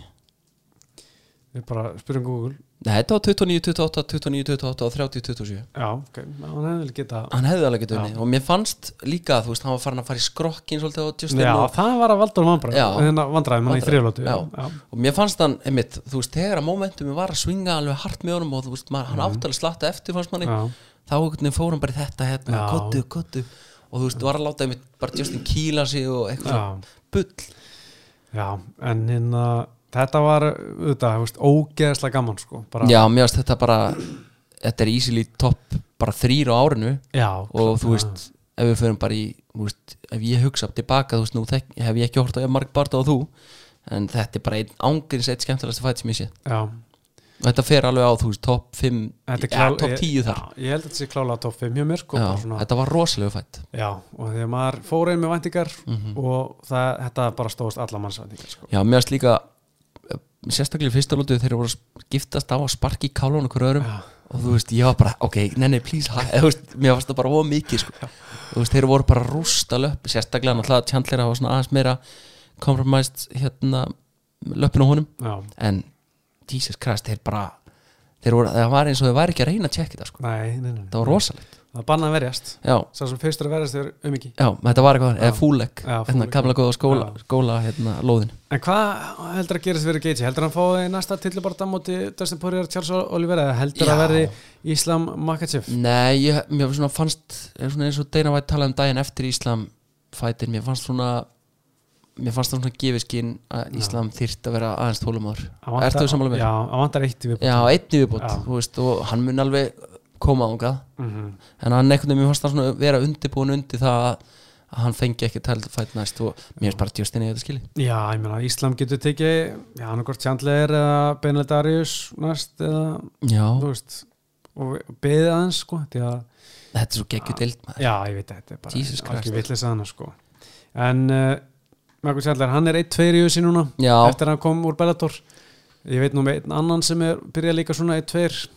Speaker 1: ég bara spyrum Google.
Speaker 2: Nei, þetta var 29, 28, 29, 28 og 30, 27
Speaker 1: Já, ok, hann hefði vel getað
Speaker 2: hann hefði alveg getið unni og mér fannst líka þú veist, hann var farin að fara í skrokkin svolítið á Justin
Speaker 1: Já,
Speaker 2: og,
Speaker 1: það var að valdur
Speaker 2: Já.
Speaker 1: vandræðum Hérna, vandræðum hann í
Speaker 2: Vandræðum,
Speaker 1: þriðlótu
Speaker 2: já. og mér fannst hann, einmitt, þú veist, þegar að momentumi var að svinga alveg hart með honum og þú veist, maður, hann átti alveg slatta eftir fannst manni,
Speaker 1: Mhm. Já.
Speaker 2: þá einhvern veginn fór hann bara í þetta hérna,
Speaker 1: Já.
Speaker 2: kottu, kottu og þú veist, var að láta einmitt bara Justin kýla sig og eitthvað
Speaker 1: Já.
Speaker 2: svona bull
Speaker 1: já, en hérna þetta var auðvitað, þú veist, ógeðslega gaman sko, bara,
Speaker 2: Já, mér finnst þetta bara þetta er easily top bara þrýr á árinu
Speaker 1: já
Speaker 2: og þú veist, ef við förum bara í þú veist, ef ég hugsa tilbaka þú veist, nú þek, hef ég ekki hort á Mark Barta og þú en þetta er bara einn ángurins eitt skemmtilegasta fætt sem ég sé
Speaker 1: já,
Speaker 2: og þetta fer alveg á, þú veist, topp 5
Speaker 1: þetta er
Speaker 2: ja,
Speaker 1: klár-
Speaker 2: topp
Speaker 1: ég-
Speaker 2: 10 eh, þar já,
Speaker 1: já, ég held að þetta sé klála top 5 hjá mér sko, bara svona,
Speaker 2: þetta var rosalega fætt
Speaker 1: já, og þegar maður fór einn með væntingar
Speaker 2: Mhm.
Speaker 1: og það, þetta bara stóðst alla manns væntingar sko.
Speaker 2: já, mér finnst líka eh, sérstaklega í fyrsta lótu þegar þeir voru að giftast á að sparki í kálun okkur öðrum
Speaker 1: já,
Speaker 2: og þú veist, ég var bara, ok, nei, nei, please hæ, þú veist, mér varst það bara of mikið sko. þú veist, þeir voru bara að rústa löpp sérstaklega náttúrulega Chandler hafa svona aðeins meira compromised hérna löppinu honum,
Speaker 1: já,
Speaker 2: en Jesus Christ, þeir bara þeir voru, það var eins og þeir væri ekki að reyna að tjekka það sko.
Speaker 1: nei, nei, nei
Speaker 2: það var rosalegt,
Speaker 1: það banna að verjast
Speaker 2: já,
Speaker 1: sá sem fyrstur að verjast er um ekki
Speaker 2: já, þetta var eitthvað, eða fúleg
Speaker 1: Já,
Speaker 2: hérna,
Speaker 1: fúleg.
Speaker 2: gamla góða skóla,
Speaker 1: Já.
Speaker 2: skóla hérna, lóðin,
Speaker 1: en hvað heldur að gerist fyrir Gage heldur hann fái næsta tillibarta móti Dustin Poirier, Charles Oliveira eða heldur að
Speaker 2: Já.
Speaker 1: verði Islam Makachev
Speaker 2: nei, ég, mér svona fannst, er svona eins og Dana White talaði um daginn eftir Íslam fætin, mér fannst svona mér fannst það svona gefiskinn að
Speaker 1: Já.
Speaker 2: Íslam þyrft að vera aðeins þólumáður
Speaker 1: Hann vantar-
Speaker 2: Ertu sammála mér?
Speaker 1: já, hann vantar eitt í viðbót
Speaker 2: Já, einn í viðbót
Speaker 1: Já.
Speaker 2: þú veist, og hann mun alveg koma ángað
Speaker 1: Mhm.
Speaker 2: en hann einhvern veginn mér fannst hann svona vera undirbúin undir það að að hann fengi ekki tælt fætt næst og mér finnst bara Justin í þetta skili
Speaker 1: Já, ég meina, Íslam getur tekið já, hann okkur Chandler eða Benel Darius næst eða,
Speaker 2: Já,
Speaker 1: þú veist og beðið aðeins, sko því að,
Speaker 2: þetta er svo geggjut deild maður
Speaker 1: já, ég veit að þetta er bara
Speaker 2: Jesus Christ.
Speaker 1: algjör vitleisa hana, sko en uh, Michael Chandler, hann er 1-2 í USA núna,
Speaker 2: Já,
Speaker 1: eftir að hann kom úr Bellator ég veit nú með einn annan sem er byrjað líka svona 1-2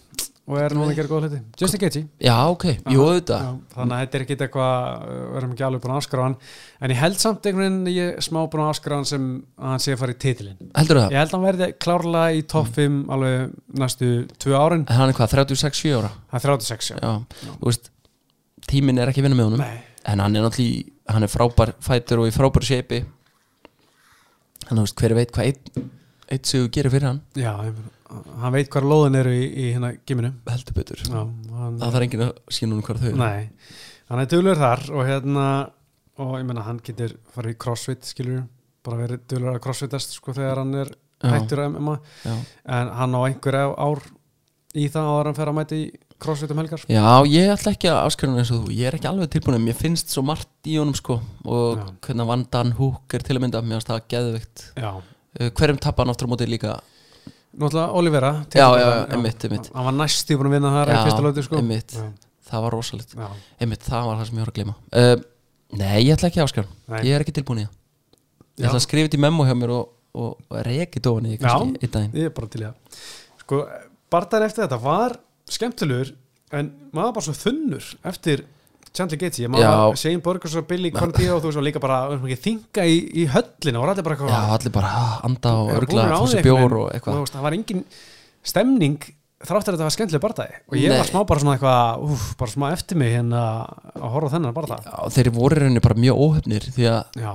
Speaker 1: og er núna að gera góða hluti, Justin Gaethje
Speaker 2: já, ok, jú, auðvitað
Speaker 1: Já, þannig að þetta er ekkit eitthvað uh, við erum ekki alveg búin að afskráða hann en ég held samt einhvern veginn ég er smá búin að afskráða hann sem að hann sé að fara í titilin
Speaker 2: Heldur það?
Speaker 1: Ég held að hann verði klárlega í
Speaker 2: Mm.
Speaker 1: topp 5 alveg næstu tvö árin
Speaker 2: En hann er hvað, 36-7 ára?
Speaker 1: Það er 36, já,
Speaker 2: Já, þú veist tíminn er ekki að vinna með honum
Speaker 1: Nei.
Speaker 2: en hann er náttúrulega, í- hann er frábær fætur og í frábær shape hann, þú veist, hver veit hvað einn eitt sigur gerir fyrir hann
Speaker 1: já ég meina, hann veit hvar lóðin eru í, í hérna giminu
Speaker 2: Heldur betur
Speaker 1: Já, hann,
Speaker 2: Það þarf enginn að sína hún hvað þau eru.
Speaker 1: nei, hann er duglur þar og hérna, og ég meina hann getur farið í crossfit, skilur bara verið duglur að crossfitast, sko, þegar hann er
Speaker 2: Já.
Speaker 1: hættur að MMA,
Speaker 2: Já.
Speaker 1: en hann á einhverja ár í það áður en hann fer að mæta í crossfit um helgar
Speaker 2: Já, ég ætla ekki að afskjörna eins og þú Ég er ekki alveg tilbúin en Mér finnst svo margt í honum sko Og
Speaker 1: Já.
Speaker 2: hvernig Van Dan Hook er til að mynda Mér finnst það geðveikt
Speaker 1: Já,
Speaker 2: Uh, Hverjum tappa hann aftur á móti líka
Speaker 1: náttúrulega Olivera
Speaker 2: Já, já, einmitt, einmitt.
Speaker 1: Hann var næstu búin að vinna þar í
Speaker 2: Já,
Speaker 1: fyrsta lóti, sko
Speaker 2: einmitt.
Speaker 1: Já,
Speaker 2: Það var rosalegt
Speaker 1: já.
Speaker 2: Einmitt, það var það sem ég voru að gleyma uh, Nei, ég ætla ekki að afskjörna
Speaker 1: Nei.
Speaker 2: Ég er ekki tilbúin í það Ég
Speaker 1: Já.
Speaker 2: ætla að skrifa þetta í memo hjá mér Og, og, og reki dóan í því kannski einn daginn
Speaker 1: ég er bara til í það sko, barðar eftir þetta var skemmtilegur en maður var bara svo þunnur eftir Chandler Gaethje, ég maður
Speaker 2: Já.
Speaker 1: var Shane Burgers og Billy Conti og þú veist, og líka bara um, ekki, þinga í, í höllinu, voru allir bara
Speaker 2: Já,
Speaker 1: eitthvað
Speaker 2: allir bara ah, anda og
Speaker 1: Eru
Speaker 2: örgla
Speaker 1: búnir á því
Speaker 2: Fóssi
Speaker 1: einhvern
Speaker 2: bjór
Speaker 1: veginn.
Speaker 2: og eitthvað
Speaker 1: þú veist, það var engin stemning þráttur að þetta var skemmtileg barðaði og ég
Speaker 2: Nei.
Speaker 1: var smá bara svona eitthvað, úf, bara smá eftir mig hérna að horfa á þennan barða
Speaker 2: Já, Þeir voru í rauninni bara mjög óhefnir Því að
Speaker 1: já,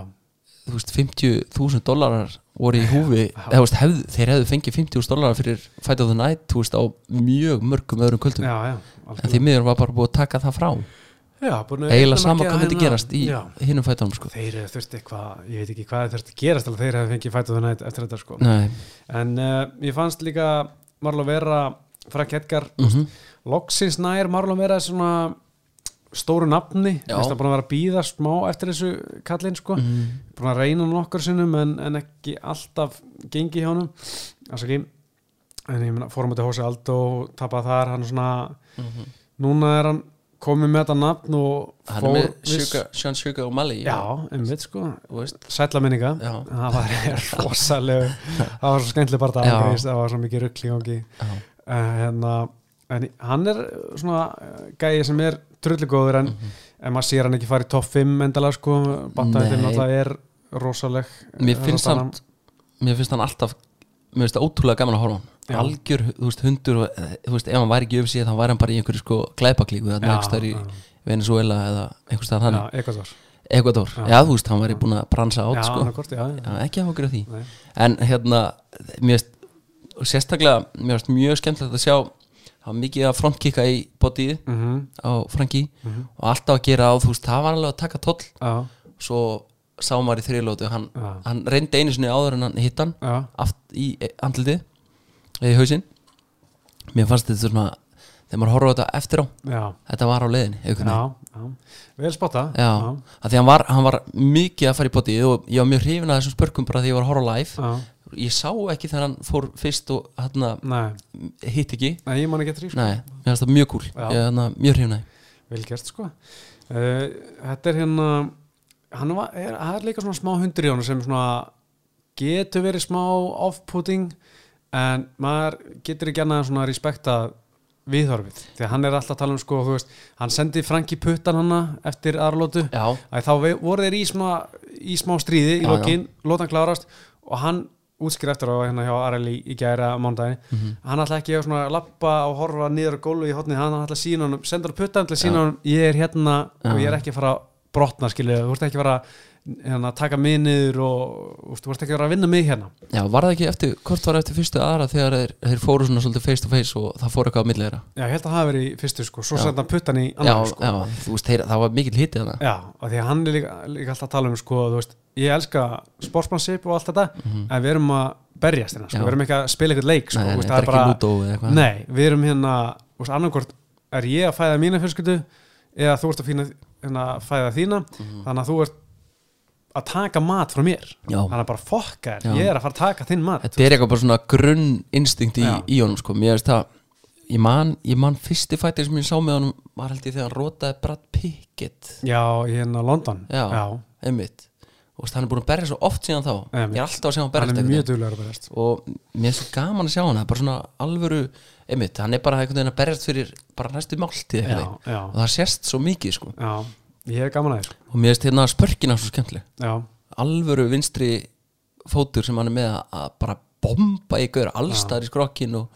Speaker 2: þú veist, 50.000 dólarar voru í húfi, eða, þú veist, hefð, þeir hefðu fengið 50.000 dólarar fyrir Fight of the Night þú veist, á mjög mörgum öðrum
Speaker 1: já,
Speaker 2: kvöldum
Speaker 1: já,
Speaker 2: en því miður var bara búið að taka það frá
Speaker 1: já búin að-
Speaker 2: eiginlega
Speaker 1: að
Speaker 2: sama
Speaker 1: gera
Speaker 2: hvað myndi
Speaker 1: hérna-
Speaker 2: gerast í
Speaker 1: já.
Speaker 2: hinnum fætunum sko.
Speaker 1: þeir eh, þurfti eitthvað, ég veit ekki hvað þeir þurfti að gerast alveg þeir hefði fengið fætið þannig eftir þetta sko
Speaker 2: Nei,
Speaker 1: en uh, ég fannst líka Marlon Vera, Frank Edgar
Speaker 2: mm
Speaker 1: loksins nær Marlon Vera svona stóru nafni,
Speaker 2: Já. Mm.
Speaker 1: þess að búin að vera að býða smá eftir þessu kallinn sko búin að reyna nokkur sinnum en, en ekki alltaf gengi hjá honum Asaki, en ég meina fórum þetta hósi Aldo og tapað þar hann svona,
Speaker 2: Mhm.
Speaker 1: núna er hann komið með þetta nafn og
Speaker 2: hann er með
Speaker 1: viss-
Speaker 2: Sugar, Sean Sugar og Mali
Speaker 1: Já, einmitt sko
Speaker 2: þú veist,
Speaker 1: sætla minninga
Speaker 2: Já.
Speaker 1: það var rosalega það var svo skemmtileg bara
Speaker 2: Já.
Speaker 1: það það var svo mikið ruggli gangi
Speaker 2: Já.
Speaker 1: uh, hérna, en hann er svona uh, gæi sem er trulligóður
Speaker 2: Mm.
Speaker 1: en,
Speaker 2: Mhm.
Speaker 1: en maður sér hann ekki fara í topp 5 endalega sko, bandaðið
Speaker 2: Nei.
Speaker 1: náttúrulega er rosaleg
Speaker 2: Mér finnst
Speaker 1: Rosanna.
Speaker 2: samt- mér finnst hann alltaf mér finnst það ótrúlega gaman að horfa á hann
Speaker 1: Já.
Speaker 2: algjör, þú veist, hundur og, eh, þú veist, ef hann væri ekki öfum síðan, þá væri hann bara í einhverju sko glæpaklíku,
Speaker 1: Já,
Speaker 2: þannig að einhverstaðar í
Speaker 1: já.
Speaker 2: Venezuela eða einhverstaðar hann
Speaker 1: Já, Ecuador
Speaker 2: Ecuador,
Speaker 1: Já.
Speaker 2: já, þú veist, hann væri búin að bransa át
Speaker 1: Já,
Speaker 2: sko.
Speaker 1: annað hvort, já, já.
Speaker 2: já, ekki áhugur af því
Speaker 1: Nei.
Speaker 2: en hérna, mér veist og sérstaklega, mér veist mjög skemmtilegt að sjá það var mikið að frontkika í bodyð
Speaker 1: Mhm,
Speaker 2: á Franki og alltaf að gera á, þú veist, það var alveg að taka tóll
Speaker 1: já,
Speaker 2: svo sá maður í þriðlótu hann,
Speaker 1: Já.
Speaker 2: hann reyndi einu sinni áður en hann hitt hann
Speaker 1: já,
Speaker 2: aft í e, andlitið eða í hausinn mér fannst þetta svona, þegar maður horfði á þetta eftir á
Speaker 1: já,
Speaker 2: þetta var á leiðinni, einhvern veginn
Speaker 1: já, já. vel spotta
Speaker 2: Já, af því hann var, hann var mikið að fara í bótið og ég var mjög hrifin að þessum spörkum bara því ég var að horfa á live
Speaker 1: já.
Speaker 2: Ég sá ekki þegar hann fór fyrst og hann
Speaker 1: Nei,
Speaker 2: hitt ekki
Speaker 1: nei, ég man ekki eftir því sko.
Speaker 2: Nei, mér finnst það mjög cool,
Speaker 1: Já.
Speaker 2: ég hann mjög hrifin að
Speaker 1: vel gert sko uh, þetta er hérna hann var, er, það er líka svona smá hundur í honum sem svona getur verið smá off-putting en maður getur ekki annað en svona respekta viðhorfið því að hann er alltaf að tala um sko, þú veist, hann sendi Franki puttan hana eftir aðrlótu
Speaker 2: já,
Speaker 1: að þá ve- voru þeir í smá, í smá stríði í
Speaker 2: Já,
Speaker 1: lokin, lóta hann klárast og hann útskýr eftir á hérna hjá Areli í gæra mándaginn,
Speaker 2: Mhm.
Speaker 1: hann ætla ekki að svona lappa og horfa niður á gólu í hotnið hann ætla að sína hann, sendur puttan til að sína hann ég er hérna og ég er ekki að fara að brotna skilja, þú ert ekki að fara að, hérna, taka mig niður og þú veist, þú ert ekki að fara að vinna mig hérna
Speaker 2: já, var það ekki eftir hvort var eftir fyrstu aðra þegar þeir, þeir fóru svona svolítið face to face og það fór eitthvað á milli þeirra
Speaker 1: Já, ég held að það hafi verið í fyrstu sko, svo
Speaker 2: Já.
Speaker 1: senda hann puttan í
Speaker 2: já,
Speaker 1: annar sko.
Speaker 2: já, þú veist, þeir, það var mikil hitið hana
Speaker 1: Já, og því að hann er líka, líka alltaf að tala um sko, þú veist, ég elska sportsmanship og allt þetta, en við erum að berjast hérna, sko,
Speaker 2: Mhm. Já.
Speaker 1: við erum ekki að spila eitthvað leik sko,
Speaker 2: nei,
Speaker 1: þú
Speaker 2: nei,
Speaker 1: veist,
Speaker 2: það er ekki lúdó eða eitthvað
Speaker 1: Nei, við erum hérna, þú veist, annarkvort er ég að fæða mína fjölskyldu eða þú ert að fína, hérna, fæða þína
Speaker 2: Mhm.
Speaker 1: þannig að þú ert að taka mat frá mér,
Speaker 2: Já.
Speaker 1: þannig að bara fokka
Speaker 2: Já.
Speaker 1: þér, ég er að fara að taka þinn mat
Speaker 2: þetta er eitthvað bara svona grunn instinkt í,
Speaker 1: Já.
Speaker 2: í honum sko, mér veist það ég man, ég man fyrsti fættir sem ég sá með honum var held ég þegar hann rotaði Brad Pickett
Speaker 1: Já, hérna London
Speaker 2: já, einmitt og veist, hann er búin að berja svo oft síðan þá
Speaker 1: Einmitt.
Speaker 2: ég er alltaf að sjá hann berja
Speaker 1: hann er mjög duglegur að berjast
Speaker 2: og mér er svo gaman að sjá hann það er bara svona alvöru einmitt, hann er bara einhvern veginn að berjast fyrir bara næstu máltíð
Speaker 1: Já,
Speaker 2: og
Speaker 1: já,
Speaker 2: það sést svo mikið sko.
Speaker 1: já, ég er gaman að þér
Speaker 2: og mér veist hérna spörkina svo skemmtileg
Speaker 1: Já,
Speaker 2: alvöru vinstri fótur sem hann er með að- að bara bomba í gaur allstaðar í skrokkin og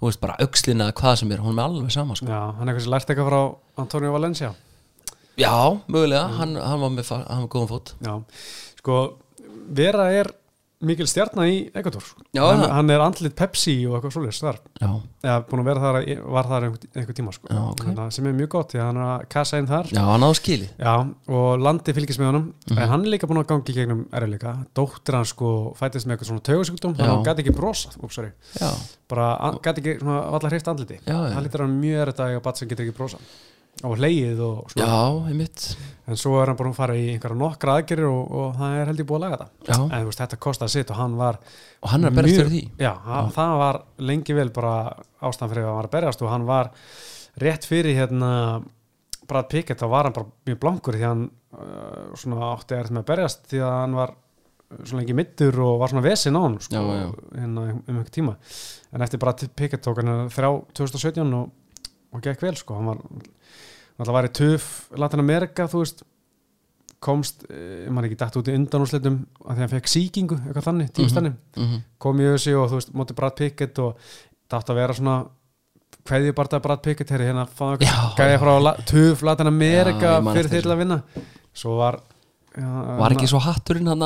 Speaker 2: þú veist bara aukslina eða hvað sem er hún er alveg sama sko.
Speaker 1: já, hann er kannski lært eitthvað frá Antonio Valencia
Speaker 2: já, mögulega, hann, hann var með fa- hann var góðan fót
Speaker 1: Já, sko Vera er mikil stjarnar í Ekkator
Speaker 2: Já,
Speaker 1: hann,
Speaker 2: það.
Speaker 1: hann er andlit Pepsi og eitthvað svoleiðis þar
Speaker 2: já,
Speaker 1: eða búin að vera þar, í- var þar einhver, einhver tíma sko.
Speaker 2: Já, ok.
Speaker 1: Þannig að sem er mjög gott, því að hann er að kassa einn þar
Speaker 2: já hann áður skili
Speaker 1: Já, og landi fylgist með honum
Speaker 2: Mhm.
Speaker 1: en hann er líka búin að gangi í gegnum erfiðleika dóttir hans sko fættist með eitthvað svona taugasugdóm þannig
Speaker 2: Já.
Speaker 1: að hann gæti ekki brosað, úps, sorry
Speaker 2: já,
Speaker 1: bara gæti ekki svona vallar hreift andliti
Speaker 2: Já, já.
Speaker 1: það lítur hann mjög erfitt að eiga bat sem getur ekki brosað og hlegið og svona
Speaker 2: já, einmitt
Speaker 1: en svo er hann bara að fara í einhverja nokkra aðgerir og, og það er held ég búið að laga þetta
Speaker 2: já.
Speaker 1: en þú veist, þetta kostaði sitt og hann var
Speaker 2: og hann er að berjast fyrir því
Speaker 1: já, hann, það var lengi vel bara ástæðan fyrir að hann var að berjast og hann var rétt fyrir hérna Brad Pickett, þá var hann bara mjög blankur því að hann uh, svona átti erð með að berjast því að hann var uh, svo lengi middur og var svona vesinn á hann sko,
Speaker 2: Já, já.
Speaker 1: hérna um einhver tíma en eftir Brad Pickett tók hann hérna þrjá 2017 og, og gekk vel sko, hann var náttúrulega var í töf Latin America, þú veist komst, eh, maður ekki dætt út í undanúrslitum að því að hann fekk sýkingu, eitthvað þannig, tímastanni
Speaker 2: mm
Speaker 1: kom í össi og þú veist, móti Brad Pickett og það átti að vera svona hverju bara Brad Pickett heyri, hérna fann okkur
Speaker 2: Já,
Speaker 1: gæði frá la, TUF Latin America
Speaker 2: Já, ég man
Speaker 1: fyrir
Speaker 2: eftir
Speaker 1: þeir til að vinna svo var já, hérna,
Speaker 2: var ekki hérna? svo hatturinn hann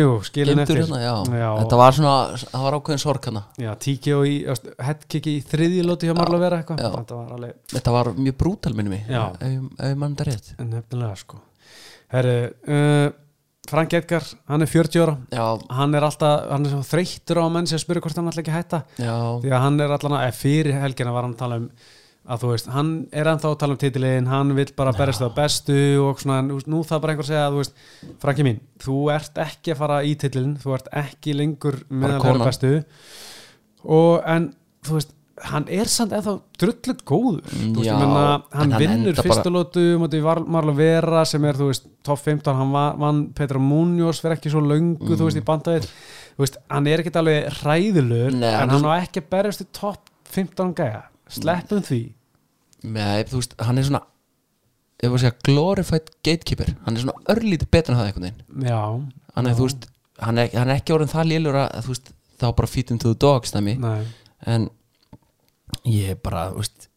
Speaker 1: jú, skilin
Speaker 2: gemdur
Speaker 1: eftir
Speaker 2: hann já.
Speaker 1: Já.
Speaker 2: þetta var svona, það var ákveðin sorg hann
Speaker 1: já, TKO í, öst, headkicki í þriðji lóti hjá Marla vera eitthvað
Speaker 2: já.
Speaker 1: þetta var alveg
Speaker 2: þetta var mjög brútal minni mig
Speaker 1: Já.
Speaker 2: ef, ég- ef mann þetta rétt
Speaker 1: nefnilega sko herri, uh, Frank Edgar hann er 40 ára
Speaker 2: já,
Speaker 1: hann er alltaf, hann er svo þreyttur á að menn sem spyrir hvort hann ætla ekki að hætta
Speaker 2: já,
Speaker 1: því að hann er allan að, eða fyrir helgina var hann að tala um að þú veist, hann er ennþá að tala um titilin hann vill bara berjast það bestu og svona, en þú veist, nú það bara einhver að segja að þú veist, Franki mín, þú ert ekki að fara í titilin, þú ert ekki lengur með
Speaker 2: Bara
Speaker 1: að vera
Speaker 2: konan.
Speaker 1: bestu og en, þú veist hann er samt ennþá drullut góður
Speaker 2: Mm,
Speaker 1: þú veist,
Speaker 2: já,
Speaker 1: ég menna,
Speaker 2: en
Speaker 1: hann
Speaker 2: hann
Speaker 1: vinnur um
Speaker 2: endar bara-
Speaker 1: fyrstulótu, mútið Marla Vera sem er, þú veist, top 15, hann va- vann Petra Munoz fyrir ekki svo löngu, þú veist, í bandavið, þú veist, hann er ekkit alveg hræðilegur,
Speaker 2: Nei,
Speaker 1: en
Speaker 2: hann-
Speaker 1: hann á ekki að berjast í topp 15 gæja, sleppum því
Speaker 2: með, þú veist, hann er svona ef að segja glorified gatekeeper hann er svona örlítið betur en það einhvern veginn
Speaker 1: já,
Speaker 2: hann er, þú veist, hann er, hann er ekki orðin það lélur að, þú veist, þá bara feed him to the dogs dæmi,
Speaker 1: nei,
Speaker 2: en ég er bara, þú veist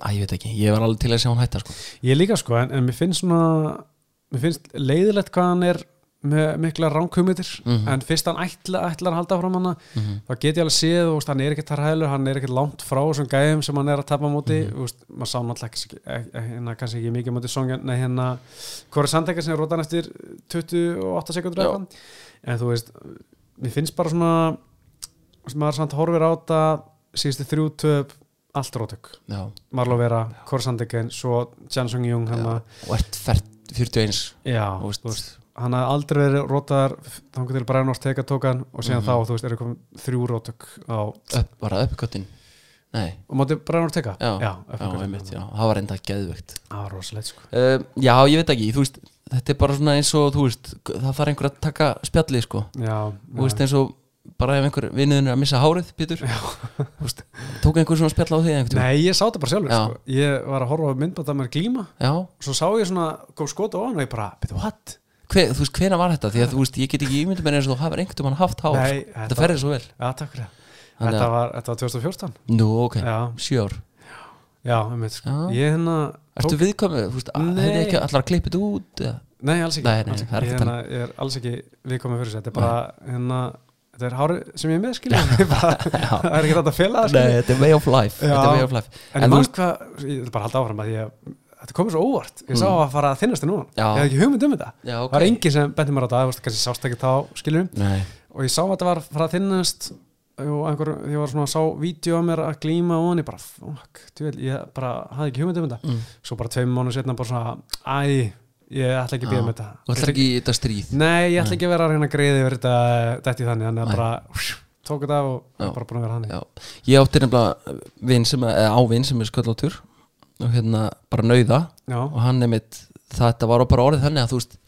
Speaker 2: að ég veit ekki, ég var alveg til að sjá hann hætta sko.
Speaker 1: ég líka sko en, en mér finnst svona mér finnst leiðilegt hvað hann er með mikla ránkumitir
Speaker 2: Mhm.
Speaker 1: en fyrst hann ætla, ætlar að halda fram hana
Speaker 2: mm
Speaker 1: þá get ég alveg séð, þú veist, hann er ekkert þar hæðlur hann er ekkert langt frá þessum gæðum sem hann er að tapa á móti,
Speaker 2: Mhm.
Speaker 1: þú veist, maður sá náttúrulega ekki, ekki- ekki- hérna kannski ekki mikið á móti songja nei, hérna, Kori Sandekar sem er rótan eftir 28 sekundur
Speaker 2: Já.
Speaker 1: eitthvað en þú veist, mér finnst bara svona sem maður samt horfir á þetta síðustu þrjú töp allt rótök,
Speaker 2: já,
Speaker 1: Marlo Vera Kori Sandekar, svo Jan Sung Jung hann að,
Speaker 2: og ert fært 41
Speaker 1: já,
Speaker 2: Þú veist.
Speaker 1: þú veist hann hafði aldrei verið rótaðar þangur til Brian Ortega tók hann og
Speaker 2: Mhm.
Speaker 1: síðan þá, þú veist, eru komin þrjú rótök á
Speaker 2: upp, var það uppgöttin? Nei,
Speaker 1: og mátti Brian Ortega
Speaker 2: já, já,
Speaker 1: uppgötvun.
Speaker 2: einmitt, já, það var enda geðvögt
Speaker 1: það var rosalegt sko
Speaker 2: uh, Já, ég veit ekki, þú veist þetta er bara svona eins og, þú veist það þarf einhver að taka spjallið, sko
Speaker 1: já,
Speaker 2: þú veist eins og bara ef einhver vinnuðin er að missa hárið Pétur,
Speaker 1: veist.
Speaker 2: tók einhver svona spjall á því einhvern tímann?
Speaker 1: Nei, ég sá þetta bara sjálfur
Speaker 2: Já.
Speaker 1: sko. Ég var að horfa á myndbætt að mér glíma
Speaker 2: Já,
Speaker 1: Svo sá ég svona, kom skota ofan og ég bara Betur, what?
Speaker 2: Hver, þú veist, hvena var þetta? Því að þú veist, ég get ekki ímyndum en eins og þú hafir einhvern mann haft hár
Speaker 1: Nei,
Speaker 2: sko.
Speaker 1: þetta-
Speaker 2: Þetta ferði svo vel
Speaker 1: Já, takk fyrir það
Speaker 2: Þannig
Speaker 1: Þetta
Speaker 2: að-
Speaker 1: var, þetta var 2014
Speaker 2: Nú, ok,
Speaker 1: Já,
Speaker 2: sjö ár
Speaker 1: já, einmitt sko.
Speaker 2: Já.
Speaker 1: Ég hérna
Speaker 2: Ertu viðkomið, þú veist,
Speaker 1: Nei.
Speaker 2: hefði ekki allar að klippa þetta út eða?
Speaker 1: Nei, alls ekki,
Speaker 2: Nei, nei,
Speaker 1: alls ekki.
Speaker 2: það er
Speaker 1: Ég,
Speaker 2: ekki
Speaker 1: hérna, ég er alls ekki viðkomið fyrir þessu Þetta er bara, hérna Þetta er hárið sem ég er með, skilja Það er ekki þetta að fela það,
Speaker 2: Nei,
Speaker 1: skilja
Speaker 2: þetta er way of life,
Speaker 1: Já.
Speaker 2: þetta er way of life.
Speaker 1: En,
Speaker 2: En
Speaker 1: en
Speaker 2: þú
Speaker 1: mann hvað, ég vil bara að halda áfram að ég Þetta komið svo óvart, ég sá
Speaker 2: Mm.
Speaker 1: að fara að þinnast þér núna
Speaker 2: Já.
Speaker 1: Ég hef ekki hugmynd um þetta
Speaker 2: Já,
Speaker 1: Það var enginn sem benti mér á þetta, þú veist, kannski sást ekki þá, skiljum
Speaker 2: Nei,
Speaker 1: og ég sá að þetta var að fara að þinnast og einhver, ég var svona að sá vídeo að mér að glíma og hann, ég bara fuck, djúvel, ég bara hafði ekki hugmynd um þetta
Speaker 2: mm.
Speaker 1: svo bara tveim mánu setna bara svona æ, ég ætla ekki að býða
Speaker 2: Já.
Speaker 1: með þetta
Speaker 2: þú ætlar ekki í þetta stríð
Speaker 1: nei, ég ætla
Speaker 2: Nei.
Speaker 1: ekki að vera að reyna að greiði yfir þetta dætti þannig, þannig
Speaker 2: Nei.
Speaker 1: að bara psh, tók þetta og
Speaker 2: Já.
Speaker 1: bara búin að vera þannig
Speaker 2: Já. Ég átti nefnilega vin sem, eða á vin sem er sköllóttur og hérna bara nauða
Speaker 1: já,
Speaker 2: og hann er mitt, þetta var bara orðið þannig að þú veist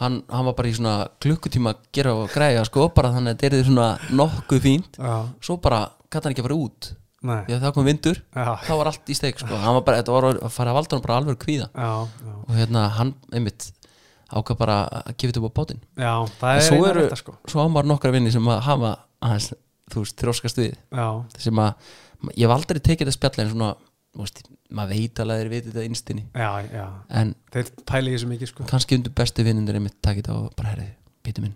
Speaker 2: hann, hann var bara í svona klukkutíma að gera og græja sko, bara þannig að þetta er svona nokkuð fínt,
Speaker 1: já,
Speaker 2: svo bara gæti hann ekki að fara út,
Speaker 1: nei
Speaker 2: því að það kom vindur
Speaker 1: já,
Speaker 2: þá var allt í steik sko, hann var bara, þetta var að fara að valda hann bara alveg kvíða
Speaker 1: já, já,
Speaker 2: og hérna hann, einmitt ákvað bara að gefa þetta upp á bátinn
Speaker 1: já það
Speaker 2: En
Speaker 1: er
Speaker 2: svo
Speaker 1: eina
Speaker 2: eru-
Speaker 1: þetta sko
Speaker 2: svo ámar nokkra vinni sem að hafa aðeins, þú veist, þróskast við
Speaker 1: já,
Speaker 2: sem að, ég hef aldrei tekið þetta spjall en svona, þú veist, maður veit alveg að þeir veit þetta innstinni,
Speaker 1: já, já,
Speaker 2: en
Speaker 1: þeir pæli í þessu mikið sko
Speaker 2: kannski undir bestu vinnundur einmitt takit á bara herri, pítur minn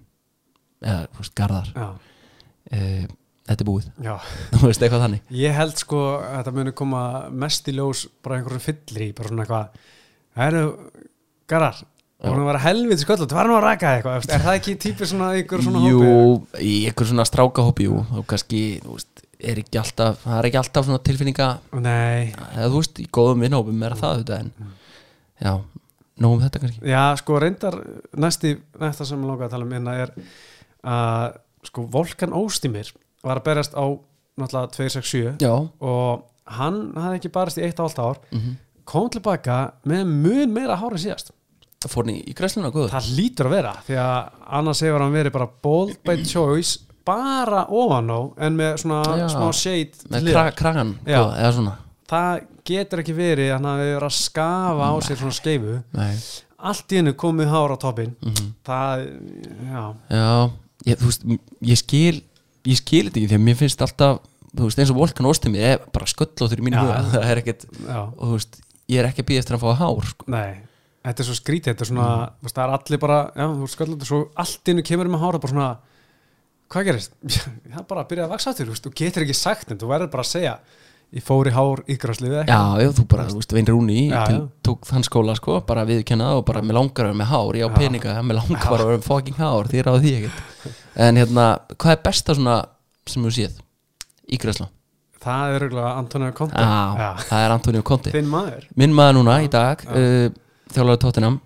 Speaker 2: eða, þú veist, garðar
Speaker 1: já,
Speaker 2: uh, þetta er búið,
Speaker 1: já
Speaker 2: þú veist, eitthvað þannig
Speaker 1: Ég held sko að þetta muni koma mest í ljós bara einhverjum fyllir í, bara svona eitthvað Það eru, garar, það voru að vera helviti sköll það var nú að raka þig eitthvað, er það ekki típi svona einhver svona
Speaker 2: Jú,
Speaker 1: hópi?
Speaker 2: í einhver svona strákahópi, jú og kannski, þú veist, er ekki alltaf það er ekki alltaf svona tilfinninga
Speaker 1: Nei,
Speaker 2: eða þú veist, í góðum vinnhópum er það þetta en, já, nóg um þetta kannski
Speaker 1: já sko reyndar næsti, næsta sem ég langaði að tala um hérna er að sko Volkan Óstímir var að berjast á náttúrulega 267
Speaker 2: Já,
Speaker 1: og hann hafði ekki barist í eitt og allt ár
Speaker 2: mm
Speaker 1: kom tilbaka með mun meira hárið síðast
Speaker 2: fór hann í, í græsluna góður
Speaker 1: Það lítur að vera því að annars hefur hann verið bara bold by choice bara ofan á en með svona
Speaker 2: Já.
Speaker 1: smá shade til
Speaker 2: með
Speaker 1: hliðar.
Speaker 2: kra, kragan
Speaker 1: Já.
Speaker 2: góða, eða svona
Speaker 1: það getur ekki verið að hann hafi verið að skafa á sér svona skeifu
Speaker 2: Nei.
Speaker 1: allt í hennu komið hár á toppin
Speaker 2: Mhm.
Speaker 1: það, já,
Speaker 2: já, ég, þú veist m- ég skil, ég skil þetta ekki því að mér finnst alltaf, þú veist eins og Volkan Óstemi er bara sköllóttur í mínu
Speaker 1: Já.
Speaker 2: huga það er ekkert,
Speaker 1: já,
Speaker 2: og þú veist ég er ekki að býja eftir að fá hár sko.
Speaker 1: nei þetta er svo skrítið, þetta er svona,
Speaker 2: Mhm.
Speaker 1: þú veist, það er allir bara já, þú veist, skallat, svo allt í hennu kemur með hár bara svona, hvað gerist? það er bara að byrja að vaksa aftur, þú veist, þú getur ekki sagt en þú verður bara að segja, ég fór í hár ygraslið
Speaker 2: já, já, þú bara, þú veist, Vein Rúni
Speaker 1: Já,
Speaker 2: til,
Speaker 1: já.
Speaker 2: tók þann skóla, sko, bara viðkenna það og bara, mér langar að vera með hár, ég á
Speaker 1: Já.
Speaker 2: peninga mér langar bara að vera með fucking hár, því er á því ekkert en hérna, hvað er besta svona sem þú séð í græsla?
Speaker 1: Það er auðvitað Antonio Conte
Speaker 2: Ah, Já,
Speaker 1: Já.
Speaker 2: það er Antonio Conti
Speaker 1: Þinn maður
Speaker 2: minn maður núna í dag uh, þjálfari Tottenham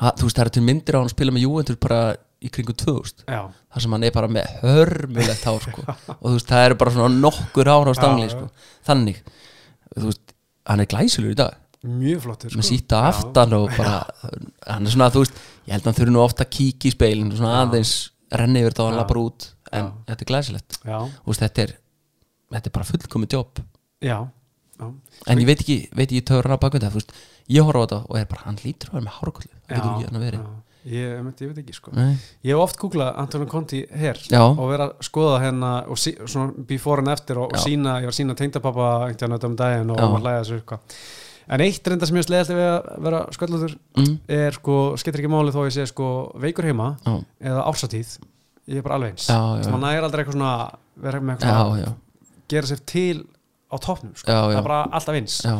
Speaker 2: ha, þú veist það eru til myndir á hann að spila með Juventus bara í kringum 2000
Speaker 1: Já,
Speaker 2: þar sem hann er bara með hörmulegt hár sko. og þú veist það eru bara svona nokkur hár á stangli
Speaker 1: Já, já.
Speaker 2: sko. þannig þú veist hann er glæsilur í dag
Speaker 1: mjög flottur sko.
Speaker 2: með síta aftan og bara hann er svona þú veist ég held að hann þurfi nú ofta að kíkja í speilin og svona aðeins renni yfir þá hann
Speaker 1: Já.
Speaker 2: lapar út en þetta er glæsilegt
Speaker 1: Já,
Speaker 2: þú veist þetta er þetta er bara fullkomið jobb
Speaker 1: já, já.
Speaker 2: en ég veit ekki, veit ekki törra bakvið það, þú veist, ég horfa á þetta og er bara hann lítur að vera með hárkollu, það getur ekki hérna hann að veri
Speaker 1: já. Ég, ég, ég veit ekki sko
Speaker 2: Nei.
Speaker 1: Ég hef oft googlað Antonio Conte hér
Speaker 2: Já.
Speaker 1: og verið að skoða hérna og sí, svona before and eftir og, og
Speaker 2: Já.
Speaker 1: sína, ég var sína tengdapappa einhvern veginn um daginn og
Speaker 2: Já.
Speaker 1: hann var að hlæða þessu eitthvað En eitt reynda sem ég slegði við að vera sköllutur
Speaker 2: mm,
Speaker 1: er sko, skiptir ekki máli þó ég sé sko veikur heima
Speaker 2: já,
Speaker 1: eða ársatíð ég er bara alveg eins
Speaker 2: Já, já.
Speaker 1: Þannig að ég er aldrei eitthvað svona vera með eitthvað svona-
Speaker 2: já, já,
Speaker 1: gera sér til á toppnum sko.
Speaker 2: Já, já.
Speaker 1: það er bara alltaf eins
Speaker 2: já.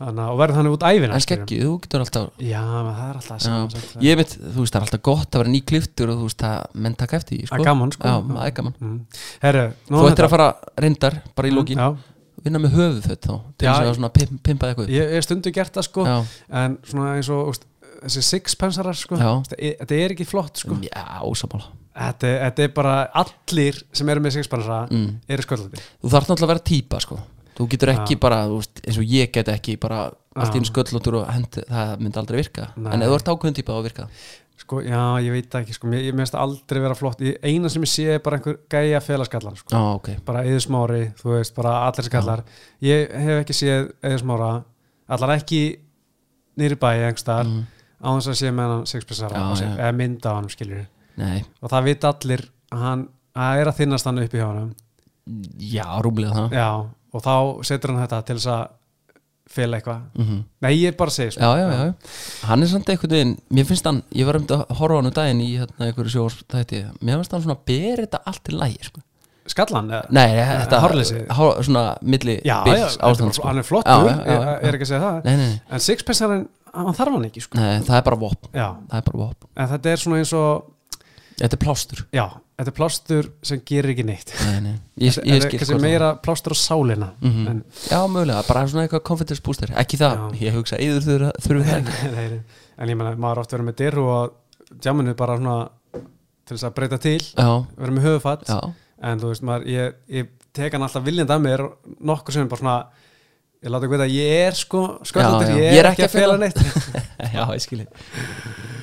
Speaker 1: Þannig, að- og verður þannig út æfina
Speaker 2: en
Speaker 1: skilurðu.
Speaker 2: skeggju, þú getur alltaf
Speaker 1: já, menn það er alltaf
Speaker 2: já,
Speaker 1: saman sagt,
Speaker 2: ég veit, þú veist, það er alltaf gott að vera ný kliftur og þú veist, það menn taka eftir því,
Speaker 1: Það er
Speaker 2: sko,
Speaker 1: gaman sko
Speaker 2: já, það er gaman
Speaker 1: mm. Herru,
Speaker 2: þú ættir að fara reyndar, bara í lókin
Speaker 1: Mm, já,
Speaker 2: vinna með höfuðföt þá, til
Speaker 1: Já.
Speaker 2: þess að svona pim, pimpa eitthvað upp.
Speaker 1: ég ég hef stundu gert það sko
Speaker 2: já,
Speaker 1: en svona eins og úst, þessi sixpensarar sko
Speaker 2: Já. Mm.
Speaker 1: Þetta er- þetta er ekki flott sko
Speaker 2: já, ósamála
Speaker 1: þetta, er- þetta er bara allir sem eru með sixpensara
Speaker 2: mm.
Speaker 1: eru sköllandi
Speaker 2: þú þarf náttúrulega að vera típa, sko þú getur ekki
Speaker 1: Já.
Speaker 2: bara, þú veist, eins og ég get ekki bara allt
Speaker 1: Já.
Speaker 2: í einu sköllóttur og hendi, það myndi aldrei virka
Speaker 1: Nei.
Speaker 2: en ef þú ert ákveðin típa þá virka það
Speaker 1: sko, já, ég veit það ekki, sko, mér, ég mér finnst það aldrei vera flott, ég, eina sem ég sé er bara einhver gæja félagskallan, sko,
Speaker 2: Já, ok
Speaker 1: bara eður smári, þú veist, bara allir skallar, ég hef ekki séð eður smára, allar ekki nýri bæi engstar mm. á þess að sé með hann sixpensar
Speaker 2: Já, já.
Speaker 1: eða mynda á hann, skiljur
Speaker 2: Nei,
Speaker 1: og það veit allir að hann að er að þinnast hann upp í hjá hann
Speaker 2: já, rúmlega það
Speaker 1: já, og þá setur hann þetta til þess að fela eitthvað
Speaker 2: Mhm.
Speaker 1: nei, ég bara segi sko.
Speaker 2: já, já, já, hann er samt einhvern veginn mér finnst hann, ég var um þetta að horfa á hann um daginn í hérna einhverju sjós þætti mér finnst hann svona ber þetta allt til lægi sko.
Speaker 1: skallan eða?
Speaker 2: nei, þetta
Speaker 1: hárleysið?
Speaker 2: hár, svona milli
Speaker 1: já, já,
Speaker 2: bils
Speaker 1: þetta er bara-
Speaker 2: ástand
Speaker 1: hann er flottur,
Speaker 2: sko. já, já,
Speaker 1: ég
Speaker 2: já,
Speaker 1: er ekki að segja það
Speaker 2: Nei, nei, nei.
Speaker 1: en sixpensarinn, hann þarf hann ekki sko.
Speaker 2: Nei, það er bara vopn
Speaker 1: já,
Speaker 2: það er bara vopn,
Speaker 1: en þetta er svona eins og
Speaker 2: þetta er plástur
Speaker 1: já, þetta er plástur sem gerir ekki neitt
Speaker 2: nei, nei. ég,
Speaker 1: Þetta
Speaker 2: ég
Speaker 1: er
Speaker 2: skil
Speaker 1: kannski
Speaker 2: hvað það
Speaker 1: meira plástur á sálina
Speaker 2: Mhm.
Speaker 1: en,
Speaker 2: já, mögulega, bara svona eitthvað confidence booster ekki það, ég hugsa, eður þurfa þurfa það ekki.
Speaker 1: nei, nei, en ég meina, maður átt að vera með dyr og djáminu bara svona til þess að breyta til
Speaker 2: já,
Speaker 1: vera með höfufatt
Speaker 2: já,
Speaker 1: en þú veist maður, ég, ég tek hann alltaf viljandi að mér nokkur sem bara svona ég láta ekki veit að ég er sko sköldandir,
Speaker 2: Já,
Speaker 1: ég,
Speaker 2: já.
Speaker 1: er ekki að fela neitt
Speaker 2: já, ég skil þig.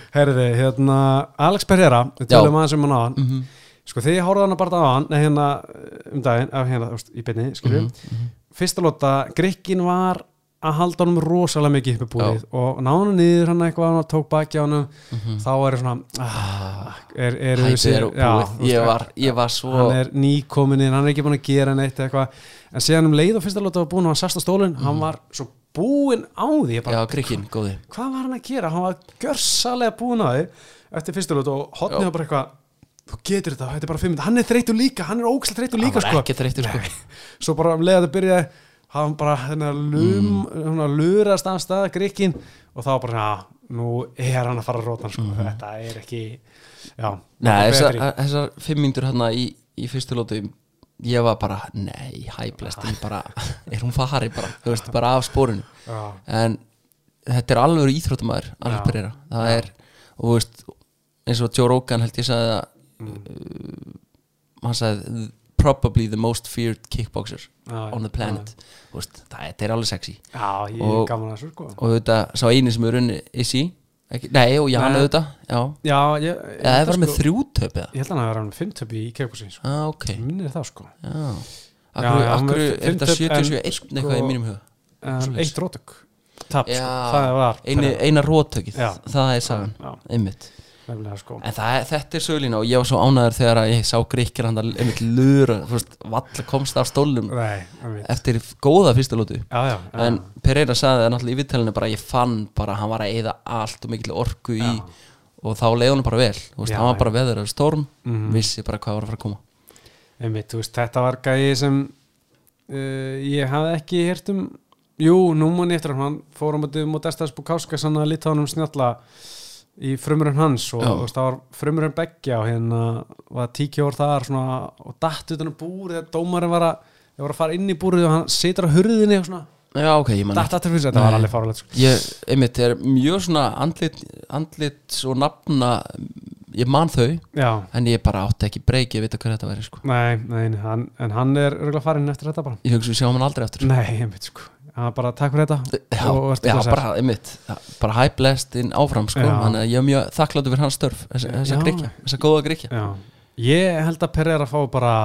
Speaker 1: herði, hérna, Alex Pereira við
Speaker 2: Já.
Speaker 1: tölum aðeins um hann á hann
Speaker 2: Mhm.
Speaker 1: sko þegar ég horfði hann bara á hann nei, hérna um daginn, á, hérna, þú veist, í byrni
Speaker 2: mhm.
Speaker 1: skiljum, fyrsta lóta Grikkin var að halda honum rosalega mikið upp í búið og ná hann niður hann eitthvað hann tók baki á hann
Speaker 2: Mhm.
Speaker 1: þá er ég svona ah, er, er,
Speaker 2: Hættu þér og
Speaker 1: já, þú
Speaker 2: búið.
Speaker 1: veist,
Speaker 2: ég var, ég var svo
Speaker 1: hann er nýkomin inn, hann er ekki búin að gera neitt eða eitthvað, en síðan um leið og fyrsta lóta var búin og hann sast á stólinn,
Speaker 2: Mhm.
Speaker 1: hann var svo búinn á því, ég bara,
Speaker 2: já, krikkin, góði
Speaker 1: hvað var hann að gera hann var görsalega búinn á því eftir fyrsta lóta og
Speaker 2: Já.
Speaker 1: hotnið var bara eitthvað þú getur þetta, þetta er bara 5 minútur, hann er þreytur líka hann er ógæslega þreytur líka,
Speaker 2: hann var
Speaker 1: sko
Speaker 2: ekki þreytur sko.
Speaker 1: svo bara um leið að það byrja hann bara hennar lum mm. lurast af stað grikkin og þá bara, já, nú er hann að fara að róta hann, sko, þetta er ekki já,
Speaker 2: Mhm. Nei,
Speaker 1: betri.
Speaker 2: þessar, þessar fimm myndur hérna í, í fyrstu lótu ég var bara, nei, hæblest ég bara, er hún fari bara, þú veist, bara af spórinu
Speaker 1: Já.
Speaker 2: en þetta er alveg íþróttumæður
Speaker 1: Já.
Speaker 2: alveg byrjara, það er og þú veist, eins og Joe Rogan held ég sagði að
Speaker 1: Mm.
Speaker 2: uh, hann sagði, probably the most feared kickboxer
Speaker 1: Já,
Speaker 2: on the planet þú veist, það þetta er alveg sexy
Speaker 1: Já, ég er
Speaker 2: Og-
Speaker 1: gaman að þessu sko
Speaker 2: og auðvitað, sá eini sem er unni Issy, ekki, nei, og Jan
Speaker 1: Nei.
Speaker 2: auðvitað já,
Speaker 1: Já, ég, ég,
Speaker 2: eða það var
Speaker 1: sko,
Speaker 2: með þrjútöp eða
Speaker 1: Ég held að hann að vera hann fimmtöpi í kefkursin sko.
Speaker 2: ah, ok,
Speaker 1: Ég minnir það sko
Speaker 2: Já,
Speaker 1: Já,
Speaker 2: akkur,
Speaker 1: já, hann
Speaker 2: akkur
Speaker 1: var
Speaker 2: er þetta
Speaker 1: fimmtug,
Speaker 2: 77
Speaker 1: en
Speaker 2: sko, eitthvað í
Speaker 1: sko-
Speaker 2: mínum huga
Speaker 1: um,
Speaker 2: Svoleiðis.
Speaker 1: Eitt rótök Tap sko, það
Speaker 2: Já,
Speaker 1: var
Speaker 2: einu, eina rótökið,
Speaker 1: Já.
Speaker 2: það er sagan
Speaker 1: Já,
Speaker 2: einmitt,
Speaker 1: nefnilega sko
Speaker 2: en það, er- þetta er sölina og ég var svo ánæður þegar að ég sá gríkir hann einmitt lura, þú veist, valla komst af stólum
Speaker 1: Nei, einmitt.
Speaker 2: eftir góða fyrstu lótu
Speaker 1: já, já, já,
Speaker 2: en Pereira sagði það náttúrulega í viðtælinu bara að ég fann bara að hann var að eyða allt og mikil orku í og þá leiði hann bara vel, þú veist,
Speaker 1: Já,
Speaker 2: hann var
Speaker 1: já. Mhm.
Speaker 2: bara veður af storm, vissi bara hvað var að fara að koma
Speaker 1: einmitt, þú veist, þetta var gæði sem uh, ég hafði ekki heyrt um Jú, nú mann eftir hann, hann fór á mótið mót Estas Bukáska sann að lita honum snjalla í frumurinn hans og
Speaker 2: Já.
Speaker 1: þú veist, það var frumurinn beggja og hérna var tíkjór þar svona, og datt utan að búrið þegar dómarinn var að, ég var að fara inn í búrið og hann situr á hurðinni og svona
Speaker 2: Já, ok, ég man
Speaker 1: datt aftur fyrir sig, þetta var
Speaker 2: Nei.
Speaker 1: alveg farulegt sko.
Speaker 2: Ég, einmitt, er mjög svona andlit, andlit og nafna ég man þau,
Speaker 1: Já,
Speaker 2: en ég bara átti ekki breyki að vita hver þetta væri, sko
Speaker 1: nei, nei hann, en hann er örgulega farinn eftir þetta bara
Speaker 2: Ég hugsa við sjáum hann aldrei eftir
Speaker 1: Nei, ég veit sko, hann bara takk fyrir þetta
Speaker 2: Já,
Speaker 1: og
Speaker 2: já
Speaker 1: blessaður.
Speaker 2: bara, einmitt, já, bara hæplestinn áfram, sko
Speaker 1: Já.
Speaker 2: Þannig að ég er mjög þakklátur fyrir hans störf þessa, þessa
Speaker 1: Já.
Speaker 2: gríkja, þessa góða gríkja
Speaker 1: Já, ég held að Perreira fá bara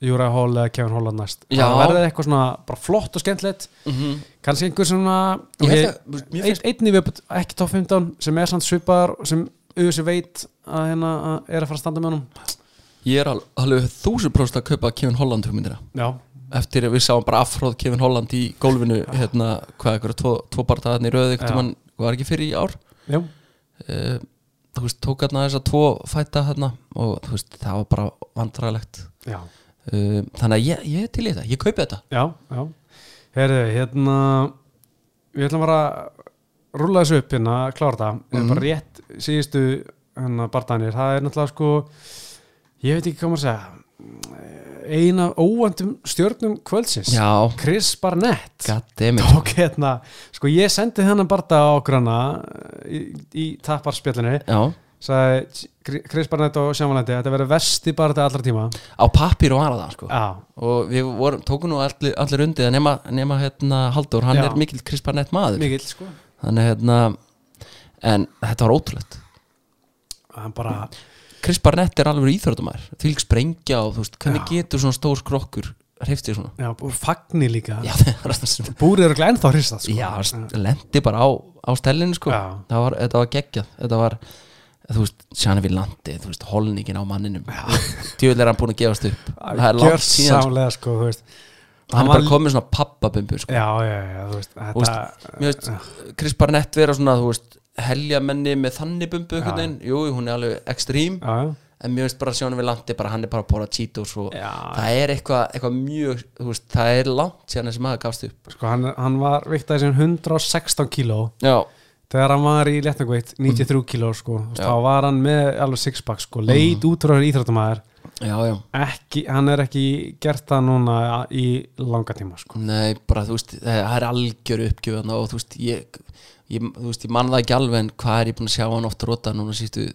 Speaker 1: Júra Hall eða Kevin Holland næst
Speaker 2: Já.
Speaker 1: það verður eitthvað svona bara flott og skemmtilegt
Speaker 2: mm -hmm.
Speaker 1: kannski einhver svona
Speaker 2: Ég
Speaker 1: okay,
Speaker 2: held að, mér
Speaker 1: ein,
Speaker 2: finnst
Speaker 1: einn í viðbútt, ekki top 15 sem er samt svipaðar og sem auðvitað veit að hérna að er að fara að standa með honum
Speaker 2: Ég er al- alveg þúsund próst að kaupa Kevin Holland hugmyndina
Speaker 1: Já,
Speaker 2: Eftir að við sáum bara afhróð Kevin Holland í gólfinu Hérna, hvað, eitthvað, tvo, tvo bardaðarni í röðu
Speaker 1: Já.
Speaker 2: Eitthvað mann, var ekki fyrir í ár
Speaker 1: já,
Speaker 2: uh, þú veist, tók hérna þess að tvo fæta hérna og þú veist, það var bara vandrarlegt
Speaker 1: já,
Speaker 2: uh, þannig að ég, ég er til í þetta, ég kaupi þetta
Speaker 1: já, já. Herðu, hérna við ætlum bara að rúla þessu upp hérna, klára þetta mm
Speaker 2: Mhm.
Speaker 1: bara rétt síðustu hérna, barndanir, það er náttúrulega sko ég veit ekki hvað maður að segja eina óvandum stjörnum kvöldsins
Speaker 2: já,
Speaker 1: Chris Barnett
Speaker 2: goddammit
Speaker 1: tók hérna, sko ég sendi þennan barnda á okkur hana í, í tapparspjallinu,
Speaker 2: já,
Speaker 1: sagði Chris Barnett og Sjámalandi, þetta verður versti barnda allra tíma,
Speaker 2: á pappir og aðra það sko
Speaker 1: já,
Speaker 2: og við vorum, tókum nú allir, allir undið að nema, nema hérna Haldur, hann
Speaker 1: Já.
Speaker 2: er mikill krisparnett maður
Speaker 1: mikill sko
Speaker 2: þannig hérna en þetta var ótrúlegt
Speaker 1: hann bara,
Speaker 2: Chris Barnett er alveg íþörðumæður því lík sprengja og þú veist, hvernig
Speaker 1: Já.
Speaker 2: getur svona stór skrokkur hreiftir svona
Speaker 1: já, og fagni líka
Speaker 2: já, það er alltaf svona
Speaker 1: búrið eru ekki ennþá hristað sko.
Speaker 2: já, lendi bara á, á stellinu sko.
Speaker 1: Já.
Speaker 2: það var, þetta var geggjað þetta var, þú veist, sjana við landi þú veist, holningin á manninum djöðlega er hann búin að gefast upp það er langt síðan, sko.
Speaker 1: Gjörsamlega, sko, þú veist
Speaker 2: hann
Speaker 1: Hann
Speaker 2: er bara
Speaker 1: var-
Speaker 2: komið svona pappabumbu sko.
Speaker 1: já, já, já, þú veist
Speaker 2: Þú
Speaker 1: þetta,
Speaker 2: veist, mér veist,
Speaker 1: Eh.
Speaker 2: Chris Barnett vera svona, þú veist, heljamenni með þannig bumbu
Speaker 1: Já.
Speaker 2: einhvern veginn, jú, jú, hún er alveg ekstrím,
Speaker 1: já, já,
Speaker 2: en mér veist bara sjana við landi bara hann er bara að bóra Cheetos og
Speaker 1: já
Speaker 2: það er eitthvað, eitthvað mjög, þú veist, það er langt síðan þessi maður gafst upp
Speaker 1: sko, hann, hann var viktaði sem 116 kíló
Speaker 2: já,
Speaker 1: þegar hann var í léttnagveitt 93 kíló, sko, þú veist,
Speaker 2: Mm. Já. Mm.
Speaker 1: þá var hann með alveg sixpack, sko, leit út frá íþróttumæður
Speaker 2: já, já
Speaker 1: ekki, hann er ekki gert það núna í langa tíma, sko
Speaker 2: Nei, bara þú veist, það er algjör uppgjöfana og þú veist, ég, ég, þú veist, ég man það ekki alveg en hvað er ég búin að sjá hann oft róta núna sístu,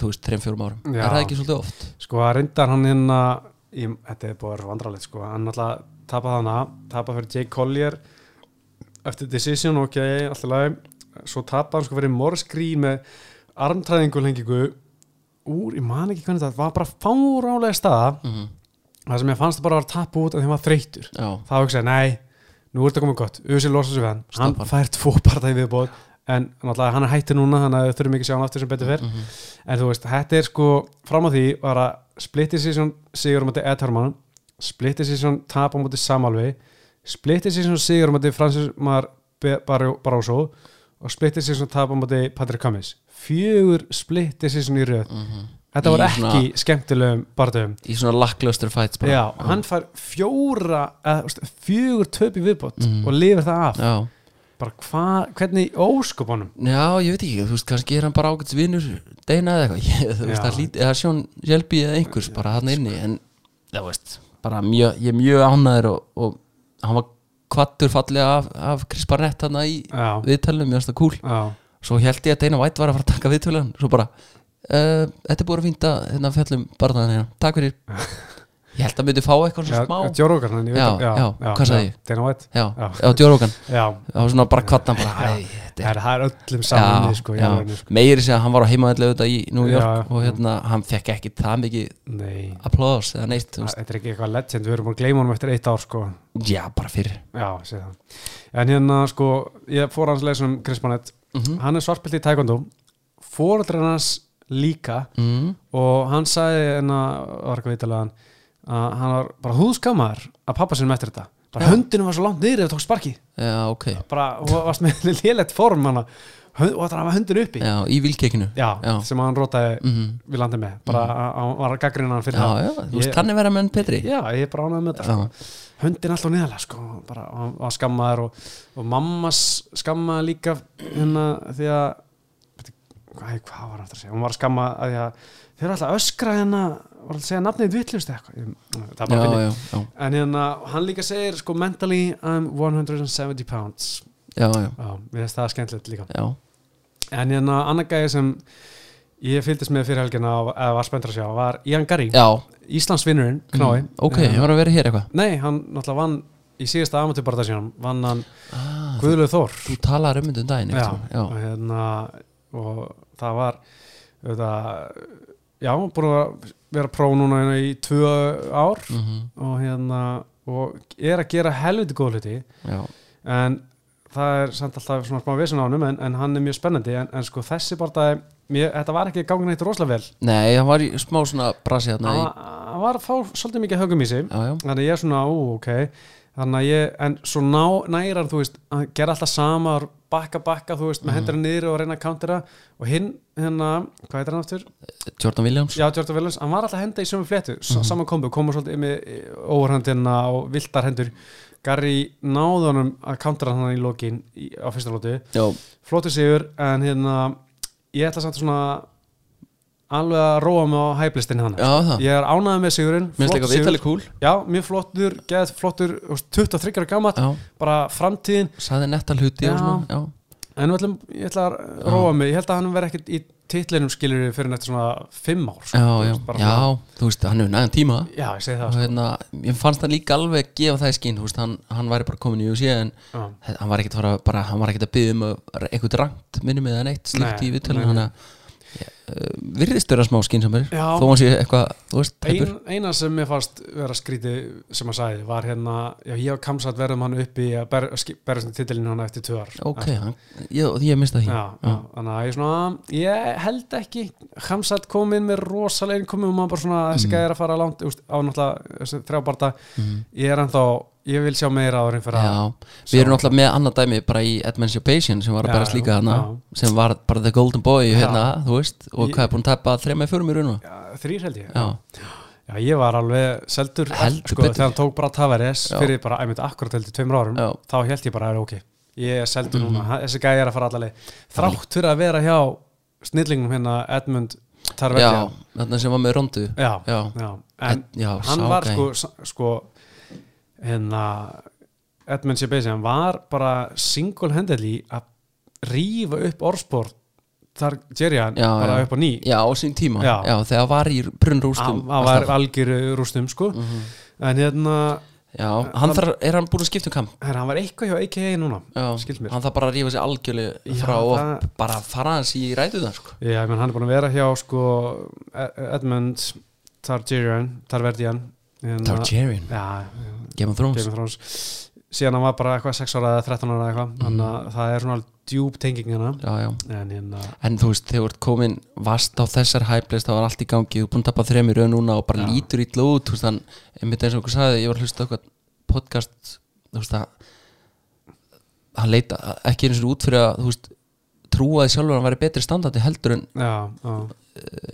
Speaker 2: þú veist, 3-4 árum
Speaker 1: Já.
Speaker 2: Er það ekki svolítið oft?
Speaker 1: sko, hann reyndar hann hinn að þetta er búið að vera vandralegt, sko hann alltaf tapað hana, tapað fyrir Jake Collier eftir Decision, ok, alltaf lagi svo tapað hann sko fyrir Morris Green með armtræðingu lengingu úr, ég man ekki hvernig það var bara fárálega staða
Speaker 2: Mm -hmm.
Speaker 1: það sem ég fannst bara var að tapa út af því að hann var þreytur
Speaker 2: Já,
Speaker 1: þá hugsaði, nei, nú er þetta komið gott Usi losa sig við hann, hann
Speaker 2: Stoppa hann.
Speaker 1: fær tvo partæði viðbóð en náttúrulega hann er hættur núna þannig að við þurfum ekki að sjá hann aftur sem betur fer
Speaker 2: mm
Speaker 1: en þú veist, þetta er sko, fram á því var að splitti season sigur á móti Ed Herman splitti season tap á móti Samalvi splitti season sigur á móti Francis Mar Be- Barrio- Barroso og splitti season tap á móti Patrick Cummins fjögur splitti season í röð þetta
Speaker 2: Mhm. Í
Speaker 1: var
Speaker 2: svona-
Speaker 1: ekki skemmtilegum barðum
Speaker 2: Í svona lackluster fights bara
Speaker 1: Já, hann fær fjóra eða, þú veist, fjögur töp í viðbót og lifir það af
Speaker 2: Mhm. Já,
Speaker 1: bara hva, hvernig í ósköpunum
Speaker 2: já, ég veit ekki, þú veist, kannski er hann bara ágætis vinnur Deina eða eitthvað, ég, þú veist,
Speaker 1: Já. sko.
Speaker 2: það lítið, eða sjón Jelbi eða einhvers bara hann inni En, þú veist, bara mjög, ég er mjög ánæður og, og hann var kvattur fallega af, af Chris Barnett hann í
Speaker 1: Já,
Speaker 2: viðtalum, mjög stað kúl
Speaker 1: já,
Speaker 2: svo held ég að Dana White var að fara að taka viðtöluðan svo bara, uh, þetta er búin að fýnda hérna fjallum barðan hérna, takk fyrir ég held að myndi fá eitthvað
Speaker 1: já
Speaker 2: svona smá já,
Speaker 1: Jórókar hann, ég veit
Speaker 2: Já,
Speaker 1: að-
Speaker 2: já, hvað sagði ég?
Speaker 1: Dana White,
Speaker 2: já,
Speaker 1: já.
Speaker 2: já djórókan
Speaker 1: já,
Speaker 2: það var svona bara kvartan bara, æ, þetta
Speaker 1: það
Speaker 2: er
Speaker 1: er, það er öllum saman í, sko, í
Speaker 2: já,
Speaker 1: alvörunni, sko.
Speaker 2: meiri sé að hann var á heimaðlega auðvitað í New York
Speaker 1: Já, já.
Speaker 2: og hérna, hann fekk ekki það mikið
Speaker 1: Nei,
Speaker 2: applós eða neitt, þú veist,
Speaker 1: þetta er ekki eitthvað legend, við erum búin að gleyma honum eftir eitt ár sko.
Speaker 2: já, bara fyrir
Speaker 1: Já, sé það En hérna, sko, ég fór hans leysum um Chris Barnett,
Speaker 2: Mhm.
Speaker 1: hann er svartbylti í taekwondo fóreldrar hans líka
Speaker 2: mm,
Speaker 1: og hann sagði en að var eitthvað vitalegan að hann var bara húðskammaður að pappa sinum eftir þetta bara
Speaker 2: Já.
Speaker 1: höndinu var svo langt niður ef þú tók sparki
Speaker 2: já, ok
Speaker 1: bara, hún varst með lélegt form hana, hönd, og það var höndinu uppi
Speaker 2: já, í vilkekinu
Speaker 1: Já,
Speaker 2: Já.
Speaker 1: sem hann rótaði
Speaker 2: mm,
Speaker 1: við landið með bara að að hann var að gaggrina hann
Speaker 2: já,
Speaker 1: fyrir það
Speaker 2: já, þú veist,
Speaker 1: Ég-
Speaker 2: þannig verða menn betri
Speaker 1: Já, ég er bara ánægð með þetta
Speaker 2: já,
Speaker 1: höndin alltaf neðalega sko, bara, og hann var skammaður og, og mamma s- skammaði líka hérna því að beti, hvað, hvað var hann aftur að segja, hún var að skamma að því að þeir eru alltaf að öskra hérna var alltaf að segja nafnið vittlust eitthvað Ég- það er bara
Speaker 2: já,
Speaker 1: að finna
Speaker 2: já, já,
Speaker 1: en hérna, hann líka segir sko mentally I'm 170 pounds
Speaker 2: já, já,
Speaker 1: já, við þess það er skemmtilegt líka
Speaker 2: já.
Speaker 1: en hérna, annar gæði sem ég fylgdist með fyrir helgina og- eða var spenntur að sjá, var Ian Gary
Speaker 2: já. Mm,
Speaker 1: Íslandsvinnurinn, knái
Speaker 2: ok,
Speaker 1: Eh,
Speaker 2: ég var að vera hér eitthvað
Speaker 1: Nei, hann náttúrulega vann í síðasta amatýrbarða sínum vann hann
Speaker 2: ah, þú,
Speaker 1: Guðlaug Þór
Speaker 2: þú talar um þetta um daginn
Speaker 1: já,
Speaker 2: já, já.
Speaker 1: Og, hérna, og það var auðvitað, já, búin að vera pró núna hérna í tvö ár
Speaker 2: Mm
Speaker 1: og hérna og er að gera helviti góð hluti
Speaker 2: já.
Speaker 1: en það er samt alltaf svona smá vesen á honum en, en hann er mjög spennandi en, en sko þessi barða mér, þetta var ekki gangið neitt rosalega vel
Speaker 2: nei, hann var í smá svona brasi hérna
Speaker 1: hann
Speaker 2: í,
Speaker 1: var- hann var að fá svolítið mikið högum í sig
Speaker 2: já, já,
Speaker 1: þannig að ég er svona, ú, ok þannig að ég, en svo ná, nærar þú veist, að gera alltaf sama bakka, bakka, þú veist, með
Speaker 2: Mhm.
Speaker 1: hendur niður og reyna að countera og hinn, hérna hvað heitir hann aftur?
Speaker 2: Jordan Williams
Speaker 1: Já, Jordan Williams, hann var alltaf að henda í sömu fléttu mm
Speaker 2: Mhm.
Speaker 1: -hmm. saman kombu, komur svolítið með óverhandina og viltar hendur Gary náði honum að countera hann í lokin í, á fyrsta lótu
Speaker 2: já,
Speaker 1: flótið sigur, en hérna ég ætla samt svona alveg að róa mig á hæplistin hann
Speaker 2: já það,
Speaker 1: ég er ánæðið með sigurinn
Speaker 2: minnst
Speaker 1: flott
Speaker 2: líka
Speaker 1: sigur.
Speaker 2: viðtalið kúl
Speaker 1: Já, mjög flottur, geð flottur þú veist, 23 ára gammal,
Speaker 2: já,
Speaker 1: bara framtíðin
Speaker 2: saði netta hluti
Speaker 1: Já.
Speaker 2: og svona já,
Speaker 1: en nú ætlum, ég ætla að róa mig ég held að hann verði ekkert í titlinum skilur fyrir nættu svona 5 ár sko,
Speaker 2: já,
Speaker 1: þú
Speaker 2: já,
Speaker 1: veist, bara
Speaker 2: já
Speaker 1: svona-
Speaker 2: þú veist, hann hefur næðan tíma
Speaker 1: já, ég segi
Speaker 2: og
Speaker 1: það sko.
Speaker 2: hérna, ég fannst hann líka alveg gefa það í skín, þú veist, hann, hann væri bara komin í UFC en
Speaker 1: Já.
Speaker 2: hann var ekkert að fara bara, hann var ekkert að byggja um að- eitthvað rangt minnum eða neitt slíkt
Speaker 1: Nei,
Speaker 2: í viðtalið
Speaker 1: nei, nei.
Speaker 2: hann að ég, uh, virðist vera smá skinsamari
Speaker 1: Já.
Speaker 2: þó hann sé eitthvað, þú veist, tæpur
Speaker 1: Ein, eina sem mér fannst vera skrítið sem að sagði var hérna, já ég og Kamsat verðum hann uppi að ber- sk- berjast um titilinu hann eftir tvö ár
Speaker 2: ok, hann, ég, ég mista því
Speaker 1: Já, já, þannig að ég svona ég held ekki, Hamsat kom inn með rosalegin komum og maður bara svona
Speaker 2: Mm.
Speaker 1: þessi gæði er að fara langt, úst, á náttúrulega þessi þrjábarta,
Speaker 2: Mhm.
Speaker 1: ég er ennþá ég vil sjá meira áður en fyrir að
Speaker 2: Já, við erum náttúrulega með annað dæmi bara í Emancipation sem var að
Speaker 1: Já,
Speaker 2: berast líka
Speaker 1: já,
Speaker 2: þarna
Speaker 1: já.
Speaker 2: sem var bara the golden boy
Speaker 1: Já.
Speaker 2: hérna, þú veist, og
Speaker 1: Ég-
Speaker 2: hvað er búin að tapa þrema í förum í raunum
Speaker 1: Já, þrír held ég
Speaker 2: Já,
Speaker 1: Já, ég var alveg seldur
Speaker 2: Heldur
Speaker 1: sko,
Speaker 2: betur.
Speaker 1: þegar hann tók bara Tavares
Speaker 2: Já.
Speaker 1: fyrir bara, æmint, akkurat heldur tveimur árum
Speaker 2: Já. Mhm.
Speaker 1: þá held ég bara að það er ok ég er seldur núna, hann- þessi gæði er að fara allalegi þrátt fyrir að vera hjá snillingnum hérna Edmund
Speaker 2: já,
Speaker 1: Tarvetti
Speaker 2: þarna sem var með rondu
Speaker 1: já,
Speaker 2: Já,
Speaker 1: já, en
Speaker 2: Ed- já,
Speaker 1: hann
Speaker 2: sá
Speaker 1: var
Speaker 2: gæi.
Speaker 1: sko, s- sko hérna Edmund Sebesi, hann var bara single-handedly að rífa upp orðspor þar Jerryan
Speaker 2: Já,
Speaker 1: bara
Speaker 2: já.
Speaker 1: upp á ný
Speaker 2: já á sín tíma
Speaker 1: Já.
Speaker 2: þegar var í brunnrústum
Speaker 1: hann hann var algjör rústum sko
Speaker 2: Mm.
Speaker 1: en hérna
Speaker 2: Já, hann þarf, er hann búin að skipta um kamp
Speaker 1: Herra, hann var eitthvað hjá AKA núna
Speaker 2: Já,
Speaker 1: skilst mér
Speaker 2: hann þarf bara að rífa sig algjörlega
Speaker 1: Já,
Speaker 2: frá og
Speaker 1: það-
Speaker 2: bara fara hans í rætuðan sko.
Speaker 1: Já, menn, hann er búin að vera hjá sko, Ed- Edmund Targaryen Tarverdian
Speaker 2: Targaryen,
Speaker 1: Hérna- Já,
Speaker 2: Game of Thrones
Speaker 1: Game of Thrones síðan hann var bara eitthvað 6 ára eða 13 ára eða
Speaker 2: Mhm.
Speaker 1: eitthvað þannig að það er svona djúb tenging hérna
Speaker 2: Já, já
Speaker 1: en hérna
Speaker 2: En þú veist, þegar þú ert komin vast á þessar hæplist þá var allt í gangi, þú er búin að tapa þremi rauð núna og bara
Speaker 1: Já.
Speaker 2: lítur ítla út þú veist, þann, einmitt eins og okkur sagði, ég var að hlusta á eitthvað podcast, þú veist að hann leita ekki eins og út fyrir að, þú veist trúaði sjálfur að hann væri betri standandi heldur en
Speaker 1: já, já,
Speaker 2: uh,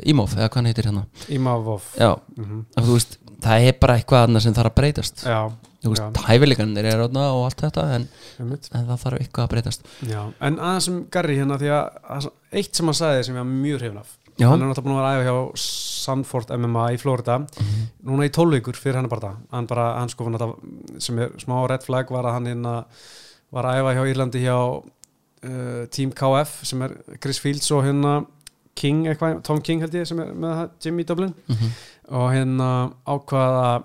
Speaker 2: Ímóf, eða hvað hann heitir hérna
Speaker 1: Imavov
Speaker 2: Já,
Speaker 1: mm
Speaker 2: en þú veist, það er bara eitthvað annað sem þarf að breytast
Speaker 1: Já, Já.
Speaker 2: þú veist, hæfileikanir er ráðna og allt þetta en,
Speaker 1: einmitt
Speaker 2: en það þarf eitthvað að breytast
Speaker 1: Já, en aðeins um Garri hérna því að að- eitt sem hann sagði sem ég var mjög hrifn af
Speaker 2: Já.
Speaker 1: hann er náttúrulega búin að vera að æfa hjá Sanford MMA í Florida
Speaker 2: Mhm.
Speaker 1: núna í 12 vikur fyrir hann bara hann bara, hann sko náttúrulega sem er smá red flag var að hann hérna var að æfa hjá Írlandi hjá uh, Team KF sem er Chris Fields og hérna King eitthvað, Tom King held ég sem er með það, Jimmy Dublin
Speaker 2: mm -hmm.
Speaker 1: og hérna ákvaða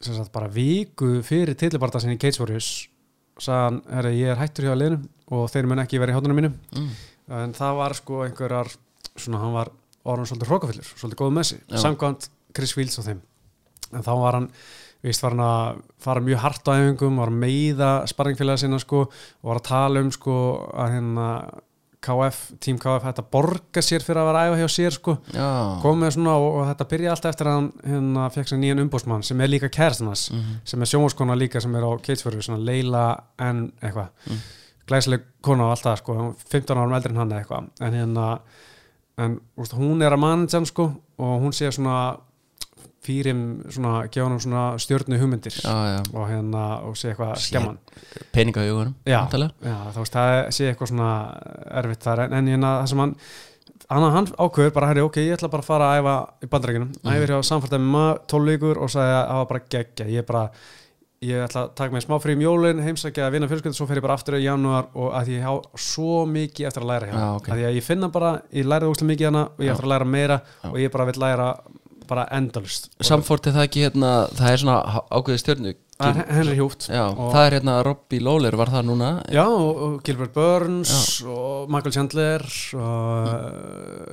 Speaker 1: sem sagt bara viku fyrir tillibarta sinni í Cage Warriors sagðan, herri, ég er hættur hjá liðinu og þeir mun ekki verið í hátunum mínum
Speaker 2: mm.
Speaker 1: en það var sko einhverjar svona hann var orðan svolítið hrókafillur svolítið góð með
Speaker 2: Já.
Speaker 1: sig, samkvæmt Chris Fields og þeim en þá var hann víst var hann að fara mjög hart á æfingum var að meiða sparringfélaga sinna sko og var að tala um sko að hérna KF, tím KF hætti að borga sér fyrir að vera að æfa hjá sér sko
Speaker 2: Já,
Speaker 1: kom með svona og, og þetta byrja alltaf eftir að hann hérna, fekk sér nýjan umbósmann sem er líka kærastinas mm
Speaker 2: Mhm.
Speaker 1: sem er sjónvarskona líka sem er á keitsfjörðu svona Leila en eitthvað
Speaker 2: Mm.
Speaker 1: glæsileg kona og alltaf sko hún er 15 árum eldri en hann eða eitthvað en hérna en, úst, hún er að manajan sko og hún sé svona fýrim svona gefa hann svona stjörnu hugmyndir
Speaker 2: já, já
Speaker 1: og hérna og sé eitthvað
Speaker 2: Shit.
Speaker 1: skemman
Speaker 2: peninga í hugunum
Speaker 1: Já.
Speaker 2: væntanlega.
Speaker 1: Já, þá veist, það sé eitthvað svona erfitt þar, en, en hérna það sem hann hann, hann ákveður bara, herri, ok, ég ætla bara að fara að æfa í bandrækjunum,
Speaker 2: Mhm.
Speaker 1: æfir hjá samfært MMA 12 vikur og sagði að það var bara geggja ég bara, ég ætla að taka mig smá frí um jólin, heimsækja að vinna fjölskyldu svo fer ég bara aftur í janúar og að ég há svo mikið eftir að læra hérna,
Speaker 2: Já, ok.
Speaker 1: að ég, ég finna bara, ég læra úslega mikið hérna og ég
Speaker 2: Já.
Speaker 1: eftir að læra meira
Speaker 2: Já.
Speaker 1: og ég bara vil læra bara endalust
Speaker 2: Samfórt er það ekki hérna, það er svona há- ákveðið stjörnu
Speaker 1: Henry Hjúft
Speaker 2: Já, það er hérna, Robbie Lawler var það núna
Speaker 1: Já, og og Gilbert Burns og Michael Chandler og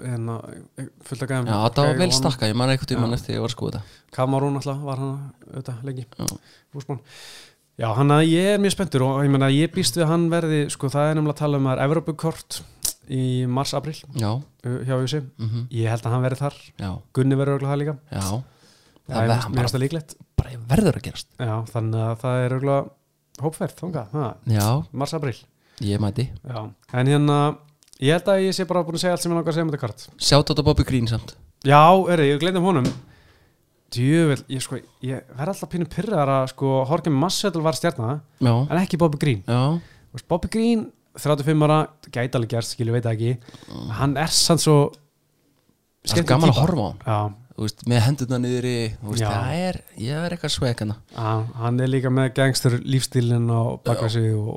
Speaker 1: hérna fullt að gæðum
Speaker 2: Mm. Já, það var vel stakka, ég man eitthvað tíma eftir ég var að skoða þetta
Speaker 1: Kamarún alltaf var hann auðvitað lengi
Speaker 2: Já.
Speaker 1: Húsmann Já, hann að ég er mjög spenntur og ég meina ég býst við að hann verði, sko það er nefnilega að tala um að það er Evropukort í mars-april
Speaker 2: Já,
Speaker 1: hjá Júsi
Speaker 2: mhm,
Speaker 1: Ég held að hann verði þar,
Speaker 2: já,
Speaker 1: Gunni verður örugglega það líka
Speaker 2: já
Speaker 1: Það er
Speaker 2: Það verð-
Speaker 1: mjög
Speaker 2: hann
Speaker 1: mjög líklegt
Speaker 2: Bara verður að gerast
Speaker 1: Já, þannig að það er örugglega hópferð, þangað, ha,
Speaker 2: Já,
Speaker 1: mars-april
Speaker 2: ég mæti
Speaker 1: Já, en hérna ég held að ég sé bara búin að segja allt sem ég langar að segja um þetta kart
Speaker 2: Sjátt á Bobby Green samt
Speaker 1: Já, erði, ég gleyndum honum Djövel, ég sko ég verð alltaf pínu pyrraðar að sko Horkin Massetl var stjarnar,
Speaker 2: Já,
Speaker 1: en ekki Bobby Green
Speaker 2: já,
Speaker 1: og Bobby Green, 35 ára gæti alveg gerst, skilju, veit það ekki hann er sann svo
Speaker 2: það er gaman að horfa á hann
Speaker 1: Já,
Speaker 2: Þú veist, með hendurna niður í Þú veist,
Speaker 1: Já.
Speaker 2: það er, ég er eitthvað hérna. svekana
Speaker 1: já, hann er líka með gangstur lífstílinn á baka sig og,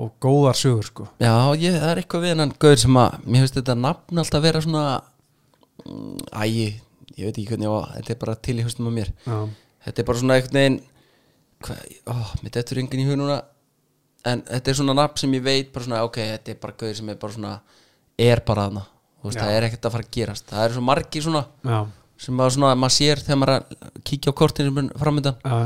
Speaker 1: og góðar sögur sko
Speaker 2: Já, ég, það er eitthvað við hennan gaur sem að mér finnst þetta nafn alltaf vera svona mm, æ, ég veit ekki hvernig ég var þetta er bara til í haustum á mér
Speaker 1: Já,
Speaker 2: þetta er bara svona eitthvað neginn hvað, ó, mér dettur enginn í hug núna en þetta er svona nafn sem ég veit bara svona, ok, þetta er bara gaur sem er bara svona er bara þarna Þú veist,
Speaker 1: Já.
Speaker 2: það er ekkert að fara að gerast það eru svo margi svona
Speaker 1: já,
Speaker 2: sem maður, svona, maður sér þegar maður er að kíkja á kortinu sem er framöndan
Speaker 1: já,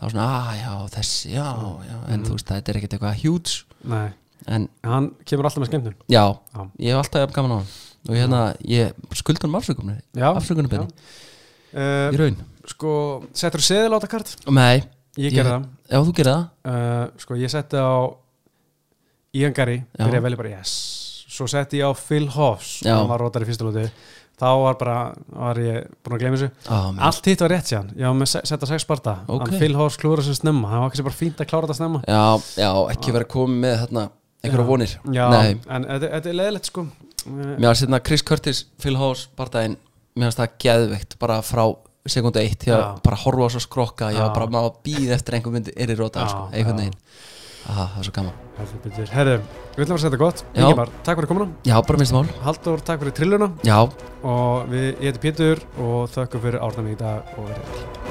Speaker 2: þá er svona, að já, þessi, já, já en þú veist, þetta er ekkert eitthvað huge
Speaker 1: nei
Speaker 2: en
Speaker 1: hann kemur alltaf með skemmtun
Speaker 2: já,
Speaker 1: Já.
Speaker 2: ég hef alltaf jafn gaman á hann og hérna, ég skulda hann um afsökunni
Speaker 1: Já,
Speaker 2: afsökunarbeðni,
Speaker 1: uh,
Speaker 2: í raun
Speaker 1: sko, settur þú seðil á þetta kart?
Speaker 2: nei,
Speaker 1: ég
Speaker 2: Ég-
Speaker 1: gerði það
Speaker 2: já, þú gerir það
Speaker 1: uh, sko, ég setti á Ian Gary,
Speaker 2: Já.
Speaker 1: byrjaði að velja bara yes svo setti ég á Phil Hoffs
Speaker 2: Já.
Speaker 1: hann var rótar í fyrsta lóti þá var bara, var ég búin að gleyma þessu
Speaker 2: ah, man.
Speaker 1: allt hitt var rétt síðan, ég var með se- setta sex sparta
Speaker 2: Ok.
Speaker 1: hann Phil Hoffs klúra sem snemma það var kannski bara fínt að klára þetta snemma
Speaker 2: já, já, ekki vera komið með þarna einhverja
Speaker 1: Já.
Speaker 2: vonir
Speaker 1: já,
Speaker 2: nei,
Speaker 1: en þetta þetta er leðilegt sko uh,
Speaker 2: mér varst hérna Chris Curtis, Phil House barndaginn, mér varst það geðveikt bara frá sekundu eitt því að
Speaker 1: Já.
Speaker 2: bara horfa á svo skrokka, ég var
Speaker 1: Já.
Speaker 2: bara maður að býða eftir einhver myndi er í róta,
Speaker 1: Já,
Speaker 2: sko, einhvern
Speaker 1: já.
Speaker 2: veginn ah, það er svo gaman,
Speaker 1: heldur betur. herðu, við ætlum að setja gott
Speaker 2: Já.
Speaker 1: Ingemar, takk fyrir komuna,
Speaker 2: já, bara minnst mál
Speaker 1: Halldór takk fyrir trilluna
Speaker 2: já,
Speaker 1: og við, ég heiti Pétur og þökkum fyrir árnami í dag og verið vel.